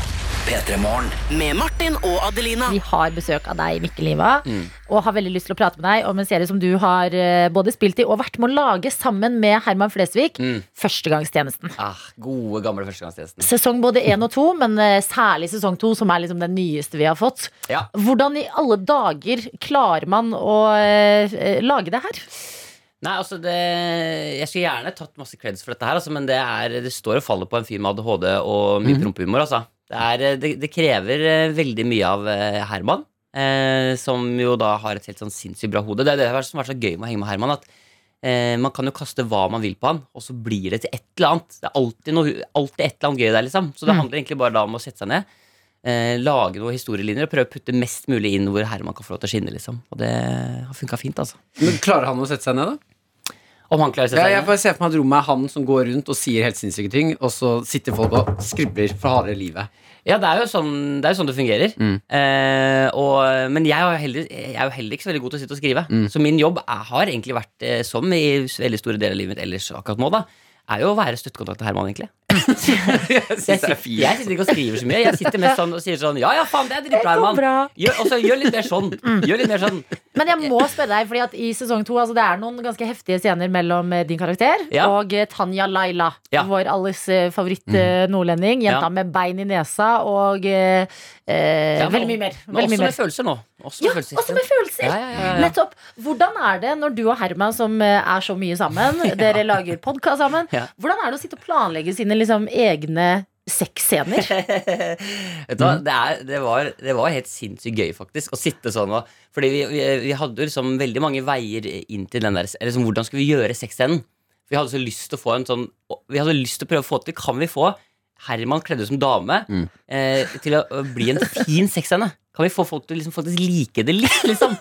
S5: Med Martin og Adelina.
S2: Vi har besøk av deg, Mikkel Iva, og har veldig lyst til å prate med deg om en serie som du har eh, både spilt i og vært med å lage sammen med Herman Flesvig.
S13: Mm.
S2: Førstegangstjenesten.
S13: Ah, gode, gamle førstegangstjenesten.
S2: Sesong både én og to, men eh, særlig sesong to, som er liksom den nyeste vi har fått.
S13: Ja.
S2: Hvordan i alle dager klarer man å eh, eh, lage det her?
S13: Nei, altså det, Jeg skulle gjerne tatt masse creds for dette her, altså, men det, er, det står og faller på en fyr med ADHD og mye
S3: Mhm.
S13: prompehumor. Altså. Det, er, det, det krever eh, veldig mye av eh, Herman, eh, som jo da har et helt sånn sinnssykt bra hode. Det er det som har vært så gøy med å henge med Herman, at eh, man kan jo kaste hva man vil på han, og så blir det til et eller annet. Det er alltid, noe, alltid et eller annet gøy der, liksom. Så det
S3: Mhm.
S2: Mm.
S13: handler egentlig bare da om å sette seg ned. Eh, lage noen historielinjer og prøve å putte mest mulig inn hvor Herman kan få lov til å skinne. Liksom. Og det har funka fint, altså.
S3: Men Klarer han å sette seg ned, da?
S13: Om han klarer å sette
S3: Ja,
S13: seg
S3: jeg bare ser for meg at rommet er han som går rundt og sier helt sinnssyke ting, og så sitter folk og skribler for harde livet.
S13: Ja, det er jo sånn det, er jo sånn det fungerer.
S3: Mm.
S13: Eh, og, men jeg er, jo heller, jeg er jo heller ikke så veldig god til å sitte og skrive.
S3: Mm.
S13: Så min jobb er, har egentlig vært, eh, som i veldig store deler av livet mitt ellers akkurat nå, da, er jo å være støttekontakt til Herman,
S3: [laughs]
S13: egentlig. jeg, sitter, jeg sitter ikke og skriver så mye. Jeg sitter mest sånn og sier sånn Ja, ja, faen, det er dritbra,
S2: går bra. Mm.
S13: Herman. Gjør, og så gjør litt mer sånn. Gjør litt mer sånn.
S2: Men jeg må spørre deg, fordi at i sesong to altså, det er noen ganske heftige scener mellom eh, din karakter
S13: Ja.
S2: og eh, Tanja Laila.
S13: Ja. Mhm.
S2: Vår alles eh, favoritt eh, nordlending. Jenta
S13: Ja.
S2: med bein i nesa og eh, eh,
S13: Ja, men-
S2: veldig mye mer.
S13: Men
S2: Veldig
S13: også
S2: mye
S13: med
S2: mer.
S13: følelser nå. Også
S2: Ja,
S13: med følelser.
S2: også med følelser.
S13: Ja, ja, ja, ja.
S2: Nettopp. Hvordan er det når du og Herman, som eh, er så mye
S13: [laughs]
S2: sammen, dere lager podkast sammen,
S13: Ja.
S2: hvordan er det å sitte og planlegge sine liksom, egne
S13: [laughs]
S2: sexscener?
S13: Vet du hva,
S3: Mm.
S13: det, er, det, var, det var helt sinnssykt gøy, faktisk, å sitte sånn og Fordi vi, vi, vi hadde jo liksom veldig mange veier inn til den der Eller liksom, hvordan skulle vi gjøre sexscenen? Vi hadde så lyst til å få en sånn Vi hadde lyst til å prøve å få til Kan vi få Herman kledd ut som dame
S3: Mm.
S13: eh, til å å bli en fin sexscene? Kan vi få folk til å liksom, faktisk like det litt, liksom?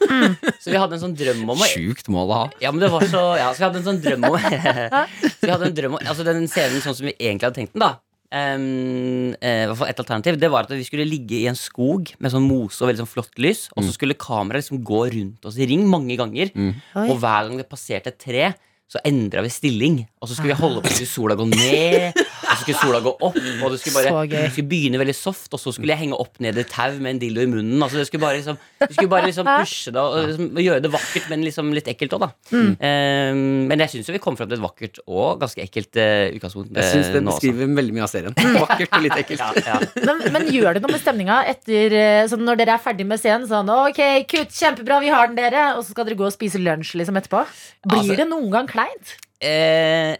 S13: Så vi hadde en sånn drøm om å
S3: Sjukt mål å ha.
S13: ja, men det var så Ja, så vi hadde en sånn drøm om [laughs] Så vi hadde en drøm om Altså den scenen sånn som vi egentlig hadde tenkt den, da. Um, eh, hvert fall et alternativ Det var at vi skulle ligge i en skog med sånn mose og veldig sånn flott lys, og så skulle kameraet liksom gå rundt oss i ring mange ganger.
S2: Oi.
S13: Og hver gang det passerte et tre, så endra vi stilling. Og så skulle vi holde på til sola gå ned, og så skulle sola gå opp. Og det skulle
S2: Så
S13: bare
S2: gøy.
S13: det skulle begynne veldig soft, og så skulle jeg henge opp ned et tau med en dildo i munnen. Altså, det skulle bare liksom, vi skulle bare
S2: [laughs]
S13: liksom pushe det og og liksom, gjøre det vakkert, men liksom litt ekkelt òg, da.
S3: Mm.
S13: Eh, men jeg syns jo vi kom fram til et vakkert og ganske ekkelt eh, utgangspunkt.
S3: Jeg syns det
S13: eh, nå også.
S3: beskriver veldig mye av
S13: [laughs]
S3: serien. Vakkert og litt ekkelt.
S13: Ja, ja.
S2: Men, men gjør det noe med stemninga etter eh, sånn når dere er ferdig med scenen? Sånn, ok, kutt, kjempebra, vi har den, dere. Og så skal dere gå og spise lunsj liksom etterpå. Blir
S13: Altså-
S2: det noen gang kleint?
S13: Eh,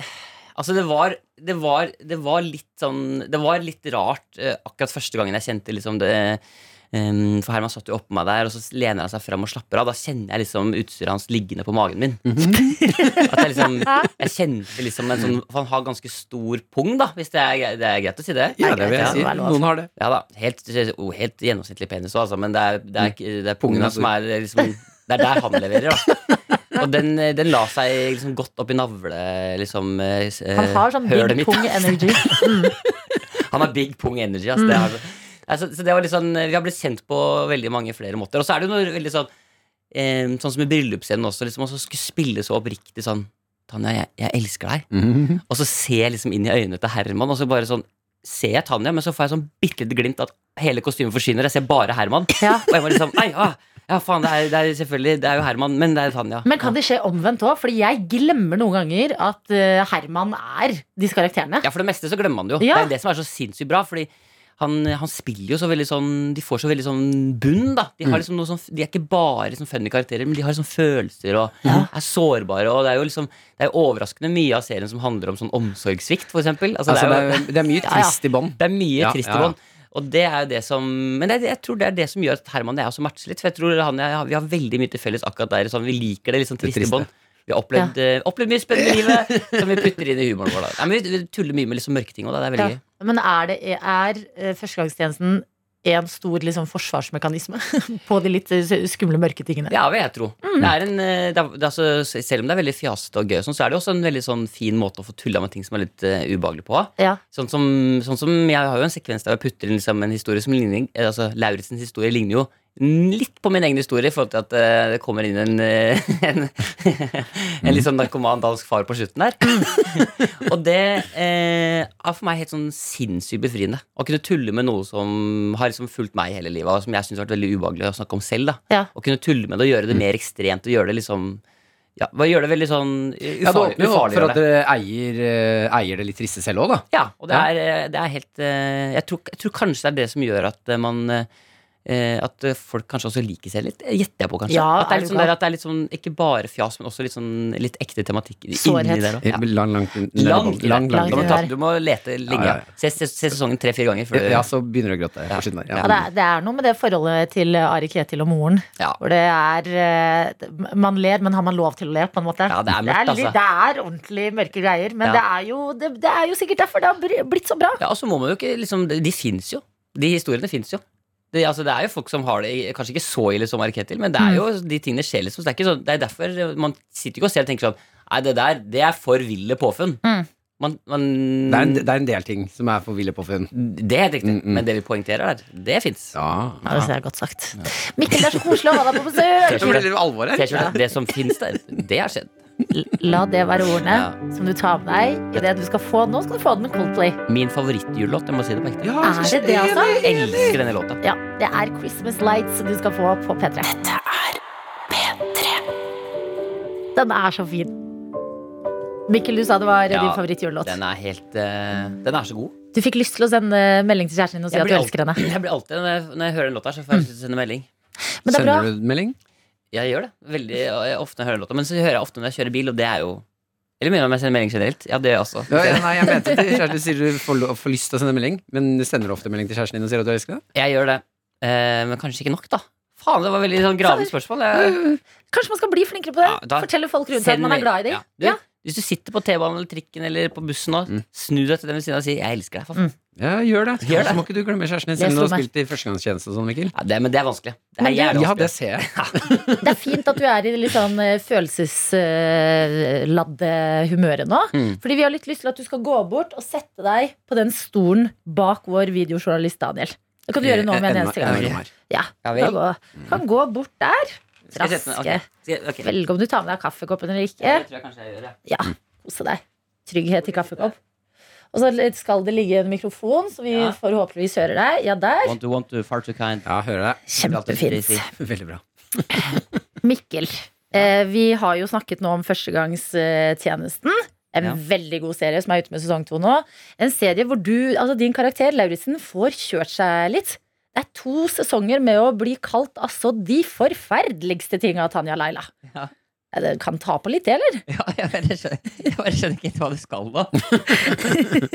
S13: altså, det var, det, var, det var litt sånn Det var litt rart eh, akkurat første gangen jeg kjente liksom det ehm, For Herman satt jo oppå meg der, og så lener han seg fram og slapper av. Da kjenner jeg liksom utstyret hans liggende på magen min.
S3: Mhm.
S13: At jeg liksom Jeg kjente liksom en sånn For han har ganske stor pung, da, hvis det er, gre- det er greit å si det?
S3: Ja, det vil jeg si.
S13: er lov.
S3: Noen har det.
S13: Ja da. Helt, oh, helt gjennomsnittlig penis òg, altså. Men det er, det er, ikke- det er
S3: Mm. Pungen er
S13: pungen som
S3: stor.
S13: er liksom Det er der han leverer, da. Og den, eh, den la seg liksom godt opp i navle, liksom. eh, s- eh,
S2: Han har sånn big
S13: hølet mitt.
S2: pung energy. Mm.
S13: Han har big pung energy. ass. Det er, altså, så det var litt sånn, vi har blitt kjent på veldig mange flere måter. Og så er det jo noe veldig sånn eh, Sånn som i bryllupsscenen også, liksom, å skulle spille så oppriktig sånn Tanja, jeg, jeg elsker deg. Og så ser jeg liksom inn i øynene til Herman, og så bare sånn ser jeg Tanja, men så får jeg sånn bitte lite glimt at hele kostymet forsvinner. Jeg ser bare Herman. Og jeg var liksom Nei, ah, ja, faen, det er, det er selvfølgelig Det er jo Herman, men det er Tanja.
S2: Men kan det skje omvendt òg? Fordi jeg glemmer noen ganger at eh, Herman er disse karakterene.
S13: Ja, for det meste så glemmer man det jo.
S2: Ja.
S13: Det er jo det som er så sinnssykt bra. Fordi han, han spiller jo så veldig sånn De får så veldig sånn bunn, da. De, har
S11: Mm.
S13: liksom noe sånn, de er ikke bare sånn funny karakterer, men de har sånn følelser og er sårbare. Og det er jo liksom Det er jo overraskende mye av serien som handler om sånn omsorgssvikt, for eksempel. Altså,
S3: Altså,
S13: jo-
S3: det er- det er [laughs] mye trist i bånd.
S13: Det er
S3: Mm.
S13: mye
S3: Ja,
S13: trist
S3: ja,
S13: i
S3: ja.
S13: bånd. Og det er jo det som Men det, er- jeg tror det er det som gjør at Herman og jeg også matcher litt. For jeg tror han og jeg, har- vi har veldig mye til felles akkurat der. Sånn, vi liker det litt sånn triste
S3: triste.
S13: bånd. Vi har opplevd, eh, opplevd mye spennende i livet som vi putter inn i humoren vår. Da. Nei, men vi, vi tuller mye med liksom mørke ting òg, da. Det er veldig
S2: Ja.
S13: gøy.
S2: Men er, det, er eh, førstegangstjenesten en stor liksom, forsvarsmekanisme [laughs] på de litt eh, skumle, mørke tingene?
S13: Ja, vil jeg tro. Det er en, eh, det er, det er altså, selv om det er veldig fjasete og gøy, og sånn, så er det også en veldig sånn fin måte å få tulla med ting som er litt eh, ubehagelig på.
S2: Ja.
S13: Sånn som, sånn som Jeg har jo en sekvens der jeg putter inn liksom en historie som ligner eh, Altså, Lauritzens historie ligner jo litt på min egen historie, i forhold til at eh, det kommer inn en, eh, [laughs] en, en litt sånn narkoman dansk far på slutten der. Og det eh, er for meg helt sånn sinnssykt befriende. Å kunne tulle med noe som har liksom fulgt meg hele livet, og som jeg syns har vært veldig ubehagelig å snakke om selv. da
S2: Ja.
S13: Å kunne tulle med det og gjøre
S3: Mm.
S13: det mer ekstremt og gjøre det liksom ja, bare gjøre det veldig sånn eh,
S3: Ja, det
S13: ufarlig.
S3: åpner jo opp for
S13: ufarliggjøre
S3: at dere eier, eh, eier det litt triste selv òg, da.
S13: ja, og det er, eh, det er helt eh, jeg tror, jeg tror kanskje det er det som gjør at eh, man eh, At eh, folk kanskje også liker seg litt. eh, Gjetter jeg på, kanskje.
S2: Ja,
S13: at, det
S2: er
S13: er litt
S2: du
S13: sånn der,
S2: gal?
S13: at det er litt sånn ikke bare fjas, men også litt sånn litt ekte tematikk i-
S2: Sårhet.
S13: inni der også.
S3: Ja. Lang, langt ned i
S13: Lang,
S3: bånd. lang, lang,
S13: Du, må
S3: lang,
S13: ta, du må lete lenge.
S3: Ja, ja, ja.
S13: Se, se, se sesongen tre-fire ganger. Før,
S3: Ja, så begynner du å gråte. på siden der.
S2: Ja, det, er, det er noe med det forholdet til eh, Ari Kjetil og moren. Hvor det er eh, det- Man ler, men har man lov til å le, på en måte?
S13: Ja, det er mørkt,
S2: litt-
S13: altså.
S2: det er ordentlig mørke greier. Men
S13: Ja.
S2: det, er jo, det, det er jo sikkert derfor det har br- blitt så bra.
S13: Ja, og så må man jo ikke liksom, De, de fins jo. De historiene fins jo. Det, altså, det er jo folk som har det i- kanskje ikke så ille som R. Ketil, men det
S2: Mm.
S13: er jo de tingene skjer liksom. Så det, er ikke sånn, det er derfor man sitter ikke og ser og tenker sånn Nei, det der, det er for ville påfunn.
S2: Mm.
S13: Man, man,
S3: Det er, en, det er en del ting som er for ville på funn.
S13: Det er helt riktig. Men det vi poengterer der, det fins.
S3: Ja.
S2: Ja, det er godt sagt. Mikkel, det er så koselig å ha deg på besøk!
S13: [laughs] T-skjorte. Det som fins der, det har skjedd.
S2: La det være ordene som du tar med deg i det du skal få. Nå skal du få den med Coldplay.
S13: Min favorittjulelåt, jeg må si det på ekte.
S2: er det det, altså?
S13: Jeg elsker denne låta.
S2: Ja, det er Christmas Lights du skal få på P3. Dette er P3. Den er så fin. Mikkel, du sa det var din favorittjulelåt.
S13: Den er helt eh, Den er så god.
S2: Du fikk lyst til å sende melding til kjæresten din og si
S13: Jeg
S2: at du
S13: blir
S2: elsker Mm.
S13: alt-
S2: henne.
S13: Jeg blir alltid, når jeg, når jeg hører en låt her, så får jeg lyst til å sende melding.
S2: Men det er bra.
S3: du melding?
S13: Jeg gjør det. Veldig eh, ofte når jeg hører låta. Men så hører jeg ofte når jeg kjører bil, og det er jo Eller mener du om jeg sender melding generelt? Ja, det gjør jeg også.
S3: Ja, [laughs] ja, nei, jeg mente til kjæresten du sier du får, lo- får lyst til å sende melding, men sender du ofte melding til kjæresten din og sier at du elsker henne?
S13: Jeg gjør det. Eh, men kanskje ikke nok, da. Faen, det var veldig sånn gravende spørsmål. Jeg,
S2: Kanskje man skal bli flinkere på det?
S13: da-
S2: Fortelle folk rundt seg
S13: Send
S2: at man
S13: melding.
S2: er glad i
S13: Ja.
S2: dem.
S13: Du, Hvis du sitter på T-banen eller trikken eller på bussen nå, snu deg til den ved siden av og si 'jeg elsker deg'. For faen.
S3: Mm. Ja, gjør det.
S13: Gjør det.
S3: Så må ikke du glemme kjæresten din,
S13: Det
S3: selv om du har
S13: slo meg.
S3: spilt i førstegangstjeneste og sånn, Mikkel.
S13: Ja, det, men det er vanskelig. Det er
S3: Men du-
S13: jævlig
S3: Ja,
S13: vanskelig.
S3: det ser jeg.
S2: Det er fint at du er i litt sånn eh, følelsesladde humøret nå.
S3: Mm.
S2: Fordi vi har litt lyst til at du skal gå bort og sette deg på den stolen bak vår videojournalist Daniel. Det kan du gjøre nå med en
S13: Enda-
S2: eneste
S13: enda mer.
S2: gang. Ja,
S13: Ja vel.
S2: kan gå, kan gå bort der.
S13: Skal jeg sette meg-
S2: Raske.
S13: ok. Skal jeg- ok. Mm.
S2: Velge om du tar med deg kaffekoppen eller
S13: Ja, det
S2: ikke.
S13: tror jeg kanskje jeg gjør, ja.
S2: Ja, kose deg. Trygghet i kaffekopp. Og så litt- skal det ligge en mikrofon, så vi
S13: Ja.
S2: forhåpentligvis hører deg. Ja, der.
S13: Want to, want to, far too kind.
S3: Ja, hører deg.
S2: Kjempefint.
S3: Veldig bra.
S2: Mikkel, eh, vi har jo snakket nå om Førstegangstjenesten. En
S13: Ja.
S2: veldig god serie som er ute med sesong to nå. En serie hvor du, altså din karakter, Lauritzen, får kjørt seg litt. Det er to sesonger med å bli kalt altså de forferdeligste tinga av Tanja Leila.
S13: Ja.
S2: Ja, Det kan ta på litt, det, eller?
S14: [laughs]
S13: Ja, jeg bare skjønner, jeg bare skjønner ikke helt hva det skal nå.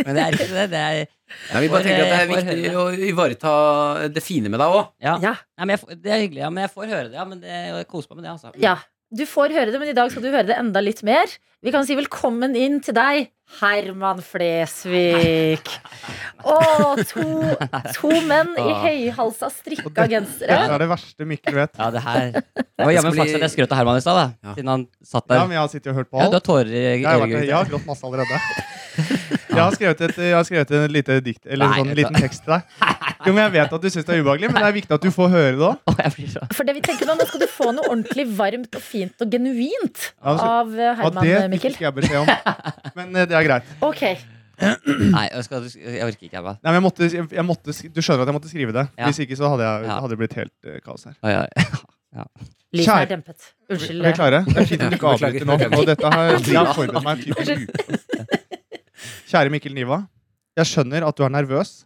S13: Men det er ikke det. det er,
S3: Nei, vi bare tenker
S14: eh,
S3: at det er viktig å ivareta det fine med deg òg.
S13: Ja. Nei, men jeg, får- det er hyggelig, ja, men jeg får høre det. Ja, men det, og jeg koser meg med det, altså.
S2: Ja. Du får høre det, men i dag skal du høre det enda litt mer. Vi kan si velkommen inn til deg, Herman Flesvig. Å, to, to menn i høyhalsa strikka
S9: Ah. Det er
S2: gensere.
S9: det verste Mikkel vet.
S14: Ja, det her Det var
S9: Jeg skal
S14: jammen
S9: bli-
S14: flaks at jeg skrøt av Herman i stad, da. Siden han satt der.
S9: Ja, men jeg har sittet og hørt på
S14: Ja,
S9: alt.
S14: du har tårer i
S9: Jeg har, vært,
S14: øyet.
S9: jeg
S14: [laughs]
S9: har grått masse allerede. Jeg har skrevet et, jeg har skrevet en lite dikt, eller
S14: Nei,
S9: sånn
S14: vet du
S9: liten
S14: hva.
S9: tekst til deg. Jo, men Jeg vet at du syns det er ubehagelig, men det er viktig at du får høre det òg.
S2: For det vi tenker nå, nå skal du få noe ordentlig varmt og fint og genuint av eh,
S9: Altså, Og det
S2: Herman
S9: fikk
S2: Mikkel.
S9: ikke jeg beskjed om. Men eh, det eh, er greit.
S2: Ok,
S14: Nei, jeg, skal, jeg orker ikke. Jeg bare.
S9: Nei, men jeg måtte, jeg, jeg måtte, sk- du skjønner at jeg måtte skrive det.
S14: Ja.
S9: Hvis ikke så hadde, jeg,
S14: Ja.
S9: hadde det blitt helt eh, kaos her.
S14: Å, ja,
S2: Lyset er dempet. Unnskyld.
S9: Er vi klare? Det
S14: [laughs]
S9: er fint at du ikke
S14: Beklager,
S9: avbryter nå.
S14: beklager.
S9: Og dette
S14: [laughs]
S9: har jeg har
S14: Beklager.
S9: forberedt meg en type uke. Kjære Mikkel Niva. Jeg skjønner at du er nervøs.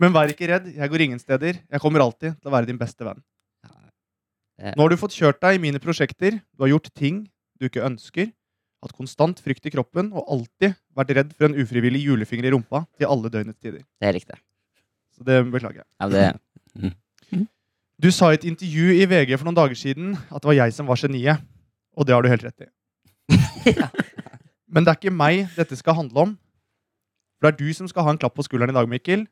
S9: Men vær ikke redd. Jeg går ingen steder. Jeg kommer alltid til å være din beste venn. Nå har du fått kjørt deg i mine prosjekter. Du har gjort ting du ikke ønsker. Hatt konstant frykt i kroppen og alltid vært redd for en ufrivillig julefinger i rumpa til alle døgnets tider.
S14: Det er riktig.
S9: Så det beklager jeg.
S14: Ja, det-
S9: Du sa i et intervju i VG for noen dager siden at det var jeg som var geniet. Og det har du helt rett i. Men det er ikke meg dette skal handle om. For det er du som skal ha en klapp på skulderen i dag, Mikkel.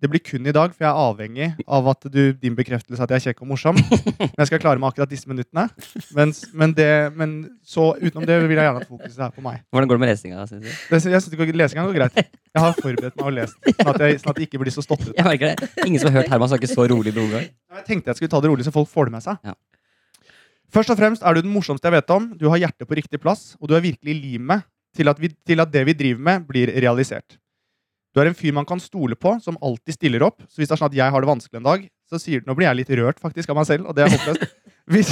S9: Det blir kun i dag, for jeg er avhengig av at du, din bekreftelse at jeg er kjekk og morsom. Men jeg skal klare meg akkurat disse minuttene. Mens, men det, men så utenom det vil jeg gjerne at fokuset er på meg.
S14: Hvordan går det med lesinga? synes du?
S9: Det, sy- jeg synes det går, Lesinga går greit. Jeg har forberedt meg og lest, sånn at jeg, sånn at jeg ikke blir så stoppet.
S14: [laughs] Jeg merker det. Ingen som har hørt Herman snakke så rolig noen gang.
S9: Jeg tenkte jeg skulle ta det rolig, så folk får det med seg. Først og fremst er du den morsomste jeg vet om. Du har hjertet på riktig plass, og du er virkelig limet til, at vi- til at det vi driver med, blir realisert. Du er en fyr man kan stole på, som alltid stiller opp. Så hvis det er sånn at jeg har det vanskelig en dag, så sier du Nå blir jeg litt rørt faktisk av meg selv, og det er håpløst. Hvis,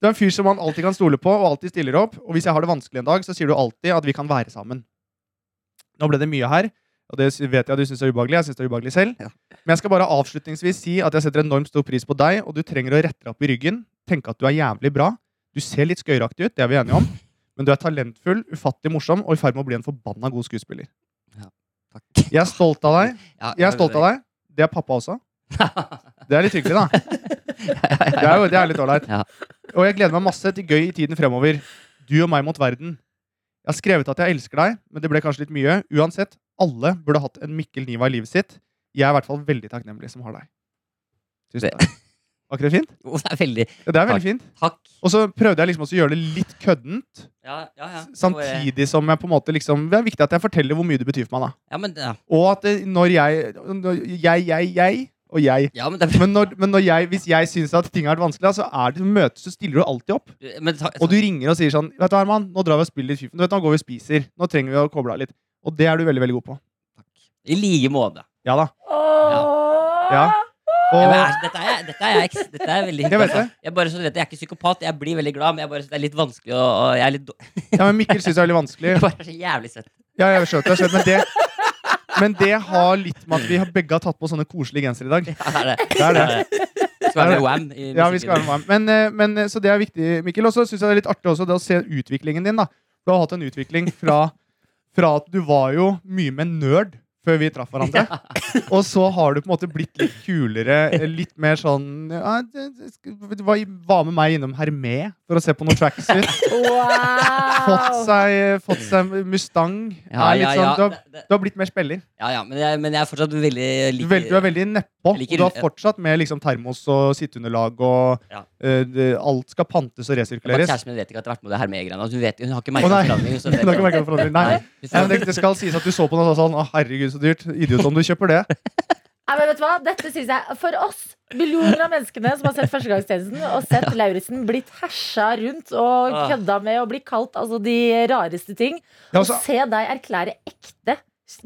S9: du er en fyr som man alltid kan stole på, og alltid stiller opp. Og hvis jeg har det vanskelig en dag, så sier du alltid at vi kan være sammen. Nå ble det mye her, og det vet jeg du syns er ubehagelig. Jeg synes det er ubehagelig selv. Men jeg skal bare avslutningsvis si at jeg setter enormt stor pris på deg, og du trenger å rette deg opp i ryggen. Tenke at du er jævlig bra. Du ser litt skøyeraktig ut, det er vi enige om. Men du er talentfull, ufattelig morsom og i ferd med å bli en forbanna god skuespiller. Jeg er stolt av deg.
S14: Ja,
S9: Jeg er stolt av
S13: [laughs]
S9: deg. Det er pappa også. Det er litt hyggelig, da. Det er, jo, det er litt ålreit. Og jeg gleder meg masse til gøy i tiden fremover. Du og meg mot verden. Jeg har skrevet at jeg elsker deg, men det ble kanskje litt mye. Uansett, alle burde hatt en Mikkel Niva i livet sitt. Jeg er i hvert fall veldig takknemlig som har deg. Tusen takk. Var ikke det fint?
S14: det er veldig,
S9: ja, det er veldig fint. Og så prøvde jeg liksom også å gjøre det litt køddent,
S14: Ja, ja, ja.
S9: samtidig som jeg på en måte liksom Det er viktig at jeg forteller hvor mye det betyr for meg, da.
S14: Ja, men, ja.
S9: Og at eh, når jeg når Jeg, jeg, jeg og jeg.
S14: men,
S9: når, men når jeg, hvis jeg syns at ting har vært vanskelig, da, så er det møtes, så stiller du alltid opp.
S14: Men, ta,
S9: Og du ringer og sier sånn Vet du, Herman, nå drar vi og spiller litt Fifa. Du vet, nå går vi og spiser. Nå trenger vi å koble av litt. Og det er du veldig, veldig god på.
S14: I like måte.
S9: Ja da. Ja. Og,
S13: Ja, men er- dette, er, dette, er jeg, eks- dette er veldig altså.
S9: Jeg vet det.
S13: Jeg, bare, så du vet, jeg er ikke psykopat, jeg blir veldig glad, men jeg bare synes det er litt vanskelig å å- Jeg er litt dår-
S9: ja, men Mikkel syns det er veldig vanskelig.
S13: Bare så jævlig søtt.
S9: Ja, jeg skjønte, jeg skjønte, men det men det har litt med at vi har begge har tatt på sånne koselige gensere i dag.
S13: Ja, det er det. [laughs]
S9: Det er det. Det
S13: Skal være med
S9: er det.
S13: Wham i
S9: Ja, vi skal være med
S13: musikken.
S9: Wham. Men, eh, men, eh, så det er viktig, Mikkel. Og så syns jeg det er litt artig også det å se utviklingen din. da Du har hatt en utvikling fra, fra at du var jo mye med nerd før vi traff [laughs] hverandre. Og så har du på en måte blitt litt kulere, eh, litt mer sånn ja, det- det sk- Var var med meg innom Hermé for å se på noen
S13: [laughs]
S9: tracksuit. Fått seg, fått seg Mustang.
S13: Ja,
S9: Er litt
S13: ja, ja.
S9: sånn, du, har, du har blitt mer spiller.
S13: Ja, ja, men jeg, men jeg er fortsatt veldig
S9: Du,
S13: like,
S9: vel, du er veldig nedpå.
S13: Jeg
S9: Og
S13: liker
S9: du har
S13: rundt-
S9: fortsatt med liksom, termos og sitteunderlag. Og eh, det, alt skal pantes og
S13: Bare
S9: resirkuleres.
S13: Kjæresten min vet ikke at jeg har vært med i det her med greiene. Hun, vet, hun har ikke
S9: Å,
S13: merket
S9: nei.
S13: forandring.
S9: [laughs]
S13: så
S9: Du har ikke merket noen forandring. Nei.
S13: Nei.
S9: Nei, men det, det skal sies at du så på den og sa sånn Å, herregud, så dyrt. Idiot om du kjøper
S13: [laughs]
S9: det.
S2: Nei, men vet du hva? Dette synes jeg For oss, millioner av menneskene som har sett Førstegangstjenesten og sett Lauritzen blitt hersa rundt og
S9: Ah.
S2: kødda med og bli kalt altså, de rareste ting,
S9: Ja, altså-
S2: og se deg erklære ekte,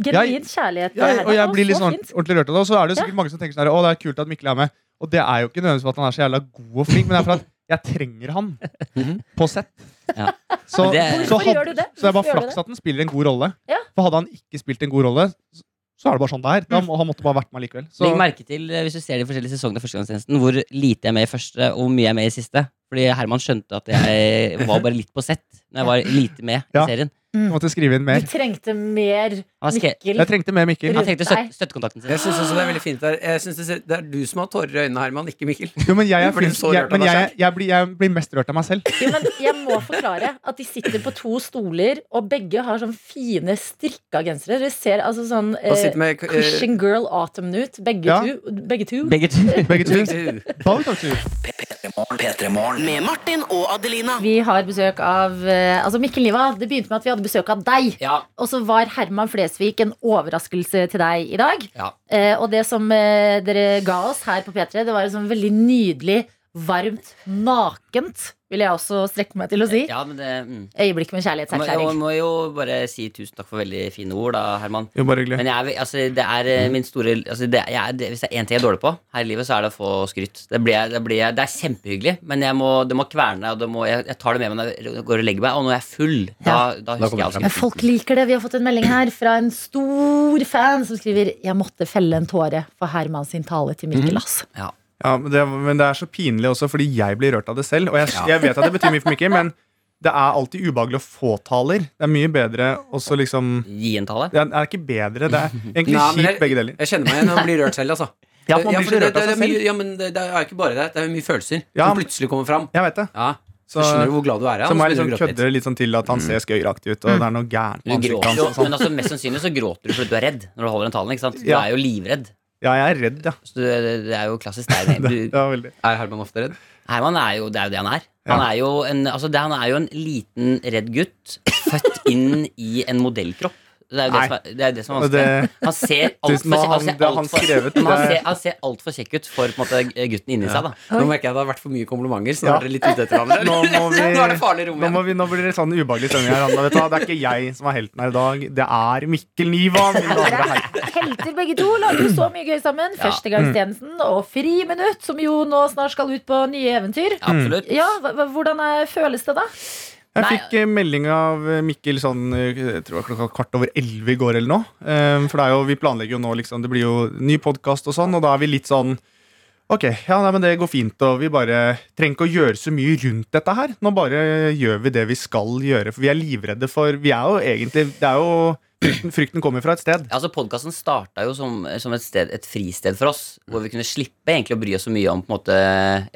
S2: genuin kjærlighet til
S9: Ja,
S2: henne.
S9: og jeg
S2: Å,
S9: blir litt
S2: så
S9: sånn
S2: fint.
S9: ordentlig rørt av det. Og så er det jo sikkert mange som tenker sånn her, Å, det er kult at Mikkel er med. Og det er jo ikke nødvendigvis for at han er så jævla god og flink, men det er for at jeg trenger han på sett. Så,
S13: Men det-
S9: så,
S13: Hvorfor
S9: had-
S13: gjør du det?
S9: så det er
S13: Hvorfor
S9: bare
S13: gjør du
S9: flaks
S13: det?
S9: at han spiller en god rolle.
S2: Ja.
S9: For hadde han ikke spilt en god rolle, så- så er det bare sånn det er.
S13: Mm.
S9: Da må, han måtte bare vært med likevel. Så,
S13: Legg merke til, eh, hvis du ser de forskjellige sesongene av Førstegangstjenesten, hvor lite jeg er med i første, og hvor mye jeg er med i siste. Fordi Herman skjønte at jeg var bare litt på sett når jeg var lite med i
S9: Ja.
S13: serien.
S9: jeg måtte skrive inn mer.
S2: Du trengte mer
S13: Han skre-
S2: Mikkel.
S13: Han trengte
S2: Rundt
S13: støt
S2: deg.
S13: støttekontakten sin.
S3: Jeg syns også det er veldig fint der. Jeg synes det, ser- det er du som har tårer i øynene, Herman, ikke Mikkel.
S9: Jo, men jeg, er
S3: Du blir
S9: flink-
S3: så
S9: jeg,
S3: rørt av
S9: men
S3: deg
S9: jeg,
S3: selv.
S9: jeg, blir, jeg blir mest rørt av meg selv.
S2: Jo, men jeg må forklare at de sitter på to stoler, og begge har sånn fine strikka gensere. Dere ser altså sånn
S3: Og sitter med, eh,
S2: Christian Girl Autumn ut, begge
S3: Ja.
S2: to. Begge to.
S9: Begge to.
S3: eh,
S9: Both of you.
S5: Med Martin og Adelina.
S2: Vi har besøk av eh, Altså Mikkel Niva, det begynte med at vi hadde besøk av deg. Og så var Herman Flesvig en overraskelse til deg i dag.
S13: Ja.
S2: Eh, og det som eh, dere ga oss her på P3, det var en sånn veldig nydelig varmt, nakent, vil jeg også strekke meg til å si.
S13: Ja, men det, mm.
S2: Øyeblikk med
S13: Jeg må, jeg
S2: kjærlighetserklæring.
S13: må jo bare si tusen takk for veldig fine ord, da, Herman.
S9: Jo, bare hyggelig.
S13: Men jeg, er ve- altså, det er eh, min store altså, det, jeg, er- det, Hvis det er én ting jeg er dårlig på her i livet, så er det å få skryt. Det, blir, jeg- det, blir, jeg- det er kjempehyggelig, men jeg må, det må kverne. Og det må, jeg, jeg tar det med meg når jeg går og legger meg, og når jeg er full, da, da
S3: Da
S13: husker
S3: kommer
S13: jeg altså
S3: det
S13: å
S2: Men
S13: skryte.
S2: folk liker det. Vi har fått en melding her fra en stor fan som skriver Jeg måtte felle en tåre for Herman sin tale til
S13: Mhm.
S2: Mikkel Ass.
S13: Ja.
S9: men, det, men det er så pinlig også, fordi jeg blir rørt av det selv. Og jeg, jeg vet at det betyr mye for Mikkel, men det er alltid ubehagelig å få taler. Det er mye bedre også liksom
S13: Gi en tale?
S9: Det er, det er ikke bedre. Det er egentlig
S3: Nei, men
S9: kjipt, begge deler.
S3: Jeg kjenner meg igjen og blir rørt selv, altså.
S9: [laughs] Ja, man blir
S3: for det,
S9: rørt av
S3: det, det,
S9: seg
S3: er mye,
S9: selv.
S3: ja, men det, det er jo ikke bare det. Det er jo mye følelser
S9: Ja,
S3: som
S9: men-
S3: plutselig kommer fram.
S9: Jeg vet det.
S3: Ja. Så skjønner du hvor glad du er. ja,
S9: Så
S3: og
S9: må jeg
S3: så begynner
S9: liksom
S3: du å gråte litt.
S9: kødde litt sånn til at han ser skøyeraktig ut, og det er noe gærent
S13: Du
S9: med ansiktet
S13: gråter
S9: hans.
S13: jo,
S9: og sånn.
S13: men altså, mest sannsynlig så gråter du fordi du er redd når du holder den talen. ikke sant? Du
S9: Ja.
S13: er jo livredd.
S9: Ja, jeg er redd, ja.
S13: Så du, det, det er jo klassisk
S9: [laughs]
S13: deg. Du,
S3: Er Herman ofte redd?
S13: Herman er jo, det er jo det han er. Han er jo en, altså det, han er jo en liten, redd gutt født inn i en modellkropp. Det er jo det,
S9: Nei.
S13: som er, det, er, det som er
S9: Og det-
S13: vanskelig.
S9: [laughs]
S13: Han ser
S9: Tusen takk, han- det har han skrevet.
S13: altfor
S9: Det er-
S13: alt alt altfor kjekk ut for på en måte, gutten inni seg. da
S3: Nå merker jeg at det har vært for mye komplimenter, så nå er dere litt ute etter hverandre.
S9: Nå, må vi,
S3: [laughs] Nå er det farlig rom
S9: nå,
S3: igjen.
S9: må vi, nå blir det sånn ubehagelig stemning her. Anna. Vet du hva, Det er ikke jeg som er helten her i dag. Det er Mikkel Niva. Min andre helt.
S2: Helter begge to lager jo så mye gøy sammen.
S9: Ja.
S2: Førstegangstjenesten og Friminutt, som jo nå snart skal ut på nye eventyr.
S9: Mm.
S13: Absolutt.
S2: Ja, hva- hva- Hvordan er, føles det da?
S9: Jeg fikk eh, melding av eh, Mikkel sånn eh, jeg tror det var klokka kvart over elleve i går eller noe. Eh, For det er jo, vi planlegger jo nå, liksom. Det blir jo ny podkast og sånn, og da er vi litt sånn Ok, ja, nei, men det går fint, og vi bare trenger ikke å gjøre så mye rundt dette her. Nå bare gjør vi det vi skal gjøre, for vi er livredde for Vi er jo egentlig Det er jo Frykten, frykten kommer fra et sted.
S13: Altså Podkasten starta jo som, som et, sted, et fristed for oss, hvor vi kunne slippe egentlig å bry oss så mye om på en måte,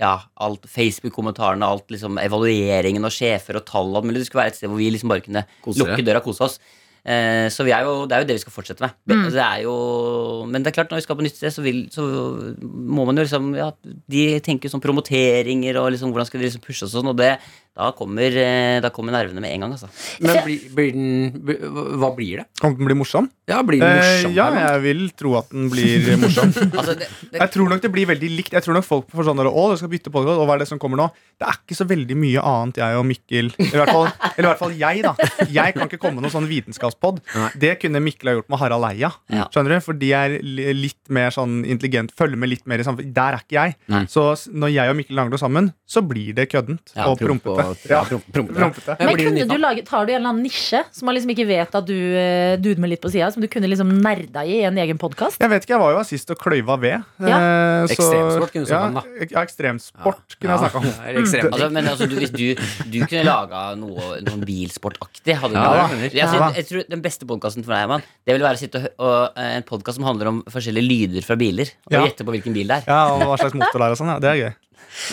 S13: ja, alt Facebook-kommentarene, alt liksom, evalueringen og sjefer og tall. og alt mulig. Det skulle være et sted hvor vi liksom bare kunne
S3: Kose dere.
S13: lukke døra og kose oss. Eh, så vi er jo, det er jo det vi skal fortsette med.
S3: Mm.
S13: Det er jo, men det er klart når vi skal på nytt sted, så, vil, så må man jo liksom ja, De tenker sånn promoteringer og liksom, hvordan skal de liksom pushe oss og sånn. Og det, da, kommer, eh, da kommer nervene med en gang, altså.
S3: Men blir, blir den blir- Hva blir det?
S9: Kan den bli morsom?
S3: Ja, blir den morsom,
S9: Eh, ja,
S3: Herman?
S9: jeg vil tro at den blir [laughs] morsom.
S13: Altså,
S9: Jeg tror nok det blir veldig likt. Jeg tror nok folk får sånn der, Å, du skal bytte podcast, og hva er det som kommer nå? Det er ikke så veldig mye annet jeg og Mikkel Eller i hvert fall, [laughs] eller i hvert fall jeg, da. Jeg kan ikke komme med noen sånn vitenskapspod. Det kunne Mikkel ha gjort med Harald Eia.
S13: Ja.
S9: Skjønner du? For de er li- litt mer sånn intelligent, følger med litt mer i samfunnet. Der er ikke jeg.
S13: Nei.
S9: Så s- når jeg og Mikkel lager noe sammen, så blir det køddent
S3: Ja,
S9: og
S3: promp
S9: prompete.
S3: og- ja, prom- prompete.
S2: Men kunne du lage, Tar du en eller annen nisje som man liksom ikke vet at du eh, dudmer litt på sida, som du kunne liksom nerda i i en egen podkast?
S9: Jeg vet ikke, jeg var jo assist og kløyva ved.
S2: Ja.
S9: Eh,
S3: Ekstremsport kunne du
S9: ja,
S3: snakket om,
S9: Ja, ekstremsport kunne jeg snakka om.
S3: Ja, eller ekstremt.
S13: Altså, men altså, du, hvis du, du kunne laga noe noen bilsportaktig hadde du
S3: Ja,
S13: laget.
S3: da.
S13: jeg, synes-
S3: Ja, da.
S13: jeg tror Den beste podkasten for deg, Herman, det vil være å sitte og, hø- og eh, en podkast som handler om forskjellige lyder fra biler. Og
S9: Ja.
S13: gjette på hvilken bil det er.
S9: Ja, og hva slags motor det er og sånn. Ja, det er gøy.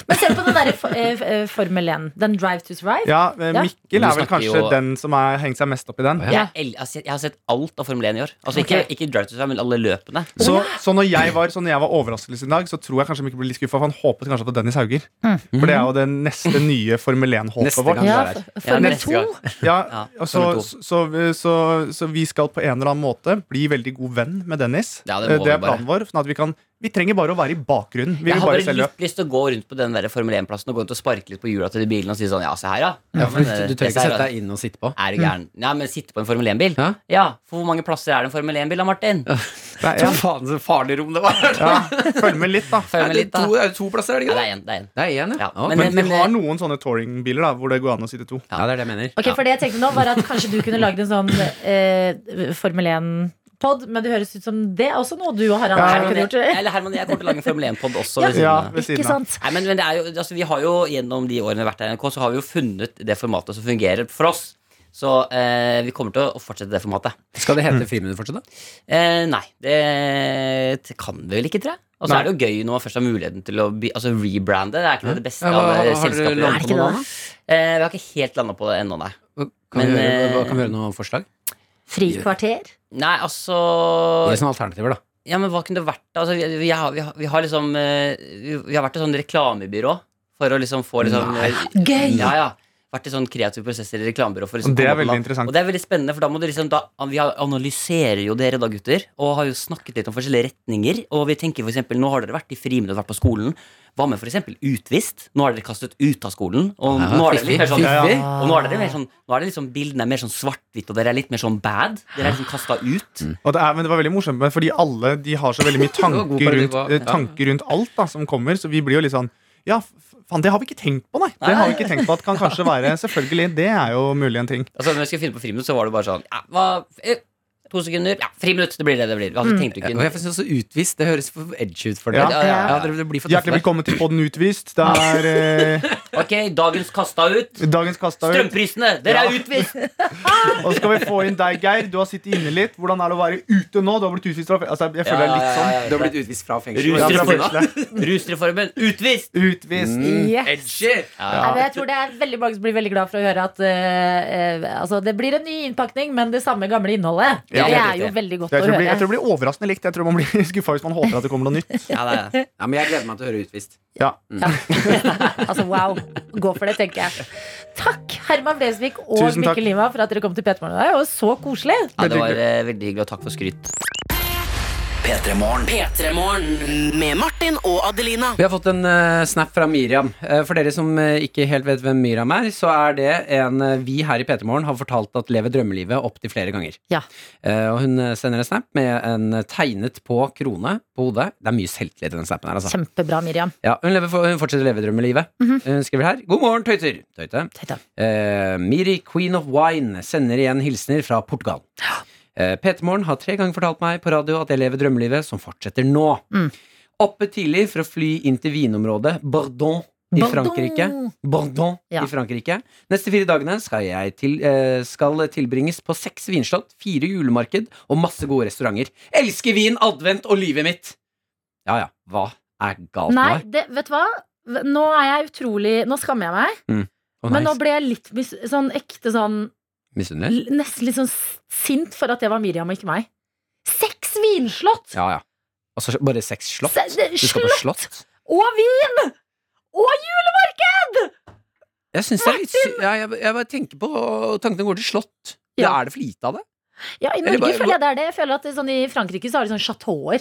S2: Men se på den der eh, eh, Formel 1. Den Drive to Survive.
S9: Ja, men Mikkel
S13: Du
S9: er vel
S13: snakker
S9: kanskje
S13: jo-
S9: den som har hengt seg mest opp i den.
S13: Jeg, el- jeg har sett- jeg har sett alt av Formel 1 i år. Altså Ikke, ikke Drive to Survive, men alle løpene.
S9: Så, så når jeg var, så når jeg var overraskelse i dag, så tror jeg kanskje Mikkel ble litt skuffa. For han håpet kanskje på Dennis Hauger. For det er jo det neste nye Formel 1-håpet
S3: Neste
S9: vårt.
S3: gang du er her. Ja, neste gang.
S9: Ja,
S3: Ja,
S9: og så,
S3: Formel to.
S9: så, så, så, så vi skal på en eller annen måte bli veldig god venn med Dennis.
S13: Ja, det må
S9: Eh,
S13: vi
S9: det er planen vår. Sånn at vi kan Vi trenger bare å være i bakgrunnen. Vi vil
S13: jeg har
S9: bare
S13: bare
S9: selge.
S13: litt lyst til å gå rundt på den der Formel 1-plassen og gå rundt og sparke litt på hjula til de bilene og si sånn Ja, se her, ja.
S3: Ja, for du-
S13: eh,
S3: du trenger
S13: disse
S3: ikke
S13: her,
S3: sette deg inn Mm. og sitte på.
S13: Er du gæren? Nei, men sitte på en Formel 1-bil? Ja. For hvor mange plasser er det en Formel 1-bil da, Martin?
S9: Nei,
S3: ja. Faen, så farlig rom det var.
S9: Følg med litt, da.
S13: Følg med litt, da.
S3: To, er det to plasser, er det
S13: Ja,
S3: ikke
S13: det er en, det er en.
S3: Det er én, ja.
S13: men-
S9: Men vi
S13: men-
S3: eh,
S9: har noen sånne touringbiler da hvor det går an å sitte to.
S3: Ja, det er det jeg mener.
S2: Ok, for det jeg tenkte nå var at Kanskje du kunne lagd en sånn eh, Formel 1-pod, men det høres ut som det er også noe du og Harald
S13: Ja,
S2: Eia kunne gjort.
S13: Herman, eller Herman, jeg kommer til å lage en Formel 1-pod også.
S2: Ja.
S13: ved siden
S2: Ja,
S13: av.
S2: ved siden Ikke av. sant?
S13: Nei, men, men det er jo, altså, vi har jo gjennom de årene vi har vært her i NRK, så har vi jo funnet det formatet som fungerer for oss. Så eh, vi kommer til å fortsette det formatet. Mm.
S3: Skal det hete Friminutt fortsatt, da?
S13: Eh, nei, det, det kan vi vel ikke, tror jeg. Og så
S3: Nei.
S13: er det jo gøy når man først har muligheten til å by, altså, rebrande. Det er ikke det, det beste
S3: Ja, hva-
S13: av eh,
S3: har dere
S13: selskaper.
S3: landet
S13: Er det
S3: på
S13: ikke
S3: noe
S13: det? Eh, vi har ikke helt landa på det ennå, nei.
S3: Kan,
S13: Men,
S3: vi høre,
S13: eh,
S3: hva, kan vi høre noen forslag?
S2: Frikvarter?
S13: Nei, altså
S3: Gi oss noen alternativer, da.
S13: Ja, men hva kunne det vært? da? Altså, vi, vi, har, vi, har, vi har liksom eh, Vi vi har vært et sånn reklamebyrå for å liksom få liksom
S3: Nei.
S13: eh,
S2: Gøy!
S13: Ja, ja. vært i sånn kreative prosesser i reklamebyrå. For å
S9: Mm.
S13: liksom
S9: Det er
S13: komme på
S9: veldig
S13: mat.
S9: interessant.
S13: Og det er veldig spennende, for da må du liksom da, Vi analyserer jo dere, da, gutter, og har jo snakket litt om forskjellige retninger. Og vi tenker for eksempel, Nå har dere vært i friminutt, vært på skolen. Hva med f.eks. utvist? Nå er dere kastet ut av skolen. Og
S14: Ja,
S13: nå er dere
S14: fiffig,
S13: litt mer sånn,
S14: fiffig.
S13: og nå er dere mer sånn Nå er det liksom bildene er mer sånn svart-hvitt, og dere er litt mer sånn bad. Dere er liksom kasta ut.
S9: Og det, er, men det var veldig morsomt, men fordi alle de har så
S13: [laughs]
S9: veldig mye
S13: god
S9: tanker
S13: parodi
S9: rundt,
S13: på-
S9: eh,
S13: ja.
S9: tanker rundt alt da, som kommer, så vi blir jo litt sånn Ja, f- faen, det har vi ikke tenkt på, nei. Det har vi ikke tenkt på at kan kanskje være Selvfølgelig, det er jo mulig en ting.
S13: Altså, når jeg skulle finne på friminutt, så var det bare sånn ja, hva, eh, To sekunder. Ja, friminutt. Det blir det det blir. Vi hadde tenkt ikke
S3: Og jeg synes også utvist, det høres for edgy ut for
S13: Ja.
S3: dere.
S13: Ja, ja, ja.
S3: dere- dere blir for
S9: Hjertelig
S3: tøffe.
S9: velkommen til Podden utvist. Det er eh,
S13: [laughs] Ok, dagens kasta ut.
S9: dagens kasta ut.
S13: Strømprisene! Dere
S9: Ja.
S13: er utvist!
S9: Og så skal vi få inn deg, Geir. Du har sittet inne litt. Hvordan er det å være ute nå? Du har blitt utvist fra fe- altså, jeg føler det er litt sånn.
S3: Du har blitt utvist fra fengsel.
S13: [laughs] Rusreformen. Rusreformen. Utvist!
S9: Utvist.
S2: Yes.
S13: Edgy.
S2: Nei, men Mm. Jeg tror det er veldig mange som blir veldig glad for å høre at eh, eh, altså, det blir en ny innpakning, men det samme gamle innholdet.
S9: Ja,
S2: det
S9: helt
S2: er jo
S9: riktig.
S2: veldig godt
S9: jeg,
S2: å
S9: tror det blir, jeg
S2: høre.
S9: tror det blir overraskende likt. Jeg tror man blir [laughs] skuffa hvis man håper at det kommer noe nytt.
S3: Ja, det er. ja, men jeg gleder meg til å høre utvist.
S9: Ja.
S2: Altså, wow. Gå for det, tenker jeg. Takk, Herman Blesvik og
S13: Tusen takk.
S2: Mikkel Lima, for at dere kom til Petermorgen i dag. Det var så koselig.
S13: Ja, det var eh, veldig hyggelig, og takk for skryt.
S1: P3morgen.
S5: P3morgen med Martin og Adelina.
S3: Vi har fått en eh, snap fra Miriam. Eh, for dere som eh, ikke helt vet hvem Miriam er, så er det en eh, vi her i P3 Morgen har fortalt at lever drømmelivet opptil flere ganger.
S2: Ja.
S3: Eh, og hun eh, sender en snap med en eh, tegnet på krone på hodet. Det er mye selvtillit i den snapen her, altså.
S2: Kjempebra, Miriam.
S3: Ja, hun, lever for, hun fortsetter å leve drømmelivet. Hun skriver her God morgen, tøyter. Tøyte. Eh, Miri, queen of wine, sender igjen hilsener fra Portugal. Uh, PT-morgen har tre ganger fortalt meg på radio at jeg lever drømmelivet, som fortsetter nå. Oppe tidlig for å fly inn til vinområdet Bordon i
S15: Bordeaux.
S3: Frankrike. Bordon
S15: Ja.
S3: i Frankrike. Neste fire dagene skal jeg til, eh, skal tilbringes på seks vinslott, fire julemarked og masse gode restauranter. Elsker vin, advent og livet mitt! Ja ja, hva er galt med
S2: Nei,
S3: deg?
S2: det, vet du hva? Nå er jeg utrolig Nå skammer jeg meg.
S3: Mm. Å,
S2: Men
S3: nei,
S2: nå ble jeg litt mis sånn ekte sånn
S3: Misunnelig?
S2: l- Nesten litt sånn s- sint for at det var Miriam og ikke meg. Seks vinslott!
S3: Ja, ja. Altså bare seks slott?
S2: Se- det-
S3: Du skal på
S2: slott.
S3: slott?
S2: Og vin! Og julemarked!
S3: Jeg syns det er litt sy- ja, jeg, jeg bare tenker på Tankene går til slott. Det
S2: Ja.
S3: er det for lite av det?
S2: Ja, I
S3: Eller
S2: Norge
S3: bare-
S2: føler jeg det er det. Jeg føler at det, er sånn, I Frankrike så har de sånne chateauer.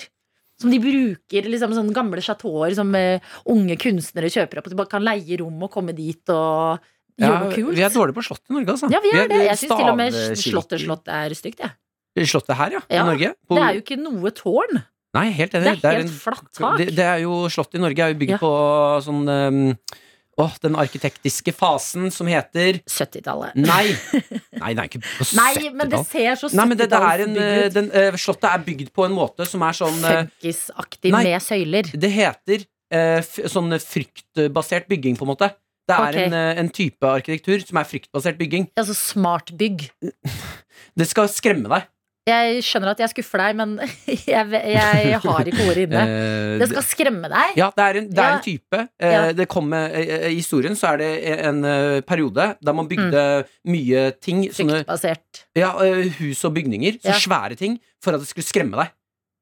S2: Som de bruker, liksom sånne gamle chateauer som eh, unge kunstnere kjøper opp. At de bare kan leie rom og komme dit og gjøre
S3: Ja,
S2: noe kult.
S3: vi er dårlige på slott i Norge, altså.
S2: Ja, vi
S3: Vi
S2: er
S3: er
S2: det. Jeg syns til og med
S3: stavkirker.
S2: slotterslott er stygt, jeg.
S3: Slottet her, ja.
S2: Ja,
S3: I Norge. På-
S2: Det er jo ikke noe tårn.
S3: Nei, helt enig.
S2: Det er helt
S3: en-
S2: flatt tak.
S3: Det, det er jo Slottet i Norge er jo
S2: Ja.
S3: bygd på sånn um, Åh, den arkitektiske fasen som heter
S2: 70-tallet. [laughs]
S3: Nei! Nei, det er ikke på 70-tall.
S2: Nei, men det ser så
S3: Nei, men det, det er en,
S2: 70-tallsbygd ut.
S3: den, eh, Slottet er bygd på en måte som er sånn eh,
S2: Funkisaktig
S3: Nei.
S2: med søyler.
S3: Det heter eh, f sånn fryktbasert bygging, på en måte. Det er
S2: Ok.
S3: en, eh, en type arkitektur som er fryktbasert bygging.
S2: Altså smart bygg.
S3: Det skal skremme deg.
S2: Jeg skjønner at jeg skuffer deg, men [laughs] jeg, jeg har ikke ordet inne.
S3: Eh,
S2: Det skal skremme deg.
S3: Ja, det er en, det er
S2: Ja.
S3: en type. Eh,
S2: Ja.
S3: det kom med, eh, I historien så er det en eh, periode der man bygde
S2: Mm.
S3: mye ting. sånne-
S2: Fryktbasert.
S3: Ja, eh, hus og bygninger. Så
S2: Ja.
S3: svære ting for at det skulle skremme deg.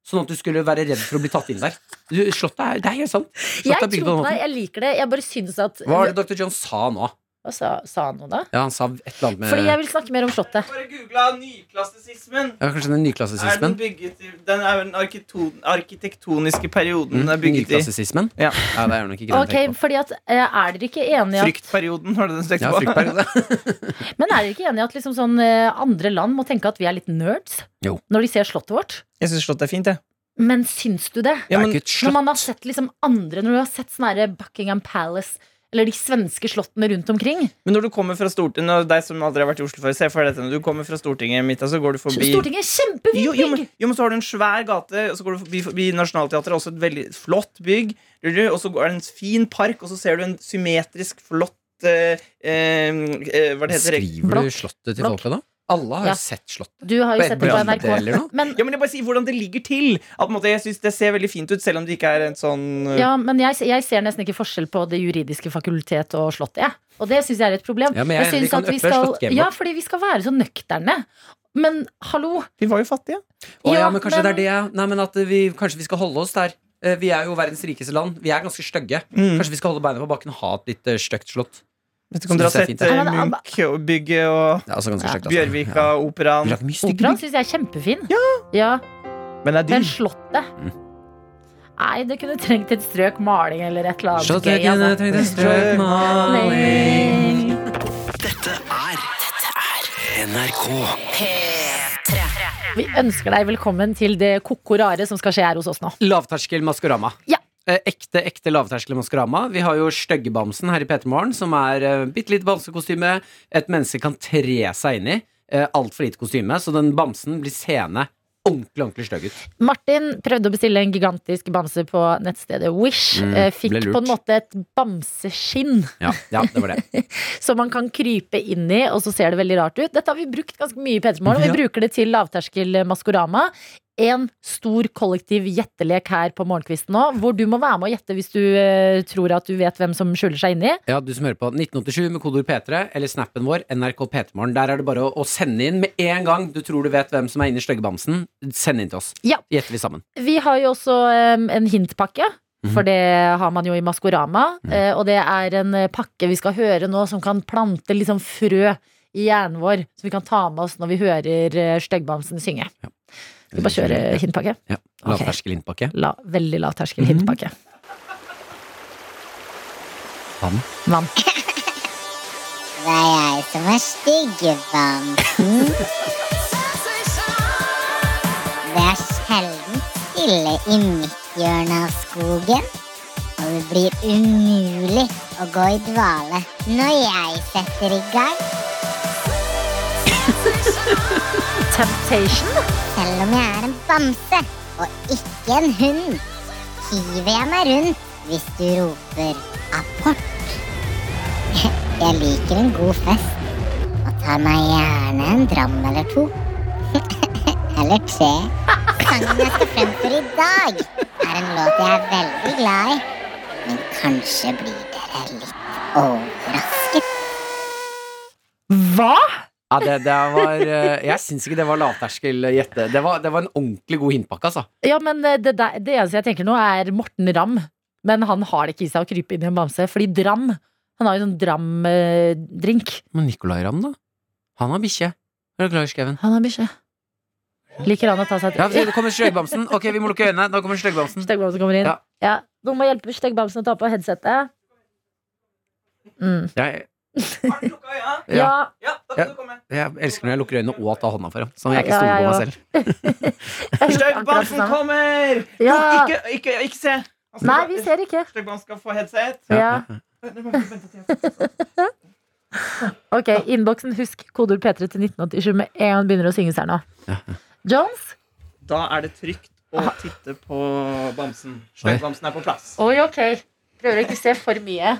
S3: Sånn at du skulle være redd for å bli tatt inn der. Du, slottet er, det er helt sant. Slottet
S2: Jeg
S3: er bygd på
S2: tror
S3: den
S2: på deg,
S3: måten.
S2: jeg liker det. Jeg bare syns at
S3: Hva var det dr. John sa nå?
S2: Hva sa, sa han noe, da?
S3: Ja, han sa et eller annet med
S2: Fordi jeg vil snakke mer om Slottet.
S4: Bare googla nyklassisismen.
S3: ja, Kanskje den
S4: Er den,
S3: nyklassisismen?
S4: bygget, i- den er jo den arkito- arkitektoniske
S3: Mm,
S4: perioden den er bygget i.
S3: Nyklassisismen? Ja. det er jo nok ikke det
S2: Ok, fordi at eh, Er dere ikke enige i at
S4: Fryktperioden, var det den stekte
S3: Ja, fryktperiode.
S2: Men er dere ikke enige i at liksom sånn, eh, andre land må tenke at vi er litt nerds
S3: Jo.
S2: når de ser Slottet vårt?
S4: Jeg syns slottet er fint, jeg.
S2: Men syns du det?
S4: Ja, men- Det er ikke et
S2: når man har sett liksom andre Når du har sett sånne her Buckingham Palace eller de svenske slottene rundt omkring.
S4: Men når du kommer fra Stortinget, og deg som aldri har vært i Oslo før, se for deg dette når du kommer fra Stortinget mitt, og så går du forbi
S2: Stortinget er kjempefint!
S4: Jo, jo, men, jo, men så har du en svær gate, og så går du forbi, forbi Nationaltheatret, også et veldig flott bygg. skjønner du, Og så er det en fin park, og så ser du en symmetrisk, flott eh, eh, eh, Hva det heter
S3: Skriver du Slottet til folk da? Alle har
S4: Ja.
S3: jo sett Slottet.
S2: Du har
S3: På
S2: jo
S3: et
S2: sett det på
S3: program
S2: NRK.
S3: eller noe?
S2: Men,
S4: ja, men jeg bare sier hvordan det ligger til. At, på en måte, jeg synes Det ser veldig fint ut, selv om det ikke er en sånn eh,
S2: Ja, men jeg, jeg ser nesten ikke forskjell på Det juridiske fakultet og Slottet. jeg. Og det syns jeg er et problem.
S4: Ja, men jeg er enig,
S2: synes
S4: vi kan
S2: at vi
S4: uppe
S2: skal,
S4: Slottgamet.
S2: ja, fordi vi skal være så nøkterne. Men hallo!
S4: Vi var jo fattige.
S3: Å ja,
S2: Ja,
S3: men kanskje
S2: men-
S3: det er det ja. Nei, men at vi, kanskje vi skal holde oss der. Eh, Mm. Vi er jo verdens rikeste land. Vi er ganske stygge. Kanskje vi skal holde beina på bakken og ha et litt eh, stygt slott.
S4: Vet du, kan dra
S16: Synes det er fint,
S4: sette
S16: ja.
S4: Munch og bygget og
S16: Det er også ganske kjekt, altså.
S4: Bjørvika, operaen.
S2: Operaen syns jeg er kjempefin. Ja.
S4: Men det er
S2: Men
S4: dyr.
S2: Slottet
S4: Mm.
S2: Nei, det kunne trengt et strøk maling eller et eller annet.
S16: Slottet
S2: gøy, altså.
S16: kunne trengt et strøk maling.
S17: NRK.
S2: Vi ønsker deg velkommen til det koko rare som skal skje her hos oss nå.
S3: Lavterskel Maskorama. Eh, Ekte, ekte lavterskel Maskorama. Vi har jo Styggebamsen her i P3 Morgen, som er eh, bitte litt bamsekostyme. Et menneske kan tre seg inn i. Eh, Altfor lite kostyme, så den bamsen blir seende ordentlig, ordentlig stygg ut.
S2: Martin prøvde å bestille en gigantisk bamse på nettstedet Wish.
S3: Mm,
S2: Eh, Fikk
S3: ble lurt.
S2: på en måte et bamseskinn
S3: Ja, ja, det var det.
S2: som man kan krype inn i, og så ser det veldig rart ut. Dette har vi brukt ganske mye i P3 Morgen, og vi
S3: Ja.
S2: bruker det til lavterskel Maskorama. En stor kollektiv gjettelek her på morgenkvisten nå, hvor du må være med å gjette hvis du eh, tror at du vet hvem som skjuler seg inni.
S3: Ja, du som hører på 1987 med kodeord P3 eller snappen vår NRK P3morgen. Der er det bare å, å sende inn med en gang du tror du vet hvem som er inni styggebamsen. Send inn til oss.
S2: Ja.
S3: Gjetter vi sammen.
S2: Vi har jo også em, en hintpakke. For det har man jo i Maskorama. eh, Og det er en eh, pakke vi skal høre nå som kan plante liksom frø i hjernen vår. Som vi kan ta med oss når vi hører eh, Styggbamsen synge. Skal vi bare kjøre hintpakke?
S3: Ja.
S2: Ok.
S3: Lavterskel innpakke.
S2: La, veldig lavterskel hintpakke.
S3: Vann.
S2: Vann.
S15: Hva er det som er Mm. styggebamsen? Det er sjelden stille i mitt hjørne av skogen. Og det blir umulig å gå i dvale når jeg setter i gang.
S2: Temptation?
S15: Selv om jeg er en bamse og ikke en hund, hiver jeg meg rundt hvis du roper apport. Jeg liker en god fest og tar meg gjerne en dram eller to. [laughs] Eller tre. Sangen jeg skal fremføre i dag, er en låt jeg er veldig glad i. Men kanskje blir dere litt overrasket.
S2: Hva?!
S3: Ja, det, det var eh, Jeg syns ikke det var lavterskel eh, gjette. Det var, det var en ordentlig god hintpakke, altså.
S2: Ja, men eh, det, der, det eneste jeg tenker nå, er Morten Ramm. Men han har det ikke i seg å krype inn i en bamse. Fordi Dram Han har jo sånn Dram-drink.
S3: Men Nicolay Ramm, da? Han har bikkje. Er du klar, Skeven?
S2: Han har bikkje. Liker han å ta seg
S3: Ja, det kommer styggbamsen. Ok, vi må lukke øynene. Da kommer styggbamsen.
S2: Styggbamsen kommer inn.
S3: Ja.
S2: Ja, Noen må hjelpe Styggbamsen å ta på headsetet. Mm.
S3: Jeg,
S2: Ja.
S3: jeg, jeg elsker når jeg lukker øynene og tar hånda foran. Så jeg ikke
S4: Ja,
S3: stoler
S4: ja,
S3: på meg
S4: ja.
S3: selv.
S4: Styggbamsen
S2: samme.
S4: kommer!
S2: Ja.
S4: Ikke, ikke, ikke se! Han skal
S2: Nei,
S4: bare-
S2: vi ser ikke.
S4: Styggbamsen skal få headset.
S2: Ja.
S4: Vent, vent, vent, vent, vent.
S2: Ok, innboksen. Husk kodeord P3 til 1987 med en gang det begynner å synges her nå. Jones?
S4: Da er det trygt å titte på bamsen. Styggbamsen er på plass.
S2: Oi, ok. Prøver å ikke se for mye.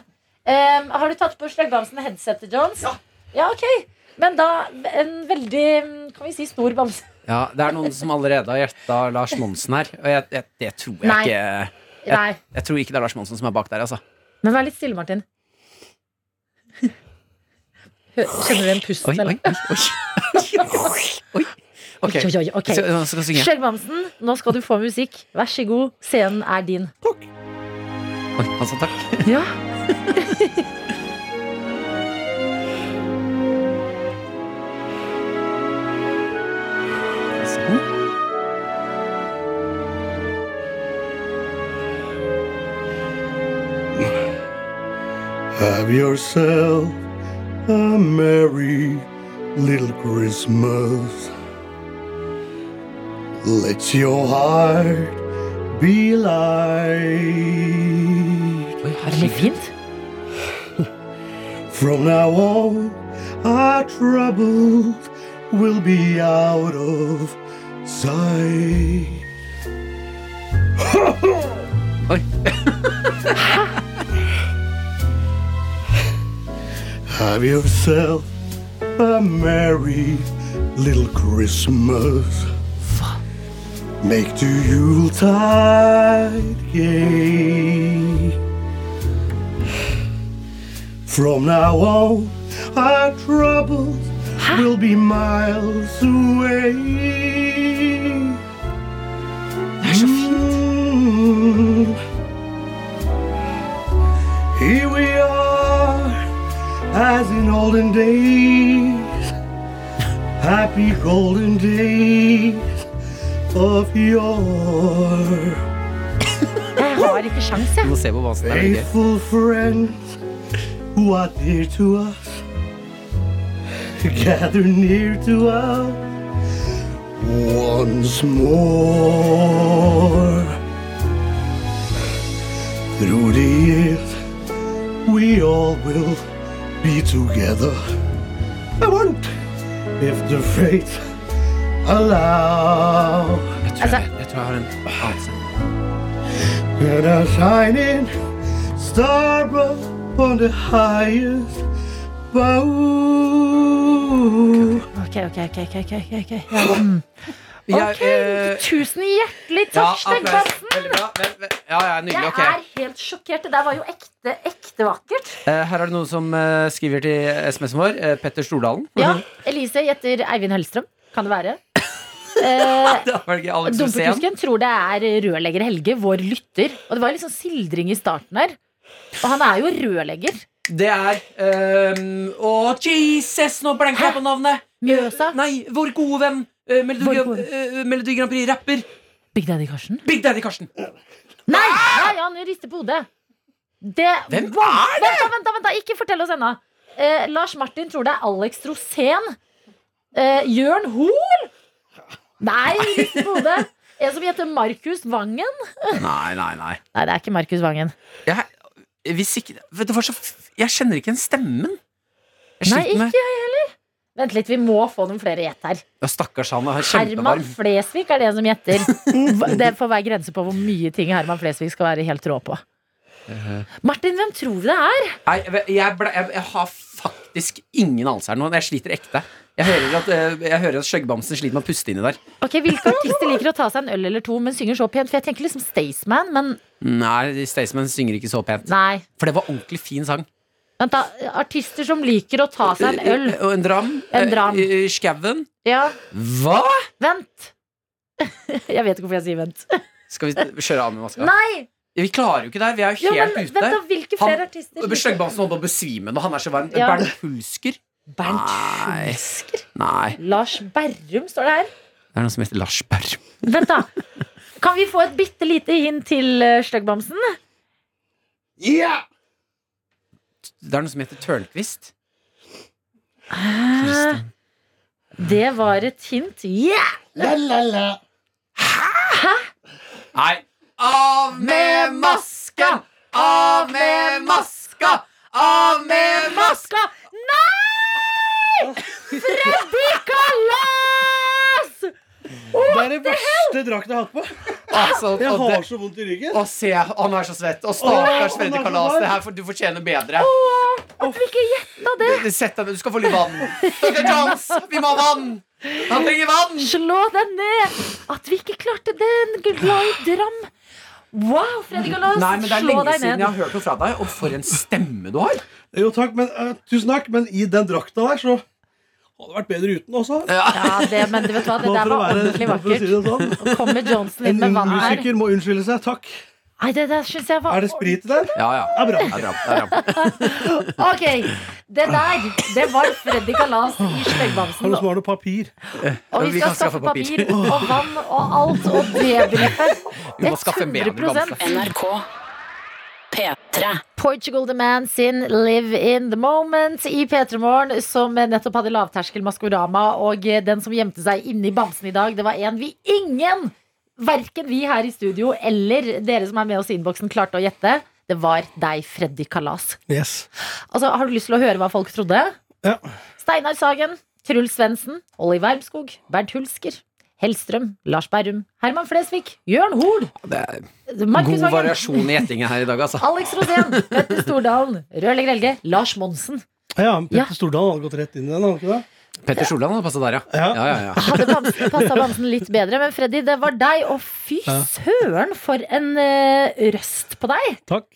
S2: Em, har du tatt på Slaggbamsen headsetet, Jones? Ja. ok. Men da en veldig, mm, kan vi si, stor bamse.
S3: Ja, det er noen som allerede har gjetta Lars Monsen her, og jeg, jeg, det tror jeg
S2: Nei.
S3: ikke
S2: Nei.
S3: jeg, jeg tror ikke det er Lars Monsen som er bak der, altså.
S2: Men vær litt stille, Martin. Hø- Kjenner du den pusten, eller?
S3: Ok,
S2: Oi, oi, oi, ok.
S3: Så, så skal jeg synge.
S2: Skjeggbamsen, nå skal du få musikk. Vær så god, scenen er din.
S3: Oi, altså, takk.
S2: Ja.
S11: Have yourself a merry little Christmas. Let your heart be light. From now on, our troubles will be out of sight. [laughs] Have yourself a merry little Christmas. Make the Yuletide gay. From now on, our troubles will be miles away. Mm. Here we are as in olden days. Happy golden days of yore.
S2: Jeg har ikke sjans, jeg.
S3: Du må se på basen. Det er veldig gøy.
S11: Faithful friends who are dear to us, gather near to us once more. Through the years, we all will be together. I want, if the fate allow.
S3: Jeg tror jeg har en anelse.
S11: And a shining star above on the highest bow.
S2: Ok, ok, ok. ok, ok, ok, ok.
S3: Øh,
S2: Ja, mm.
S3: Jeg,
S2: Ok,
S3: eh,
S2: Tusen hjertelig
S3: ja,
S2: takk, Steg
S3: applaus.
S2: Madsen.
S3: Veldig bra. Vel, vel. Ja, ja, nydelig.
S2: Jeg
S3: Ok.
S2: er helt sjokkert. Det der var jo ekte, ekte vakkert.
S3: Eh, Her er det noen som eh, skriver til SMS-en vår. eh, Petter Stordalen.
S2: Ja, Elise gjetter Eivind Hellstrøm. Kan det være? Eh,
S3: [laughs] Det var ikke Alex Rosén.
S2: Dumpetusken tror det er rørlegger Helge, vår lytter. Og det var litt sånn sildring i starten her. Og han er jo rørlegger.
S3: Det er ehm, Å, Jesus, nå blenka jeg på navnet! Eh,
S2: Mjøsa?
S3: Nei, vår gode venn. eh, Melodi,
S2: Vår
S3: Grand-
S2: gode-
S3: eh, Melodi Grand Prix-rapper.
S2: Big Daddy Karsten?
S3: Big Daddy Karsten.
S2: Nei! Nei, han rister på hodet. Det,
S3: Hvem
S2: Vent,
S3: er det?
S2: da, vent, da, vent da. Ikke fortell oss ennå. Eh, Lars Martin tror det er Alex Rosén. Eh, Jørn Hoel? Nei, rister på hodet. En som heter Markus Vangen.
S3: Nei, nei, nei.
S2: Nei, det er ikke Markus Vangen.
S3: Jeg, hvis ikke, vet du, hva, så, f- jeg kjenner ikke igjen stemmen. Jeg
S2: Nei,
S3: sliter
S2: ikke
S3: med-
S2: jeg heller. Vent litt, vi må få noen flere gjett her.
S3: Ja, stakkars han er
S2: Herman
S3: kjempevarm.
S2: Flesvig er det som gjetter. Hva- Det får være grense på hvor mye ting Herman Flesvig skal være helt rå på. Martin, hvem tror du det er?
S3: Nei, jeg, ble, jeg, jeg har faktisk ingen anelse her nå. Jeg sliter ekte. Jeg hører at, eh, jeg hører at Skjøggbamsen sliter med å puste inni der.
S2: Ok, Hvilke artister liker å ta seg en øl eller to, men synger så pent? For jeg tenker liksom Staysman, men
S3: Nei, Staysman synger ikke så pent.
S2: nei.
S3: For det var ordentlig fin sang.
S2: Vent da, Artister som liker å ta seg en øl.
S3: Eh, Og en dram.
S2: En dram.
S3: Eh, eh, Skauen.
S2: Ja,
S3: Hva?!
S2: vent. [laughs] Jeg vet ikke hvorfor jeg sier vent.
S3: Skal vi kjøre av med maska?
S2: Nei!
S3: Vi klarer jo ikke det her. Vi er jo
S2: Jo,
S3: helt
S2: men
S3: ute.
S2: vent da, hvilke flere artister
S3: Han- Skjøggbamsen holdt på å besvime når han er så varm.
S2: Ja.
S3: Bernt Hulsker?
S2: Bernt
S3: Nei.
S2: Hulsker?
S3: Nei.
S2: Lars Berrum står det her.
S3: Det er noe som heter Lars Berrum.
S2: Vent, [laughs] da. Kan vi få et bitte lite hint til eh, Støggbamsen?
S3: Det er noe som heter Tørnquist.
S2: Hæ? Det var et hint. Yeah! Hæ?
S3: Nei. Av med maska! Av med maska! Av med maska!
S2: Nei! Freddy Kalas!
S11: Det er det verste drakten jeg har hatt på.
S3: Altså,
S11: jeg
S3: og
S11: har
S3: det-
S11: så vondt i ryggen.
S3: Å, se, han er så svett. Og stakkars
S11: Åh, han
S3: Freddy
S11: er så
S3: Kalas.
S11: varm.
S3: Det her, får- du fortjener bedre.
S2: At vi ikke gjetta det!
S3: Du- Sett deg ned. Du skal få litt vann. Dr. Jones, vi må ha vann! Han trenger vann!
S2: Slå deg ned! At vi ikke klarte den! Gud, Glad i dram. Wow, Freddy Kalas,
S3: Nei, men Det er
S2: slå
S3: lenge
S2: deg ned.
S3: siden jeg har hørt noe fra deg, og for en stemme du har!
S11: Jo, takk, men, eh, tusen takk, men i den drakta der, så hadde det vært bedre uten også.
S2: Ja, det, men du vet hva, det
S11: Bare
S2: der
S11: for å
S2: var
S11: være-
S2: ordentlig
S11: for å si
S2: vakkert.
S11: det sånn.
S2: Nå kommer Johnson inn
S11: En
S2: med
S11: ung
S2: vann her.
S11: musiker må unnskylde seg. Takk.
S2: Nei, det der synes jeg var
S11: Er det sprit i den?
S3: Ja, ja.
S11: Det er bra.
S2: Ok, det der, det var Freddy Kalas i
S11: Har
S2: Sleggbamsen.
S11: du som har noe papir?
S2: Og vi skal skaffe papir og vann og alt og debrife.
S3: [laughs] Vi må skaffe en bedre
S2: 100
S3: bamse.
S18: NRK P3
S2: Portugal The Man sin Live in the Moment i P3 Morgen, som nettopp hadde lavterskel Maskorama. Og den som gjemte seg inni bamsen i dag, det var en vi ingen, verken vi her i studio eller dere som er med oss i innboksen, klarte å gjette. Det var deg, Freddy Kalas.
S11: Yes.
S2: Altså, Har du lyst til å høre hva folk trodde?
S11: Ja.
S2: Steinar Sagen, Truls Svendsen, Olli Wermskog, Bernt Hulsker, Hellstrøm, Lars Berrum, Herman Flesvig, Jørn Hoel,
S3: Det er
S2: Markus
S3: god
S2: Vangen.
S3: variasjon i gjettingen her i dag, altså.
S2: Alex Rosén, Petter Stordalen, Rørlegger Helge, Lars Monsen.
S11: Ja, men Petter Stordalen hadde gått rett inn i den, hadde han ikke det?
S3: Petter Solan hadde passa der, ja. ja, ja, ja.
S2: Hadde bamsen, passa bamsen litt bedre, men Freddy, det var deg. Og fy søren, for en eh, røst på deg!
S11: Takk.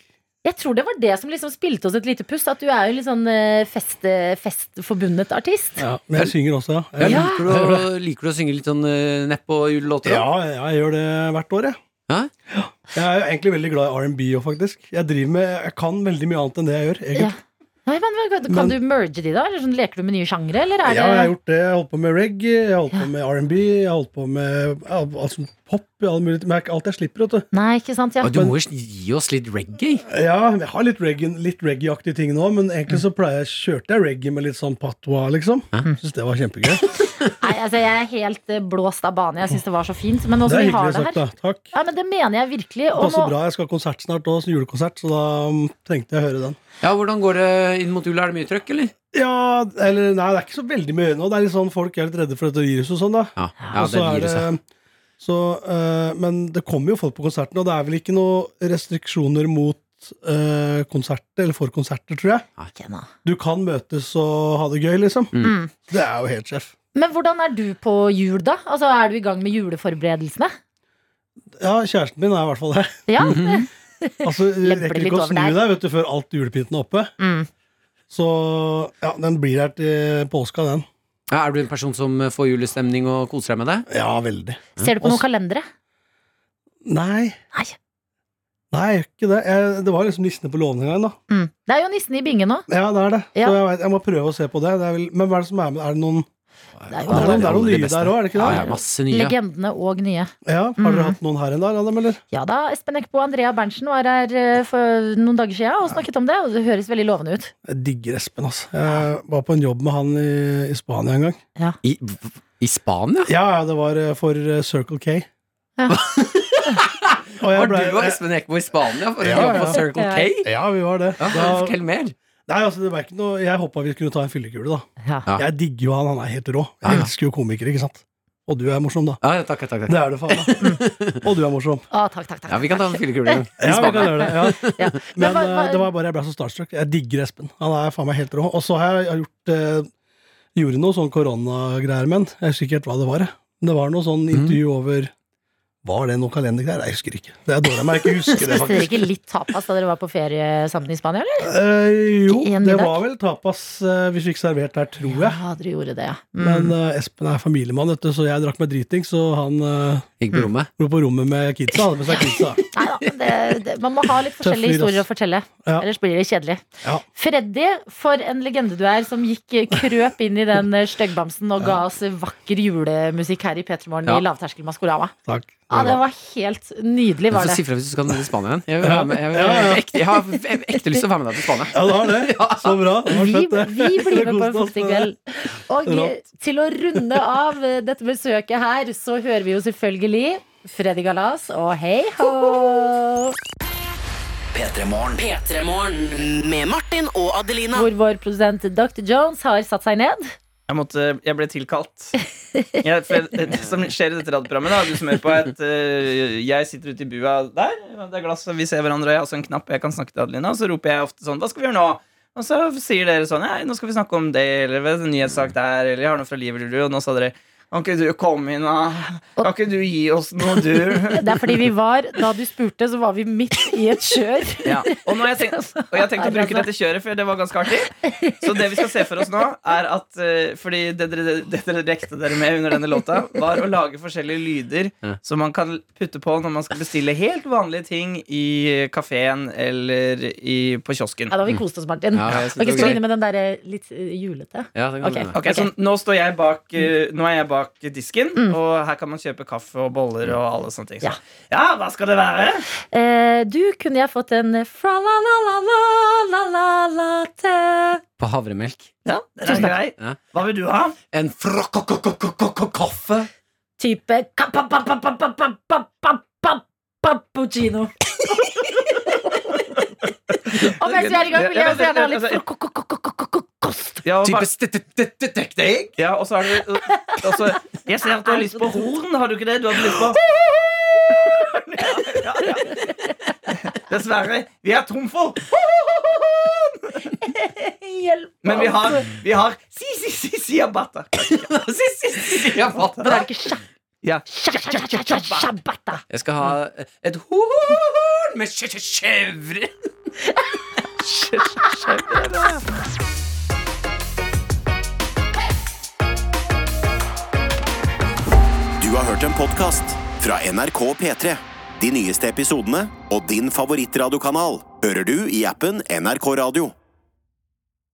S2: Jeg tror det var det som liksom spilte oss et lite puss, at du er jo litt sånn eh, fest, festforbundet artist.
S11: Ja, men jeg synger også, ja.
S3: Ja,
S11: Jeg
S3: liker,
S11: jeg
S3: du
S11: gjør det.
S3: å, liker du å synge litt sånn uh, neppe og julelåter?
S11: Ja, jeg gjør det hvert år, jeg. Ja. Jeg er jo egentlig veldig glad i R&B òg, faktisk. Jeg driver med, jeg kan veldig mye annet enn det jeg gjør, egentlig.
S2: Nei, men hva- Kan
S19: Men-
S2: du merge de, da? Eller sånn, leker du med nye sjangre? Eller er
S19: Ja, jeg har
S2: det
S19: gjort det. Jeg har holdt på med reggae, jeg har holdt på med R&B, jeg har holdt på med ja, altså, pop, alt mulig. Men det er ikke alt jeg slipper, vet du.
S2: Nei, ikke sant, ja.
S19: Men-
S11: gi oss litt reggae.
S19: Ja, jeg har litt, reggae, litt reggae-aktige ting nå, men egentlig så pleier jeg, kjørte jeg reggae med litt sånn patwa, liksom. Syns det var kjempegøy.
S2: Nei, altså, jeg er helt eh, blåst av bane. Jeg syns det var så fint. Men nå
S19: Det
S2: som
S19: er
S2: vi har det
S19: hyggelig sagt, da.
S2: her
S19: Takk.
S2: ja, men Det mener jeg virkelig.
S19: Det
S2: Og
S19: passer
S2: nå,
S19: bra. Jeg skal ha konsert snart òg, julekonsert, så da mm, trengte jeg å høre den.
S11: Ja, Hvordan går det inn mot jula? Er det mye trøkk, eller?
S19: Ja, eller nei, det er ikke så veldig mye nå. Det er litt sånn folk er litt redde for dette viruset og sånn, da.
S11: Ja,
S19: Og så er det- så, eh, men det kommer jo folk på konsertene, og det er vel ikke noen restriksjoner mot eh, konserter, eller for konserter, tror jeg. Du kan møtes og ha det gøy, liksom.
S2: Mm.
S19: Det er jo helt sjef.
S2: men hvordan er du på jul, da? Altså, Er du i gang med juleforberedelsene?
S19: Ja, kjæresten min er i hvert fall
S2: [laughs]
S19: det.
S2: Ja.
S19: Altså, du
S2: Lemper
S19: rekker
S2: det litt
S19: ikke å
S2: over
S19: snu
S2: der.
S19: deg vet du, før alt julepynten er oppe.
S2: Mm.
S19: Så ja, den blir her til påska, den.
S11: Ja, er du en person som eh, får julestemning og koser deg med det?
S19: Ja, veldig.
S2: Ser du på noen kalendere?
S19: Nei.
S2: Nei.
S19: Nei, ikke det. Jeg, det var liksom nissene på låven en gang, da.
S2: Mm. Det er jo nissen i bingen nå.
S19: Ja, det er det.
S2: Ja.
S19: Så jeg, vet, jeg må prøve å se på det. det er vel, men hva er det som er med Er det noen Det er,
S2: jo
S19: noen- det er noen
S11: aller
S19: nye
S11: beste.
S19: der òg, er det ikke det?
S11: Ja, ja, masse nye.
S2: Legendene og nye.
S19: Ja, Har dere hatt noen her enn der av dem, eller?
S2: Ja da, Espen Eckbo og Andrea Berntsen var her eh, for noen dager siden og snakket om det. Og det høres veldig lovende ut.
S19: Jeg digger Espen, altså. Jeg var på en jobb med han i, i Spania en gang.
S11: I, i Spania?
S19: Ja, ja, det var eh, for eh, Circle K. [laughs] Og jeg
S11: Var
S19: ble-
S11: du og Espen Ekbo i Spania for å
S19: Ja,
S11: jobbe
S19: ja.
S11: på Circle K?
S19: Ja, vi var det. Da-
S11: Fortell mer.
S19: Nei, altså, det var ikke noe Jeg håpa vi skulle ta en fyllekule, da.
S11: Ja.
S19: Jeg digger jo han, han er helt rå. Jeg elsker jo komikere, ikke sant? Og du er morsom, da.
S11: Ja, takk, takk, takk.
S19: Det er du faen, da. [laughs] Og du er morsom.
S2: Å, Ah, takk, takk, takk.
S11: Ja, vi kan ta en fyllekule.
S19: Ja, vi kan gjøre det. Ja.
S2: Ja.
S19: Men,
S2: Men hva- hva-
S19: eh, det var bare jeg ble så starstruck. Jeg digger Espen. Han er faen meg helt rå. Og så har jeg, jeg har gjort eh, Gjorde noe sånn
S11: [laughs]
S19: koronagreier med han. Jeg husker ikke helt hva det var. jeg. Men Det var noe sånn intervju over Var det noe kalendergreier? Jeg husker ikke. Det er dårlig av meg å ikke huske det,
S2: Spiste dere
S19: faktisk.
S2: ikke litt tapas da dere var på ferie sammen i Spania, eller?
S19: [laughs] Eh, jo,
S2: En
S19: det
S2: middag?
S19: var vel tapas eh, vi fikk servert der, tror jeg.
S2: Ja, dere gjorde det, ja. Mm.
S19: Men eh, Espen er familiemann, vet du, så jeg drakk meg driting, så han eh,
S11: Gikk på rommet?
S19: Dro på rommet med kidsa. Hadde med seg kidsa.
S2: Nei da, men det, det, man må ha litt
S19: eh, Tøff fyr,
S2: forskjellige historier å
S19: ass.
S2: fortelle.
S19: Ja.
S2: Ellers blir det kjedelig.
S19: Ja.
S2: Freddy, for en legende du er, som gikk eh, krøp inn i den eh, styggbamsen og ga oss vakker julemusikk her i Petermorgen
S11: Ja.
S2: i Lavterskel Maskorama.
S19: Takk.
S2: Ja, det var helt nydelig,
S11: Jeg
S2: var
S11: får si
S2: det.
S11: fra hvis du skal ned til Spania igjen. Jeg, vil være med- jeg, vil-
S2: Ja, ja.
S11: ekte- jeg har v- ekte lyst til å være med deg til Spania.
S19: Ja, det har det. Så bra. Det var
S2: Vi,
S19: fett, det.
S2: vi
S19: [laughs]
S2: blir med på en
S19: Koste oss
S2: fuktig kveld. Og eh,
S19: Rått.
S2: til å runde av eh, dette besøket her, så hører vi jo selvfølgelig Freddy Galas og Hei Ho!
S1: P3morgen.
S5: P3morgen med Martin og Adelina.
S2: Hvor vår produsent Dr. Jones har satt seg ned.
S4: Jeg, måtte, jeg ble tilkalt. Jeg, for jeg, det som skjer i dette radioprogrammet, da, du som hører på, er at eh, jeg sitter ute i bua der, det er glass, og vi ser hverandre, og jeg har også en knapp, og jeg kan snakke til Adelina, og så roper jeg ofte sånn Hva skal vi gjøre nå? Og så sier dere sånn Nei, nå skal vi snakke om det, eller «Vet du, en nyhetssak der, eller jeg har noe fra livet, eller du», og nå sa dere Kan ikke du komme inn, da? Kan ikke du gi oss noe, du?
S2: Det er fordi vi var, da du spurte, så var vi midt i et kjør.
S4: Ja. Og, nå har jeg tenkt, og jeg har tenkt å bruke dette kjøret, for det var ganske artig. Så det vi skal se for oss nå, er at eh, Fordi det dere, det dere rekte dere med under denne låta, var å lage forskjellige lyder som man kan putte på når man skal bestille helt vanlige ting i kafeen eller i, på kiosken.
S2: Ja, da har vi kost oss, Martin.
S4: Ja,
S2: Ok,
S4: jeg synes
S2: skal vi
S4: det var gøy.
S2: begynne med den der eh, litt eh, julete? Ok,
S4: Ok, så
S2: ok.
S4: nå, står jeg bak, eh, nå er jeg bak disken, og her kan man kjøpe kaffe og boller og alle sånne ting. Så. ja, hva skal det være?
S2: Eh, du, kunne jeg fått en fra la la la la la la latte?
S11: På havremelk.
S4: Ja, den er grei. Hva vil du ha?
S11: En frokkokokokokoffe.
S2: Type ka- pa- pa- pa- pa- pa- pa- pa- pa- pa- Pappuccino. Og mens vi er i gang, vil jeg også gjerne ha litt frokk-
S4: Type stekte egg? Ja, og så har du og så- Jeg ser at du har lyst på horn, har du ikke det? Du har lyst på Ja, ja, ja. Dessverre. Vi er tom for
S2: Hjelp!
S4: Men vi har, vi har si, si, si, si, abata. Si, si, si, si, abata.
S2: Men er det ikke sja-
S4: Ja.
S2: sja- sja- sja- sja- sja- sjabbata?
S11: Jeg skal ha et horn med skje- skje- skjevre.
S20: Du har hørt en podcast fra NRK P3. De nyeste episodene og din favorittradiokanal hører du i appen NRK Radio.